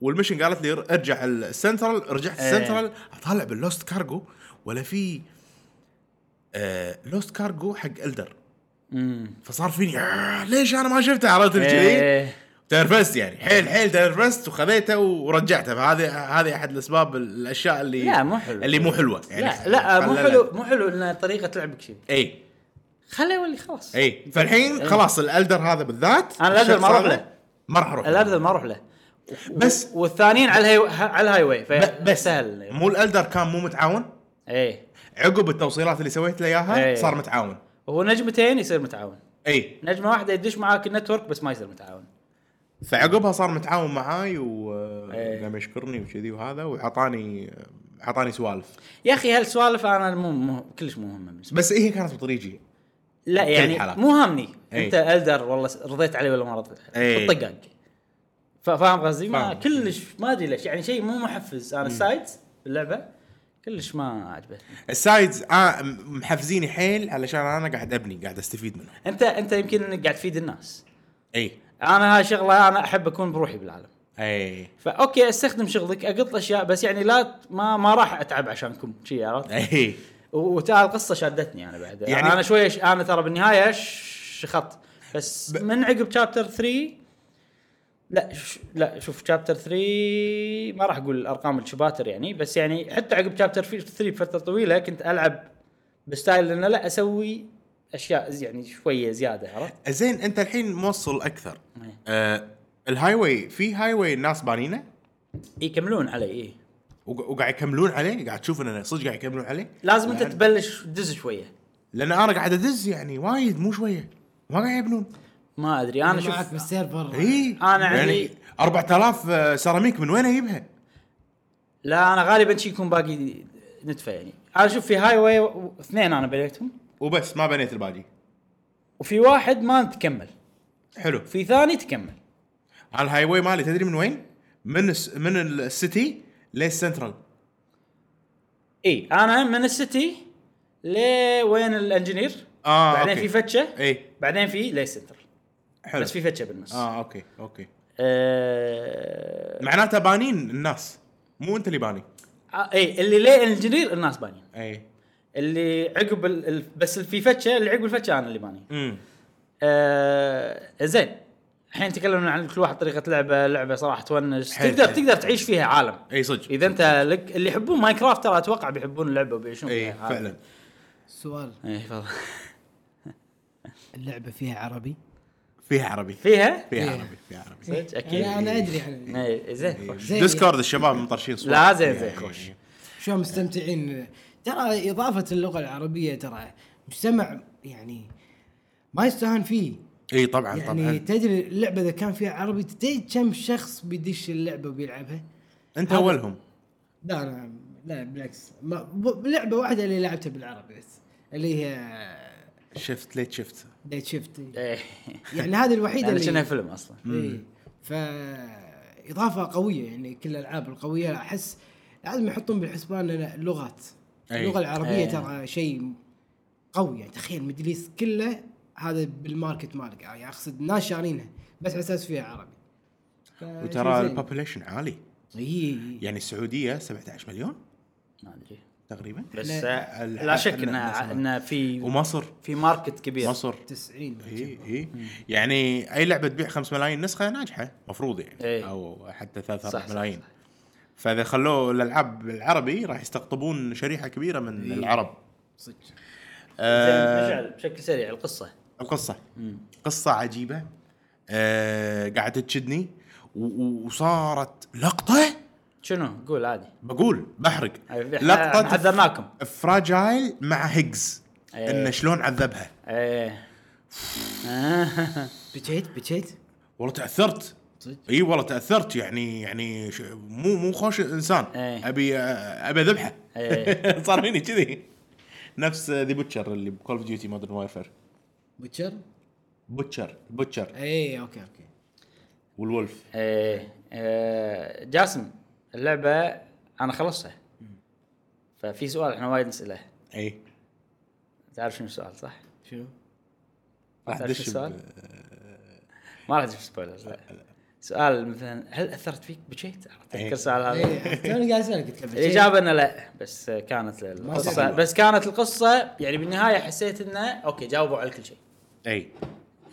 والمشن قالت لي ارجع السنترال رجعت إيه. السنترال اطالع باللوست كارجو ولا في آه لوست كارجو حق الدر امم فصار فيني آه، ليش انا ما شفته عرفت كذي إيه. تنرفزت يعني حيل حيل تنرفزت وخذيته ورجعته فهذه هذه احد الاسباب الاشياء اللي لا، مو حلو. اللي مو حلوه يعني لا لا مو خلنا- حلو مو حلو ان طريقة لعبك شيء اي خله يولي خلاص اي إيه. فالحين خلاص الالدر هذا بالذات إيه. أنا الألدر ما أروح الشخص هذا له. ما راح اروح له. الابدل ما اروح له بس- و- والثانيين على الهاي على الهاي واي ب- بس سهل مو الالدر كان مو متعاون ايه عقب التوصيلات اللي سويت له اياها إيه. صار متعاون إيه. هو نجمتين يصير متعاون اي نجمه واحده يدش معاك النتورك بس ما يصير متعاون فعقبها صار متعاون معاي و إيه. قام يشكرني وكذي وهذا وعطاني عطاني سوالف يا اخي هالسوالف انا مو, مو كلش مو مهمه بالنسبه بس إيه، هي كانت بطريقي لي. لا يعني الحالات. مو هامني إي. انت الدر والله س- رضيت عليه ولا ما رضيت إي. عليه الطقاق ف- فاهم قصدي؟ ما إيه. فاهم. كلش ما ادري ليش يعني شيء مو محفز انا السايدز باللعبه كلش ما عجبتني السايدز آه م- محفزيني حيل علشان انا قاعد ابني قاعد استفيد منهم انت انت يمكن انك قاعد تفيد الناس اي انا هاي شغله انا احب اكون بروحي بالعالم إيه، اي فاوكي استخدم شغلك اقط اشياء بس يعني لا ت- ما ما راح اتعب عشانكم شي عرفت اي و- وترى القصه شادتني انا بعد يعني- يعني انا شويه ش... انا ترى بالنهايه شخط بس ب... من عقب شابتر 3 لا ش... لا شوف شابتر 3 ما راح اقول الارقام الشباتر يعني بس يعني حتى عقب شابتر 3 بفتره طويله كنت العب بستايل انه لا اسوي اشياء زي- يعني شويه زياده عرفت؟ زين انت الحين موصل اكثر إيه. آه الهاي واي في هاي واي الناس بانينه يكملون علي إيه. وق- وقاعد يكملون عليه قاعد تشوف انه صدق قاعد يكملون عليه لازم انت لأن- تبلش تدز شويه لان انا قاعد ادز يعني وايد مو شويه ما قاعد يبنون يعني إيه. ما ادري انا معك شوف بالسيرفر اي أنا يعني عندي- 4000 يعني آه، سيراميك من وين اجيبها؟ لا انا غالبا شي يكون باقي نتفه يعني انا شوف في هاي واي و- اثنين انا بنيتهم وبس ما بنيت الباقي وفي واحد ما تكمل حلو في ثاني تكمل انا الهاي واي مالي تدري من وين؟ من الس... من السيتي للسنترال اي انا من السيتي لوين الانجينير آه، بعدين أوكي. في فتشه اي بعدين في لي سنتر حلو بس في فتشه بالنص آه. اه اوكي اوكي آه... معناته بانين الناس مو انت اللي باني إيه. اي آه، اللي لي انجينير الناس بانيين اي اللي عقب ال... ال- بس في فتشه اللي عقب الفتشه انا اللي باني امم آه زين الحين تكلمنا عن كل واحد طريقه لعبه لعبه صراحه تونس حلو، تقدر حلو. تقدر تعيش فيها عالم اي صدق اذا انت لك اللي يحبون ماينكرافت ترى اتوقع بيحبون اللعبه وبيعيشون اي فيها عادي. فعلا سؤال اي تفضل اللعبه فيها عربي؟ فيها عربي فيها؟ فيها فيها. عربي فيها عربي صدق اكيد انا انا ادري عن اي زين خوش. زين. ديسكورد الشباب مطرشين صور لا، زين، زين، يعني- خوش. شلون مستمتعين ترى اضافه اللغه العربيه ترى مجتمع يعني ما يستهان فيه اي طبعا يعني طبعا تدري اللعبه اذا كان فيها عربي تدري كم شخص بيدش اللعبه وبيلعبها؟ انت هذا- اولهم لا انا لا بالعكس ما ب- لعبه واحده اللي لعبتها بالعربي بس اللي هي شفت ليت شفت ديت شيفت إيه. يعني هذه الوحيده لان كأنها اللي فيلم اصلا إيه. ف اضافه قويه يعني كل الالعاب القويه احس لازم يحطون بالحسبان إن اللغات أي. اللغه العربيه أي. ترى شيء قوي يعني تخيل ميدل ايست كله هذا بالماركت مالك يعني اقصد ناس شارينها بس على اساس فيها عربي ف- وترى شيء زين. إيه، البوبوليشن عالي اي يعني السعوديه 17 مليون ما ادري تقريبا بس لا. آه، لا، لا شك لا، لا، انها انها في ومصر في ماركت كبير مصر 90 اي اي إيه، يعني اي لعبه تبيع 5 ملايين نسخه ناجحه مفروض يعني إي. او حتى 3 إيه. صح، 4 صح، ملايين فاذا خلوه الالعاب العربي راح يستقطبون شريحه كبيره من العرب صدق إيه. زين، آه، مشعل بشكل سريع القصه القصه قصه عجيبه آه قاعده تشدني و- و- وصارت لقطه شنو قول عادي بقول بحرق لقطه لقطه حذرناكم إيه. فراجايل مع هيجز إي. انه شلون عذبها ايه بكيت بكيت والله تاثرت صدق؟ اي والله تاثرت يعني يعني ش- مو مو خوش انسان إيه. ابي آه، ابي اذبحه إيه. صار فيني كذي نفس ذا بوتشر اللي بكول اوف ديوتي مودرن وارفير بوتشر؟ بوتشر بوتشر اي اوكي اوكي والولف ايه آه، جاسم اللعبه انا خلصتها ففي سؤال احنا وايد نساله اي تعرف شنو السؤال صح؟ شنو؟ راح تعرف دش شو السؤال؟ ب- ما راح تجيب سبويلرز لا سؤال مثلا هل اثرت فيك بكيت؟ إيه. اتذكر السؤال هذا إيه، توني قاعد اسالك قلت له بتشيت. الاجابه انه لا بس كانت القصه تعرف. بس كانت القصه يعني بالنهايه حسيت انه اوكي جاوبوا على كل شيء اي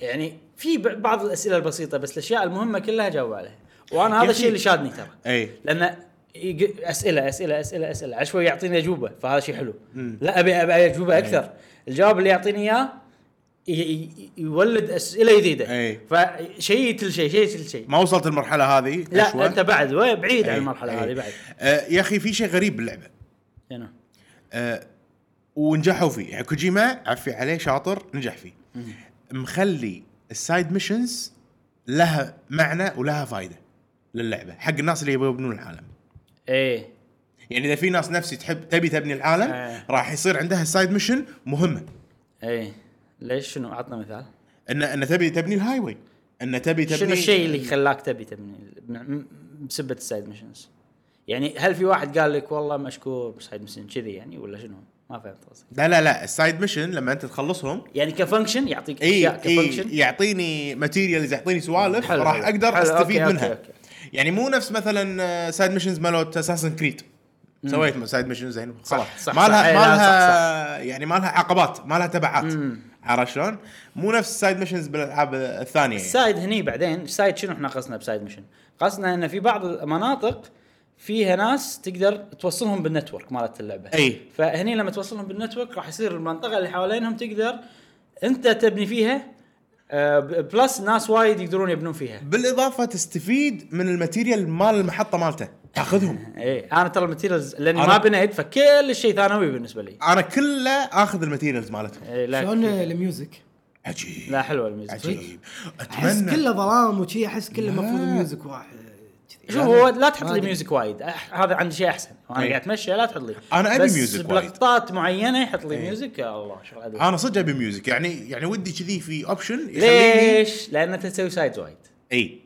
يعني في ب- بعض الاسئله البسيطه بس الاشياء المهمه كلها جاوبوا عليها وانا هذا يا الشيء اللي أخي. شادني ترى اي لان يق- اسئله اسئله اسئله اسئله عشوائي يعطيني اجوبه فهذا شيء حلو لا ابي ابي اجوبه اكثر الجواب اللي يعطيني اياه ي- ي- يولد اسئله جديده أي. فشيء تل شيء شيء تل شيء ما وصلت المرحله هذه لا كشوة. انت بعد وي- بعيد أي. عن المرحله أي. هذه بعد آه، يا اخي في شيء غريب باللعبه هنا آه، ونجحوا فيه يعني كوجيما عفي عليه شاطر نجح فيه مخلي السايد ميشنز لها معنى ولها فائده للعبه حق الناس اللي يبون يبنون العالم ايه يعني اذا في ناس نفسي تحب تبي تبني العالم إيه. راح يصير عندها السايد ميشن مهمه ايه ليش شنو عطنا مثال ان ان تبي تبني الهاي واي ان تبي تبني شنو الشيء اللي خلاك تبي تبني م- م- بسبه السايد ميشنز يعني هل في واحد قال لك والله مشكور بس هاي مسن كذي يعني ولا شنو؟ ما فهمت قصدي لا لا لا السايد ميشن لما انت تخلصهم يعني كفانكشن يعطيك اي اشياء اي كفانكشن يعطيني ماتيريالز يعطيني سوالف حلو، راح حلو. اقدر حلو، استفيد أوكي، أوكي، منها أوكي. يعني مو نفس آه، مثلا سايد ميشنز مالوت اساسن كريد سويت سايد ميشن زين يعني خلاص صح، ما لها صح، إي، ما لا، صح، لها يعني ما لها عقبات ما لها تبعات عرفت شلون؟ مو نفس سايد ميشنز بالالعاب الثانيه يعني. السايد هني بعدين السايد شنو احنا قصنا بسايد ميشن؟ قصنا ان في بعض المناطق فيها ناس تقدر توصلهم بالنتورك مالت اللعبه. أي. فهني لما توصلهم بالنتورك راح يصير المنطقه اللي حوالينهم تقدر انت تبني فيها آه، ب- بلس ناس وايد يقدرون يبنون فيها. بالاضافه تستفيد من الماتيريال مال المحطه مالته تاخذهم ايه انا ترى الماتيريالز لاني أنا- ما بنيت فكل شيء ثانوي بالنسبه لي. انا كله اخذ الماتيريالز مالتهم إيه لا شلون الميوزك؟ عجيب لا حلوه الميوزك عجيب احس اتمنى كله ظلام وشي احس كله لا. المفروض ميوزك واحد كذي. شوف هو لا تحط ما لي أدري. ميوزك وايد أح- هذا عندي شيء احسن وانا يعني إيه. قاعد اتمشى لا تحط لي أنا أبي بس ميوزك وايد. إيه. آه، بلقطات معينه يحط لي ميوزك يا الله شغل عدل انا صدق ابي ميوزك يعني يعني ودي كذي في اوبشن يخليني ليش؟ لان انت تسوي سايد وايد اي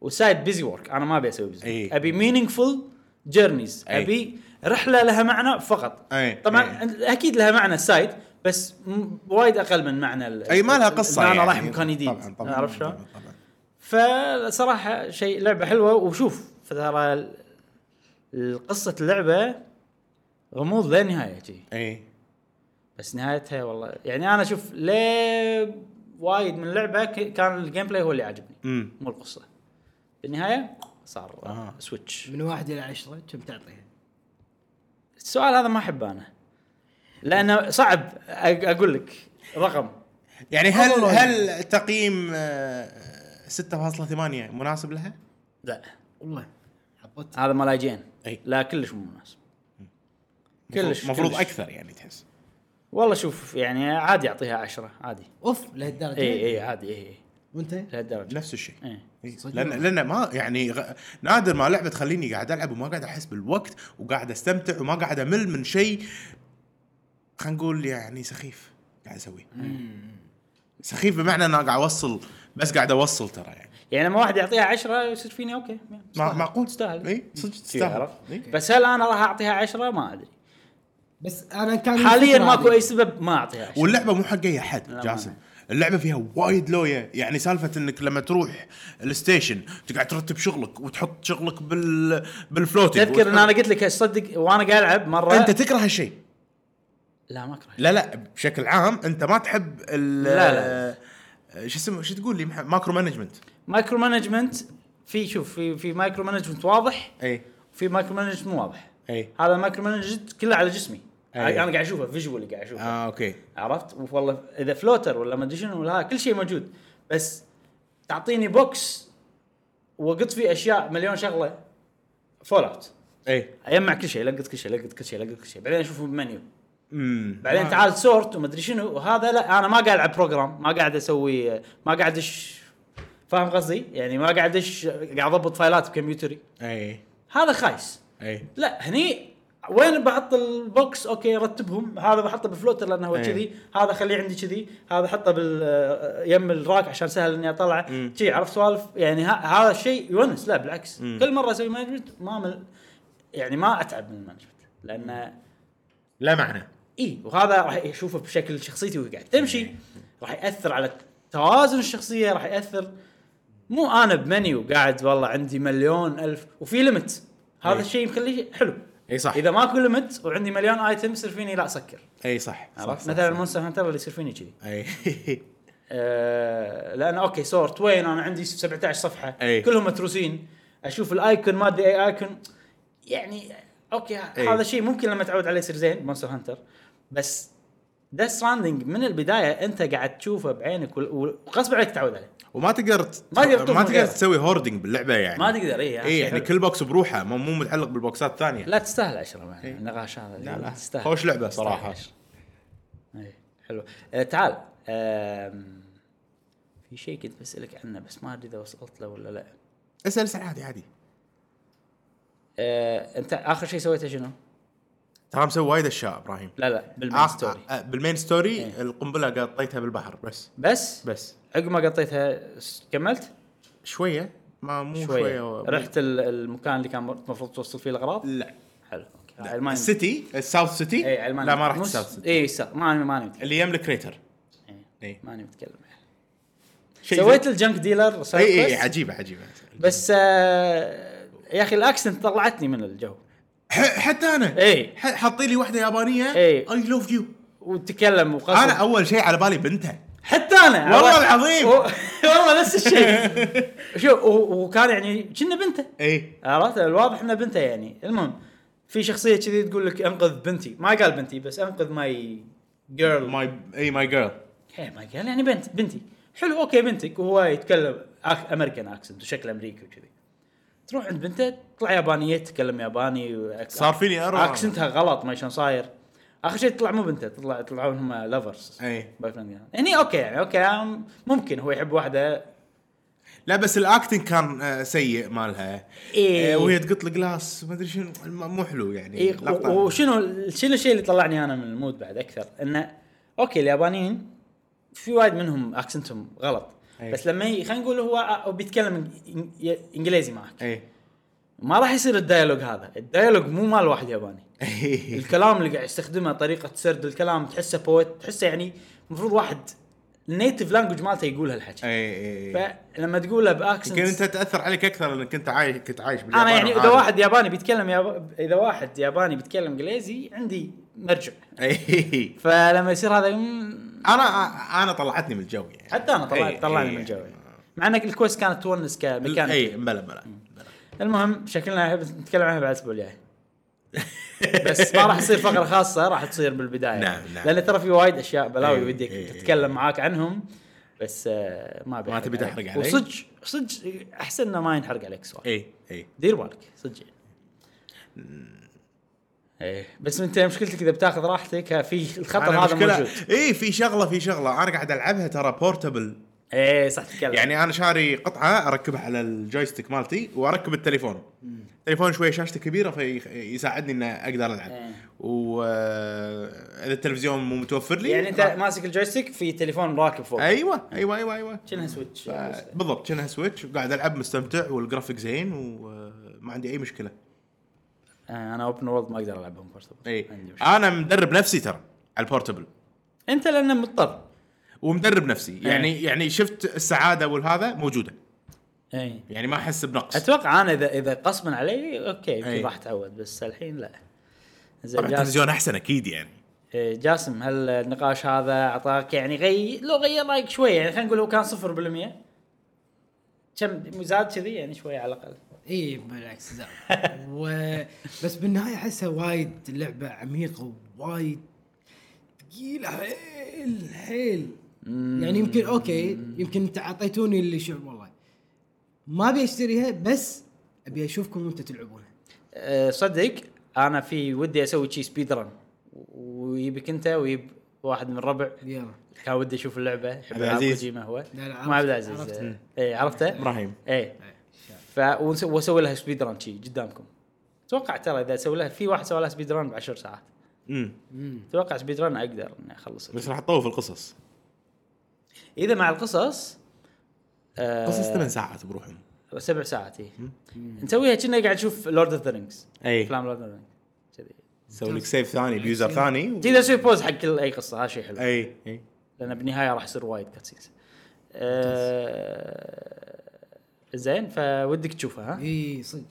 وسايد بيزي وورك انا ما ابي اسوي بيزي إيه. ابي مينينجفول جيرنيز إيه. ابي رحله لها معنى فقط إيه. طبعا اكيد لها معنى السايد بس م- وايد اقل من معنى ال- اي ما لها ال- قصه إن يعني انا رايح مكان جديد طبعا طبعا عرفت شلون؟ طبعاً، طبعاً. فصراحه شيء لعبه حلوه وشوف ترى ال- ال- قصه اللعبه غموض لا نهايه شي اي بس نهايتها والله يعني انا شوف ليه وايد من اللعبه ك- كان الجيم بلاي هو اللي عجبني امم مو القصه بالنهايه صار آه. سويتش من واحد الى عشره كم تعطيها؟ السؤال هذا ما احبه انا لانه صعب أ- اقول لك رقم يعني هل والله. هل تقييم آه، 6.8 مناسب لها؟ لا والله عبطت هذا مال IGN. أي. لا كلش مو مناسب كلش المفروض كلش. اكثر يعني تحس والله شوف يعني عادي اعطيها عشرة عادي اوف لهالدرجه اي اي عادي اي اي وانت؟ لهالدرجه نفس الشيء إيه. إيه. صدق لان والله. لان ما يعني غ... نادر ما لعبه تخليني قاعد العب وما قاعد احس بالوقت وقاعد استمتع وما قاعد امل من شيء خلينا نقول يعني سخيف قاعد اسويه سخيف بمعنى انا قاعد اوصل بس قاعد اوصل ترى يعني يعني لما واحد يعطيها عشرة يصير فيني اوكي مع... معقول تستاهل. اي صدق شي تستاهل عرفت؟ إي. بس هل انا راح اعطيها عشرة ما ادري بس انا كان حاليا الفكرة ماكو هذه. اي سبب ما اعطيها عشرة واللعبه مو حق اي احد لا، ما جاسم أنا. اللعبه فيها وايد لوية يعني سالفه انك لما تروح الستيشن تقعد ترتب شغلك وتحط شغلك بال بالفلوتنج تذكر ان انا قلت لك صدق وانا قاعد العب مره انت تكره هالشيء لا ما اكره لا لا بشكل عام انت ما تحب ال لا، لا. شو اسمه شو تقول لي مح- ماكرو مانجمنت مايكرو مانجمنت في شوف في في مايكرو مانجمنت واضح اي وفي مايكرو مانجمنت مو واضح اي هذا مايكرو مانجمنت كله على جسمي أي. انا قاعد اشوفه فيجولي قاعد اشوفه اه اوكي عرفت والله اذا فلوتر ولا ما ادري شنو ولا ها، كل شيء موجود بس تعطيني بوكس وقط فيه اشياء مليون شغله فول اوت اي اجمع كل شيء لقط كل شيء لقط كل شيء لقط كل شيء بعدين اشوفه بمنيو امم بعدين تعال سورت وما ادري شنو وهذا لا انا ما قاعد العب بروجرام ما قاعد اسوي ما قاعد اش فاهم قصدي؟ يعني ما قاعد اش قاعد اضبط فايلات بكمبيوتري اي هذا خايس اي لا هني وين بحط البوكس اوكي رتبهم هذا بحطه بفلوتر لانه هو إيه. كذي هذا خليه عندي كذي هذا احطه بال آه، يم الراك عشان سهل اني اطلعه مم. كذي عرفت سوالف يعني ه- هذا الشيء يونس لا بالعكس مم. كل مره اسوي مانجمنت ما مل يعني ما اتعب من المانجمنت لانه لا معنى اي وهذا راح يشوفه بشكل شخصيتي وهي قاعد تمشي إيه. راح ياثر على توازن الشخصيه راح ياثر مو انا بمنيو قاعد والله عندي مليون الف وفي ليمت هذا إي. الشيء مخليه حلو اي إيه، صح اذا ماكو ليمت وعندي مليون ايتم يصير فيني لا اسكر اي إيه، صح إيه. عرفت مثلا مونستر هانتر اللي يصير فيني كذي اي آه لان اوكي سورت وين انا عندي 17 صفحه أي. كلهم متروسين اشوف الايكون ما ادري اي ايكون يعني اوكي أي. هذا شيء ممكن لما تعود عليه يصير زين مونستر هانتر بس ذا ستراندنج من البدايه انت قاعد تشوفه بعينك وال- وغصب عليك تعود عليه وما تقدر ت- ما تقدر ما تغير. تقدر تسوي هوردنج باللعبه يعني ما تقدر إيه، اي اي يعني كل بوكس بروحه مو مو متعلق بالبوكسات الثانيه لا تستاهل عشرة معنا النقاش هذا لا إيه. لا. تستاهل خوش لعبة تستاهل صراحة. عشرة. إيه، حلو آه، تعال آم، في شيء كنت بسألك عنه بس ما ادري اذا وصلت له ولا لا اسال اسال عادي عادي آه، انت اخر شيء سويته شنو؟ ترى مسوي وايد اشياء ابراهيم لا لا بالمين آخ- ستوري آه، بالمين ستوري القنبله قطيتها بالبحر بس بس بس عقب ما قطيتها س- كملت؟ شويه ما مو شويه, شويه رحت ال- المكان اللي كان المفروض توصل فيه الاغراض لا حلو اوكي هاي الماني السيتي الساوث سيتي اي علماني لا ما رحت الساوث سيتي اي ماني ماني متكلم اللي يملك كريتر إي، إي. ماني متكلم شيء إيه. سويت الجنك ديلر زي- إيه، اي اي بس- عجيبه عجيبه بس آه، يا اخي الاكسنت طلعتني من الجو ح- حتى انا إي. ح- حاطين لي واحده يابانيه إي. اي لوف يو وتكلم وقصد انا اول شيء على بالي بنته حتى انا والله عرفت؟ العظيم. و- والله نفس الشيء شوف و- وكان يعني كنا بنته اي عرفت الواضح انه بنته يعني المهم في شخصيه كذي تقول لك انقذ بنتي ما قال بنتي بس انقذ ماي جيرل ماي اي ماي جيرل ايه ما قال يعني بنت بنتي حلو اوكي بنتك وهو يتكلم أك- امريكان اكسنت وشكله امريكي وكذي تروح عند بنته تطلع يابانيه تتكلم ياباني وأك- صار فيني أربعة. اكسنتها غلط ما شلون صاير اخر شيء تطلع مو بنته تطلع يطلعون هم لافرز اي باي فريند يعني. هني اوكي يعني اوكي أم- ممكن هو يحب إيه، واحده لا بس الاكتنج كان آه، سيء مالها إي. آه، وهي تقط الجلاس ما ادري شنو الم- مو حلو يعني إيه لقطة. و- وشنو شنو الشيء اللي طلعني انا من المود بعد اكثر انه اوكي اليابانيين في وايد منهم اكسنتهم غلط أي. بس لما ي- خلينا نقول هو أ- بيتكلم إنج- ي- انجليزي معك اي ما راح يصير الديالوج هذا الديالوج مو مال واحد ياباني إيه، الكلام اللي قاعد يستخدمه طريقه سرد الكلام تحسه بويت تحسه يعني المفروض واحد النيتف لانجوج مالته يقول هالحكي اي اي فلما تقوله باكسنت إيه، يمكن انت تاثر عليك اكثر لانك كنت عايش كنت عايش باليابان انا يعني اذا وعارف. واحد ياباني بيتكلم ياب... اذا واحد ياباني بيتكلم انجليزي عندي مرجع إي. فلما يصير هذا يم... انا انا إيه. طلعتني من الجو يعني حتى انا إي، طلعت طلعني إي. من الجو يعني. مع انك الكويست كانت تونس كمكان اي إيه، بلا بلا بلا. المهم شكلنا نتكلم عنها بعد الاسبوع الجاي بس ما راح تصير فقره خاصه راح تصير بالبدايه نعم، إيه، نعم. لان ترى في وايد اشياء بلاوي إي، ودك إي، إي. تتكلم معاك عنهم بس آه، ما أبي ما أحرق تبي عليك. تحرق علي؟ إيه. وصدق صدق احسن انه ما ينحرق عليك سؤال اي اي دير بالك صدق يعني. ايه بس انت مشكلتك اذا بتاخذ راحتك ها، في الخطر هذا موجود اي إيه، في شغله في شغله انا قاعد العبها ترى بورتبل ايه صح تتكلم يعني يعني انا شاري قطعه اركبها على الجويستيك مالتي واركب التليفون التليفون شوي شاشته كبيره فيساعدني ان اقدر العب إيه. و آه، اذا التلفزيون مو متوفر لي آه، يعني انت ماسك الجويستيك في تليفون راكب فوق آه، ايوه ايوه ايوه ايوه شنها سويتش ف- بالضبط كانها سويتش وقاعد العب مستمتع والجرافيك زين وما عندي اي مشكله آه، انا اوبن وورلد ما اقدر العبهم بورتبل اي عندي مشكله انا إيه. مدرب نفسي ترى على البورتبل انت لانه مضطر ومدرب نفسي إيه. يعني يعني شفت السعاده والهذا موجوده اي يعني ما احس بنقص اتوقع انا اذا اذا قصبا علي اوكي يمكن إي. راح اتعود بس الحين لا زين طبعا جاسم التلفزيون احسن اكيد يعني إيه، جاسم هل النقاش هذا اعطاك يعني غي لو غير رايك شوي يعني خلينا نقول هو كان 0% كم زاد كذي يعني شوي على الاقل اي بالعكس زاد و... بس بالنهايه احسها وايد لعبه عميقه ووايد ثقيله حيل حيل يعني يمكن اوكي يمكن انت اعطيتوني اللي شعور والله ما ابي اشتريها بس ابي اشوفكم وانتم تلعبونها أه، صدق انا في ودي اسوي شي سبيد رن ويبك انت ويب واحد من ربع يلا كان ودي اشوف اللعبه يحب عبد يلعب العزيز. كوجيما هو لا، لا، مو عرفت- عبد العزيز عرفت. آه، ايه عرفته إبراهيم. ايه ف ونس- واسوي لها سبيد ران شي قدامكم اتوقع ترى اذا اسوي لها في واحد سوى لها سبيد ران ب 10 ساعات امم اتوقع سبيد ران اقدر اني اخلص بس راح تطوف القصص اذا مع القصص آه، قصص ثمان ساعات بروحهم سبع ساعات اي نسويها كنا قاعد نشوف لورد اوف ذا رينجز اي افلام لورد اوف ذا رينجز كذي سوي لك سيف ثاني بيوزر ثاني و... تقدر تسوي بوز حق كل اي قصه هذا شيء حلو اي اي لان بالنهايه راح يصير وايد كاتسينز آه زين فودك تشوفها ها؟ اي صدق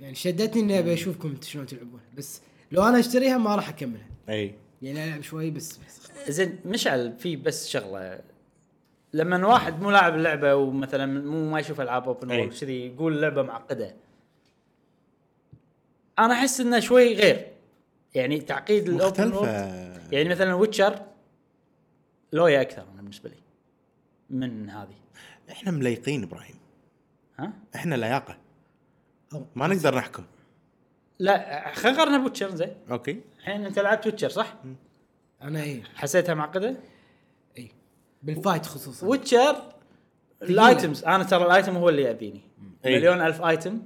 يعني شدتني اني ابي اشوفكم انتم شلون تلعبونها بس لو انا اشتريها ما راح اكملها اي يعني العب شوي بس, بس. زين مشعل في بس شغله لما واحد مو لاعب اللعبه ومثلا مو ما يشوف العاب اوبن أي. وورلد كذي يقول لعبه معقده انا احس انه شوي غير يعني تعقيد الاوبن وورلد مختلفة يعني مثلا ويتشر لويا اكثر انا بالنسبه لي من هذه احنا مليقين ابراهيم ها احنا لياقة أو. ما نقدر نحكم لا خلينا نقارنها بوتشر زين اوكي الحين انت لعبت ويتشر صح؟ انا اي حسيتها معقده؟ اي بالفايت خصوصا ويتشر الايتمز انا ترى الايتم هو اللي ياذيني إي. مليون الف ايتم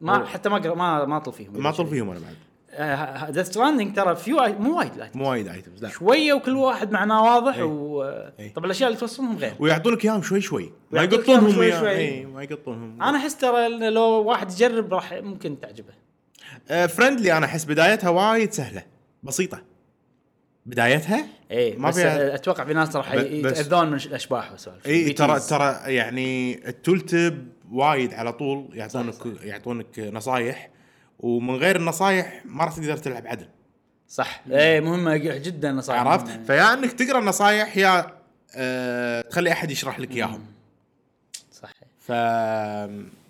ما حتى ما أقرأ- ما ما اطل فيهم ما طول فيهم انا بعد آه، ذا ستراندنج ترى في وايد مو وايد لايت مو وايد ايتمز لا شويه وكل واحد معناه واضح إي. و إي. طب الاشياء اللي توصلهم غير ويعطونك اياهم شوي شوي ما ويعطونك إياهم يقطونهم شوي إياه. شوي. إي، ما يقطونهم انا احس ترى إنه لو واحد يجرب راح ممكن تعجبه فرندلي انا احس بدايتها وايد سهله بسيطه بدايتها اي ما ما إيه، بس فيها- اتوقع في ناس راح ب- بس- يتاذون من الاشباح والسوالف اي ترى BTs. ترى يعني التولتب وايد على طول يعطونك يعطونك نصايح ومن غير النصايح ما راح تقدر تلعب عدل صح إيه، اي مهمه جدا نصائح عرفت؟ مهمة. فيا انك تقرا النصايح يا أه تخلي احد يشرح لك اياهم صح ف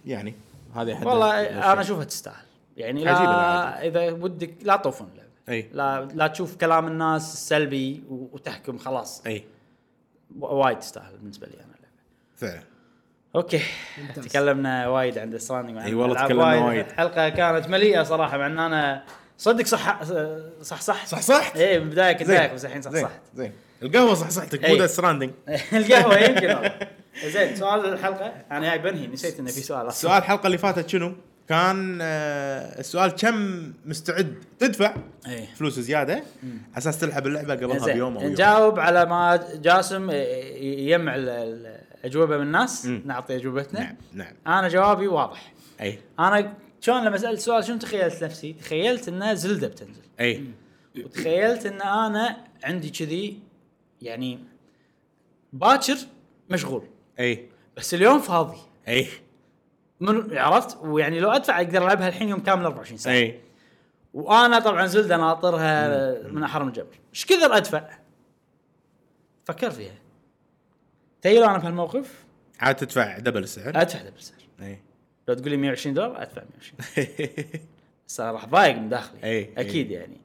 يعني هذه أحد والله الأشياء. انا اشوفها تستاهل يعني عجيبة لا الألعاب. اذا ودك لا تطوفون اللعبه اي لا لا تشوف كلام الناس السلبي و- وتحكم خلاص اي و- وايد تستاهل بالنسبه لي انا اللعبه فعلا اوكي ممتاز. تكلمنا وايد عن ستراندنج إي والله تكلمنا وايد. الحلقه كانت مليئه صراحه مع ان انا صدق صح صح صح صح صحت؟ اي من البدايه كنت زين. دايخ بس الحين صح زين. صحت زين القهوه صح صحتك إي. مو ستراندنج القهوه يمكن والله. زين سؤال الحلقه انا هاي بنهي نسيت انه في سؤال أصلاً. السؤال الحلقه اللي فاتت شنو؟ كان آه السؤال كم مستعد تدفع ايه فلوس زياده على اساس تلعب اللعبه قبلها زين. بيوم او يومين. نجاوب على ما جاسم يجمع ال- ال- الاجوبه من الناس مم. نعطي اجوبتنا نعم نعم إيه، انا جوابي واضح اي انا شلون لما سالت السؤال شنو تخيلت نفسي؟ تخيلت ان زلده بتنزل اي وتخيلت ان انا عندي كذي يعني باكر مشغول اي بس اليوم فاضي اي من عرفت ويعني لو ادفع اقدر العبها الحين يوم كامل 24 ساعه اي وانا طبعا زلده ناطرها من احرم الجبل ايش كثر ادفع فكر فيها تخيل انا بهالموقف عاد تدفع دبل السعر ادفع دبل السعر اي لو تقول لي 120 دولار ادفع 120 إيه. بس أنا راح ضايق من داخلي أي، اكيد يعني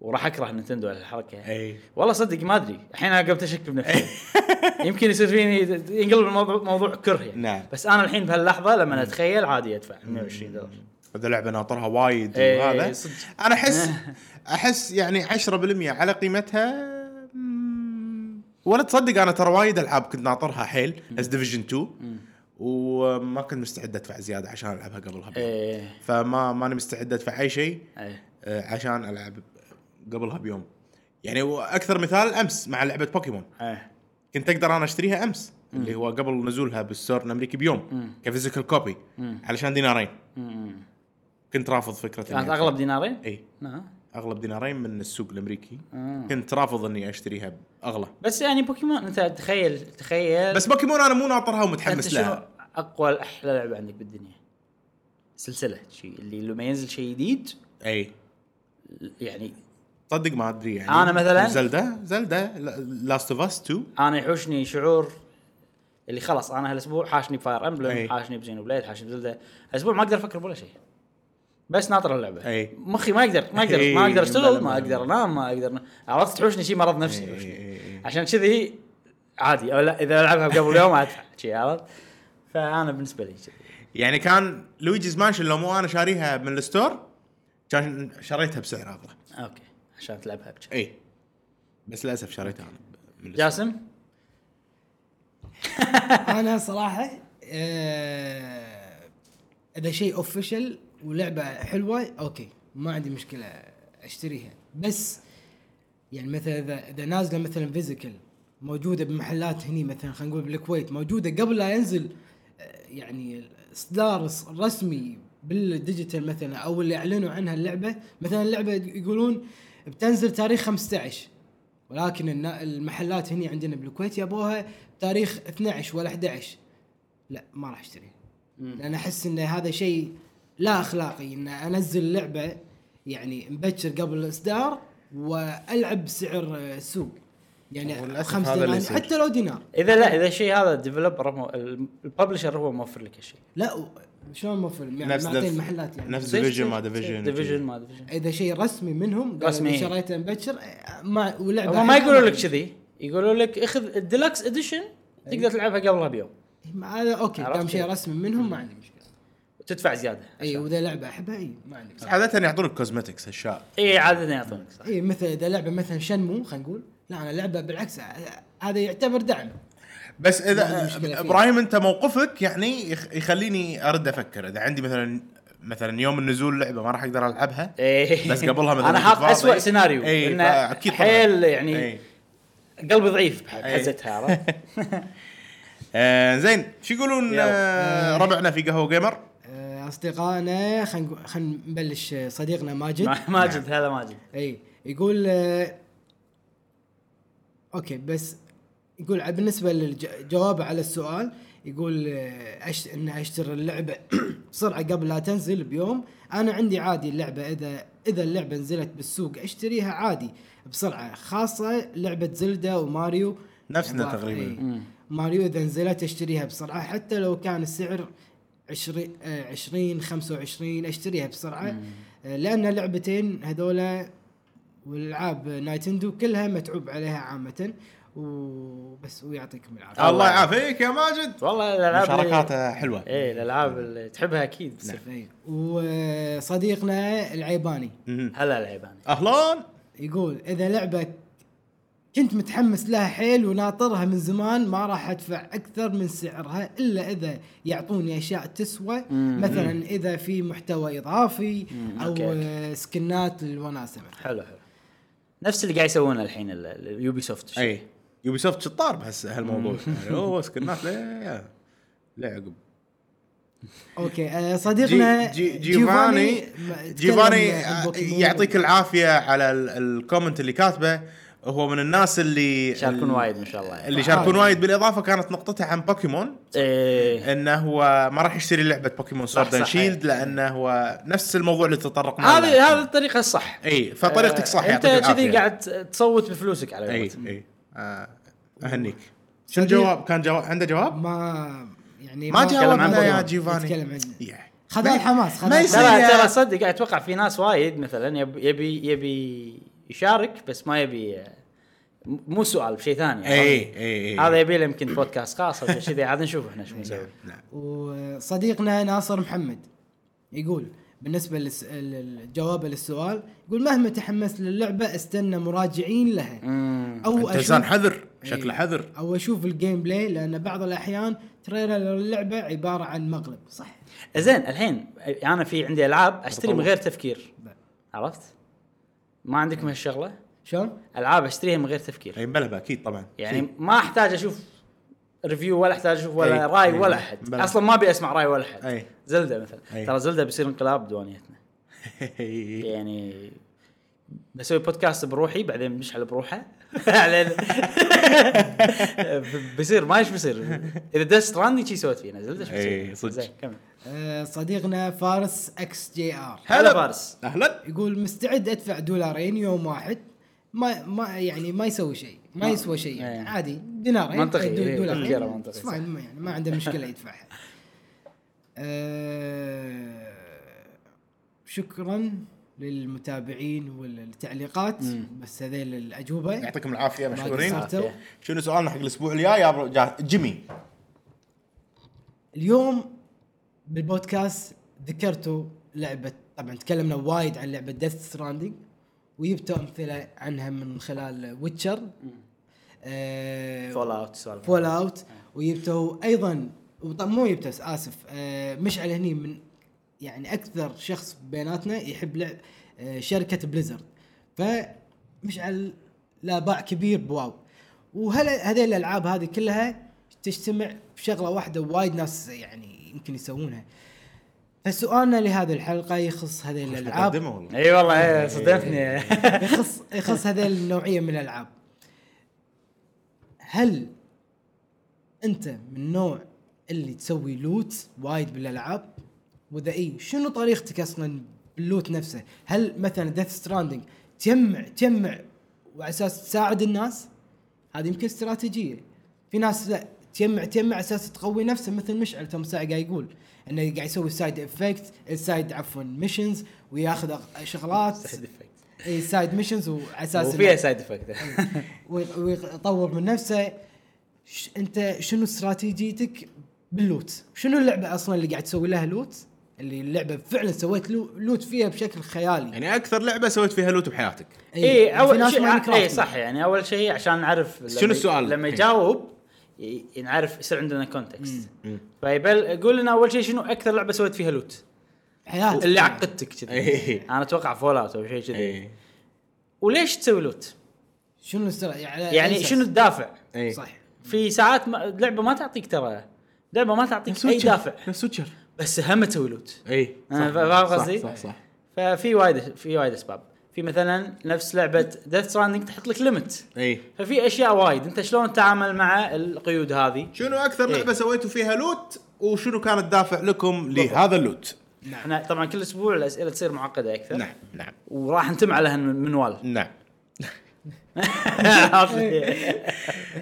وراح اكره نتندو على الحركه اي والله صدق ما ادري الحين انا قمت اشك بنفسي يمكن يصير فيني ينقلب الموضوع موضوع كره يعني إيه. نعم. بس انا الحين بهاللحظه لما اتخيل عادي ادفع 120 دولار هذا لعبه ناطرها وايد إي، وهذا صدق. انا احس احس يعني 10% على قيمتها مم، ولا تصدق انا ترى وايد العاب كنت ناطرها حيل بس ديفيجن 2 وما كنت مستعد ادفع زياده عشان العبها قبلها بيوم. ايه فما ماني مستعد ادفع اي شيء ايه آه، عشان العب قبلها بيوم يعني واكثر مثال امس مع لعبه بوكيمون ايه كنت اقدر انا اشتريها امس اللي هو قبل نزولها بالسور الامريكي بيوم كفيزيكال كوبي علشان دينارين أمم. كنت رافض فكره كانت إني اغلب دينارين؟ اي نعم. اغلب دينارين من السوق الامريكي آه. كنت رافض اني اشتريها اغلى بس يعني بوكيمون انت تخيل تخيل بس بوكيمون انا مو ناطرها انت ومتحمس شنو لها اقوى احلى لعبه عندك بالدنيا؟ سلسله شيء اللي لما ينزل شيء جديد اي يعني صدق ما ادري يعني أنا مثلاً- زلدا زلدا لاست اوف اس 2 انا يحوشني شعور اللي خلاص انا هالاسبوع حاشني بفاير أي. امبلم حاشني بزينو بليد حاشني بزلدة هالاسبوع ما اقدر افكر بولا شيء بس ناطر اللعبه أي. مخي ما يقدر ما يقدر ما أي. اقدر إيه. لا، لا، اشتغل لا، ما لا. إيه، اقدر انام ما اقدر عرفت تحوشني شيء مرض نفسي أي، يحوشني. أي، أي. عشان كذي عادي او لا اذا العبها قبل يوم ادفع شي عرفت فانا بالنسبه لي كذي يعني كان لويجيز مانشن لو مو انا شاريها من الستور كان شريتها بسعر اغلى اوكي عشان تلعبها بكذي اي بس للاسف شريتها انا من الستور. جاسم انا صراحه آه، اذا شيء اوفيشل ولعبه حلوه اوكي ما عندي مشكله اشتريها بس يعني مثلا اذا اذا نازله مثلا فيزيكال موجوده بمحلات هني مثلا خلينا نقول بالكويت موجوده قبل لا ينزل آه، يعني الاصدار الص- الرسمي بالديجيتال مثلا او اللي اعلنوا عنها اللعبه مثلا اللعبه يقولون بتنزل تاريخ 15 ولكن النا- المحلات هني عندنا بالكويت يبوها تاريخ 12 ولا 11 لا ما راح اشتري لان احس ان هذا شيء لا اخلاقي ان انزل لعبه يعني مبكر قبل الاصدار والعب سعر آه، السوق يعني وللأسف خمس هذا اللي دينار يصير. حتى لو دينار اذا لا اذا الشيء هذا الديفلوبر مو- الببلشر هو موفر لك الشيء لا و- شلون مفروض يعني نفس معطين دف- المحلات يعني نفس ديفيجن ما ديفيجن ديفيجن ما ديفيجن اذا شيء رسمي منهم قالوا رسمي. شريته مبكر آه، ما ولعبه هم ما حلوة. يقولوا لك كذي يقولوا لك اخذ الديلكس اديشن تقدر تلعبها قبلها بيوم ما- هذا اوكي عرفت دام شيء كيف؟ رسمي منهم ما عندي مشكله وتدفع زياده اي واذا لعبه احبها اي ما عندي مشكله عادة يعطونك كوزمتكس اشياء اي عاده يعطونك يعني صح اي إيه، مثل اذا لعبه مثلا شنمو خلينا نقول لا انا لعبه بالعكس آه، هذا يعتبر دعم بس ما عندي اذا مشكلة فيه. ابراهيم انت موقفك يعني يخ- يخليني ارد افكر اذا عندي مثلا مثلا يوم النزول لعبه ما راح اقدر العبها إيه. بس قبلها مثلا انا حاط كنت فاضي. اسوء سيناريو اي إنه فاكيد طبعاً. حيل يعني إي. قلبي ضعيف بح- إيه. بحزتها عرفت؟ آه زين شو يقولون آه ربعنا في قهوه جيمر آه، اصدقائنا خلينا نبلش آه، صديقنا ماجد ما- نعم. ماجد هذا ماجد اي يقول آه، اوكي بس يقول ع- بالنسبه للجواب على السؤال يقول آه، أشت... ان اشتري اللعبه بسرعه قبل لا تنزل بيوم انا عندي عادي اللعبه اذا اذا اللعبه نزلت بالسوق اشتريها عادي بسرعه خاصه لعبه زلدا وماريو نفسنا يعني ما- تقريباً. إي. مم. ماريو اذا نزلت اشتريها بسرعه حتى لو كان السعر 20 آه، 20 25 اشتريها بسرعه آه، لان لعبتين هذولا والالعاب نايتندو كلها متعوب عليها عامه وبس ويعطيكم العافيه الله يعافيك يا ماجد والله الالعاب اللي- مشاركاته حلوه ايه الالعاب اللي تحبها اكيد نعم. بتصير. إي. وصديقنا العيباني مهم. هلا لعيبان اهلون يقول اذا لعبه كنت متحمس لها حيل وناطرها من زمان ما راح ادفع اكثر من سعرها الا اذا يعطوني اشياء تسوى مم. مثلا اذا في محتوى اضافي مم. او أوكي، أوكي. آه، سكنات للوناسه مثلا حلو حلو نفس اللي قاعد يسوونه الحين ال- ال- اليوبي سوفت اي إيه. يوبي سوفت شطار بس هالموضوع يعني اوه سكنات لا لا عقب اوكي آه، جي- صديقنا جي- جيفاني ما- جيفاني تكلم عن بوكيمون. يعطيك العافيه على ال- الكومنت اللي كاتبه هو من الناس اللي يشاركون ال- وايد آه. ان شاء الله اللي يشاركون وايد بالاضافه كانت نقطته عن بوكيمون ايه انه هو ما راح يشتري لعبه بوكيمون سورد اند صح، أي. شيلد لانه هو نفس الموضوع اللي تطرق له هذه هذه الطريقه الصح اي فطريقتك صح انت يعطيك العافيه كذي قاعد تصوت بفلوسك على اي قولتهم. اي آه، اهنيك شو صديق- الجواب كان جواب عنده جواب؟ ما يعني ما جاوبنا يا بوكيمون. جيفاني نتكلم عنه. يا. خذ ما- الحماس، خذ ما الحماس. يصير ترى يا- ترى صدق اتوقع في ناس وايد مثلا يب- يبي يبي يشارك بس ما يبي مو سؤال بشيء ثاني اي اي اي هذا يبي له يمكن بودكاست خاص او شيء كذي عاد نشوف احنا شو نسوي نعم. وصديقنا ناصر محمد يقول بالنسبه للس- للجواب للسؤال يقول مهما تحمست للعبه استنى مراجعين لها مم. او انت انسان اشوف حذر شكله إي. حذر او اشوف الجيم بلاي لان بعض الاحيان تريلر للعبه عباره عن مقلب صح زين الحين انا في عندي العاب اشتري من غير تفكير بقى. عرفت؟ ما عندكم هالشغله؟ شلون؟ العاب اشتريها من غير تفكير اي بلبه اكيد طبعا يعني ما احتاج اشوف ريفيو ولا احتاج اشوف ولا أي. راي أي. ولا احد بلى. اصلا ما ابي اسمع راي ولا احد أي. زلده مثلا أي. ترى زلده بيصير انقلاب بدوانيتنا إيه. يعني بسوي بودكاست بروحي بعدين مشعل بروحه على- بيصير ما ايش بيصير اذا دست راندي شي سويت فيه نزلت ايش بيصير إي، صدق. زين كمل آه، صديقنا فارس اكس جي ار هلا فارس اهلا يقول مستعد ادفع دولارين يوم واحد ما ما يعني ما يسوي شيء ما يسوى شيء يعني إيه. عادي دينارين منطقي، دو- إيه، دولارين تفكيره منطقي، it's صح. fine، ما يعني ما عنده مشكله يدفعها آه، شكرا للمتابعين والتعليقات بس هذيل نعم. الاجوبه يعطيكم العافيه مشكورين قصرتوا. عافية. شنو سؤالنا حق الاسبوع الجاي يا أبو- جا- جيمي اليوم بالبودكاست ذكرتوا لعبه طبعا تكلمنا وايد عن لعبه ديث ستراندنج وجبتوا امثله عنها من خلال آه، ويتشر فول اوت سوالف فول اوت وجبتوا ايضا وطب مو يبتس اسف آه مشعل هني من يعني اكثر شخص بيناتنا يحب لعب آه شركه بليزرد فمشعل لا باع كبير بواو وهلا هذه الالعاب هذه كلها تجتمع بشغله واحده وايد ناس يعني يمكن يسوونها فسؤالنا لهذه الحلقه يخص هذه الالعاب مقدمه والله اي والله إيه، صدمتني يخص يخص هذه النوعيه من الالعاب هل انت من النوع اللي تسوي لوت وايد بالالعاب واذا اي شنو طريقتك اصلا باللوت نفسه هل مثلا ديث ستراندنج تجمع تجمع وعلى اساس تساعد الناس هذه يمكن استراتيجيه في ناس لا تجمع تجمع على اساس تقوي نفسه مثل مشعل توم ساعه قاعد يقول انه قاعد يسوي سايد افكت سايد عفوا ميشنز وياخذ أغ- شغلات سايد افكت اي سايد ميشنز وعلى اساس وفيها إنه- سايد افكت وي- ويطور من نفسه ش... انت شنو استراتيجيتك باللوت؟ شنو اللعبه اصلا اللي قاعد تسوي لها لوت؟ اللي اللعبه فعلا سويت لو... لوت فيها بشكل خيالي يعني يعني اكثر لعبه سويت فيها لوت بحياتك اي إيه، في اول ناس إيه، شيء ماينكرافت اي صح يعني اول شيء عشان نعرف لما- شنو السؤال؟ لما إي. يجاوب ي- نعرف يصير عندنا كونتكست مم. مم. فيبل قول لنا اول شيء شنو اكثر لعبه سويت فيها لوت حياه اللي عقدتك كذي إيه. انا اتوقع فول اوت او شيء كذي اي وليش تسوي لوت؟ شنو السر- يعني يعني شنو إيه. الدافع؟ اي صح في ساعات ما لعبه ما تعطيك ترى لعبه ما تعطيك اي دافع نفس ويتشر إيه. بس هم تسوي لوت اي أنا صح. فاهم صح، قصدي؟ صح صح ففي وايد في وايد اسباب في مثلا نفس لعبه ديث ستراندنج تحط لك ليمت اي ففي اشياء وايد انت شلون تتعامل مع القيود هذه شنو اكثر لعبه سويتوا فيها لوت وشنو كان الدافع لكم لهذا اللوت احنا طبعا كل اسبوع الاسئله تصير معقده اكثر نعم نعم وراح نتم على هالمنوال نعم عرفت؟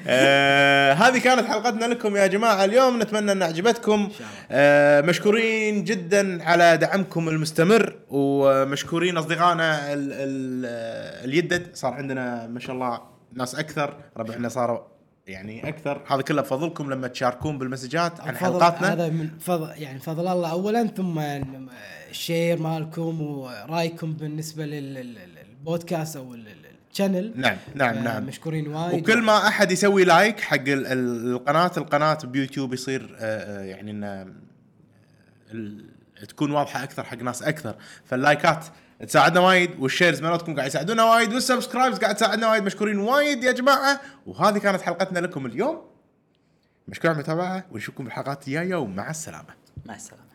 آه، هذه كانت حلقتنا لكم يا جماعه اليوم نتمنى ان عجبتكم آه، مشكورين جدا على دعمكم المستمر ومشكورين اصدقائنا ال- ال- آه، اليدد صار عندنا ما شاء الله ناس اكثر ربعنا صاروا يعني اكثر هذا كله بفضلكم لما تشاركون بالمسجات يعني عن فضل- حلقاتنا هذا من فضل يعني فضل الله اولا ثم ال- الشير مالكم ورايكم بالنسبه للبودكاست او ال- ال- الشانل نعم نعم آه، نعم مشكورين وايد وكل ما احد يسوي لايك حق ال- ال- القناه القناه بيوتيوب يصير آه، آه، يعني انه ال- تكون واضحه اكثر حق ناس اكثر فاللايكات تساعدنا وايد والشيرز مالتكم قاعد يساعدونا وايد والسبسكرايبز قاعد تساعدنا وايد مشكورين وايد يا جماعه وهذه كانت حلقتنا لكم اليوم مشكور على المتابعه ونشوفكم بالحلقات الجايه ومع السلامه مع السلامه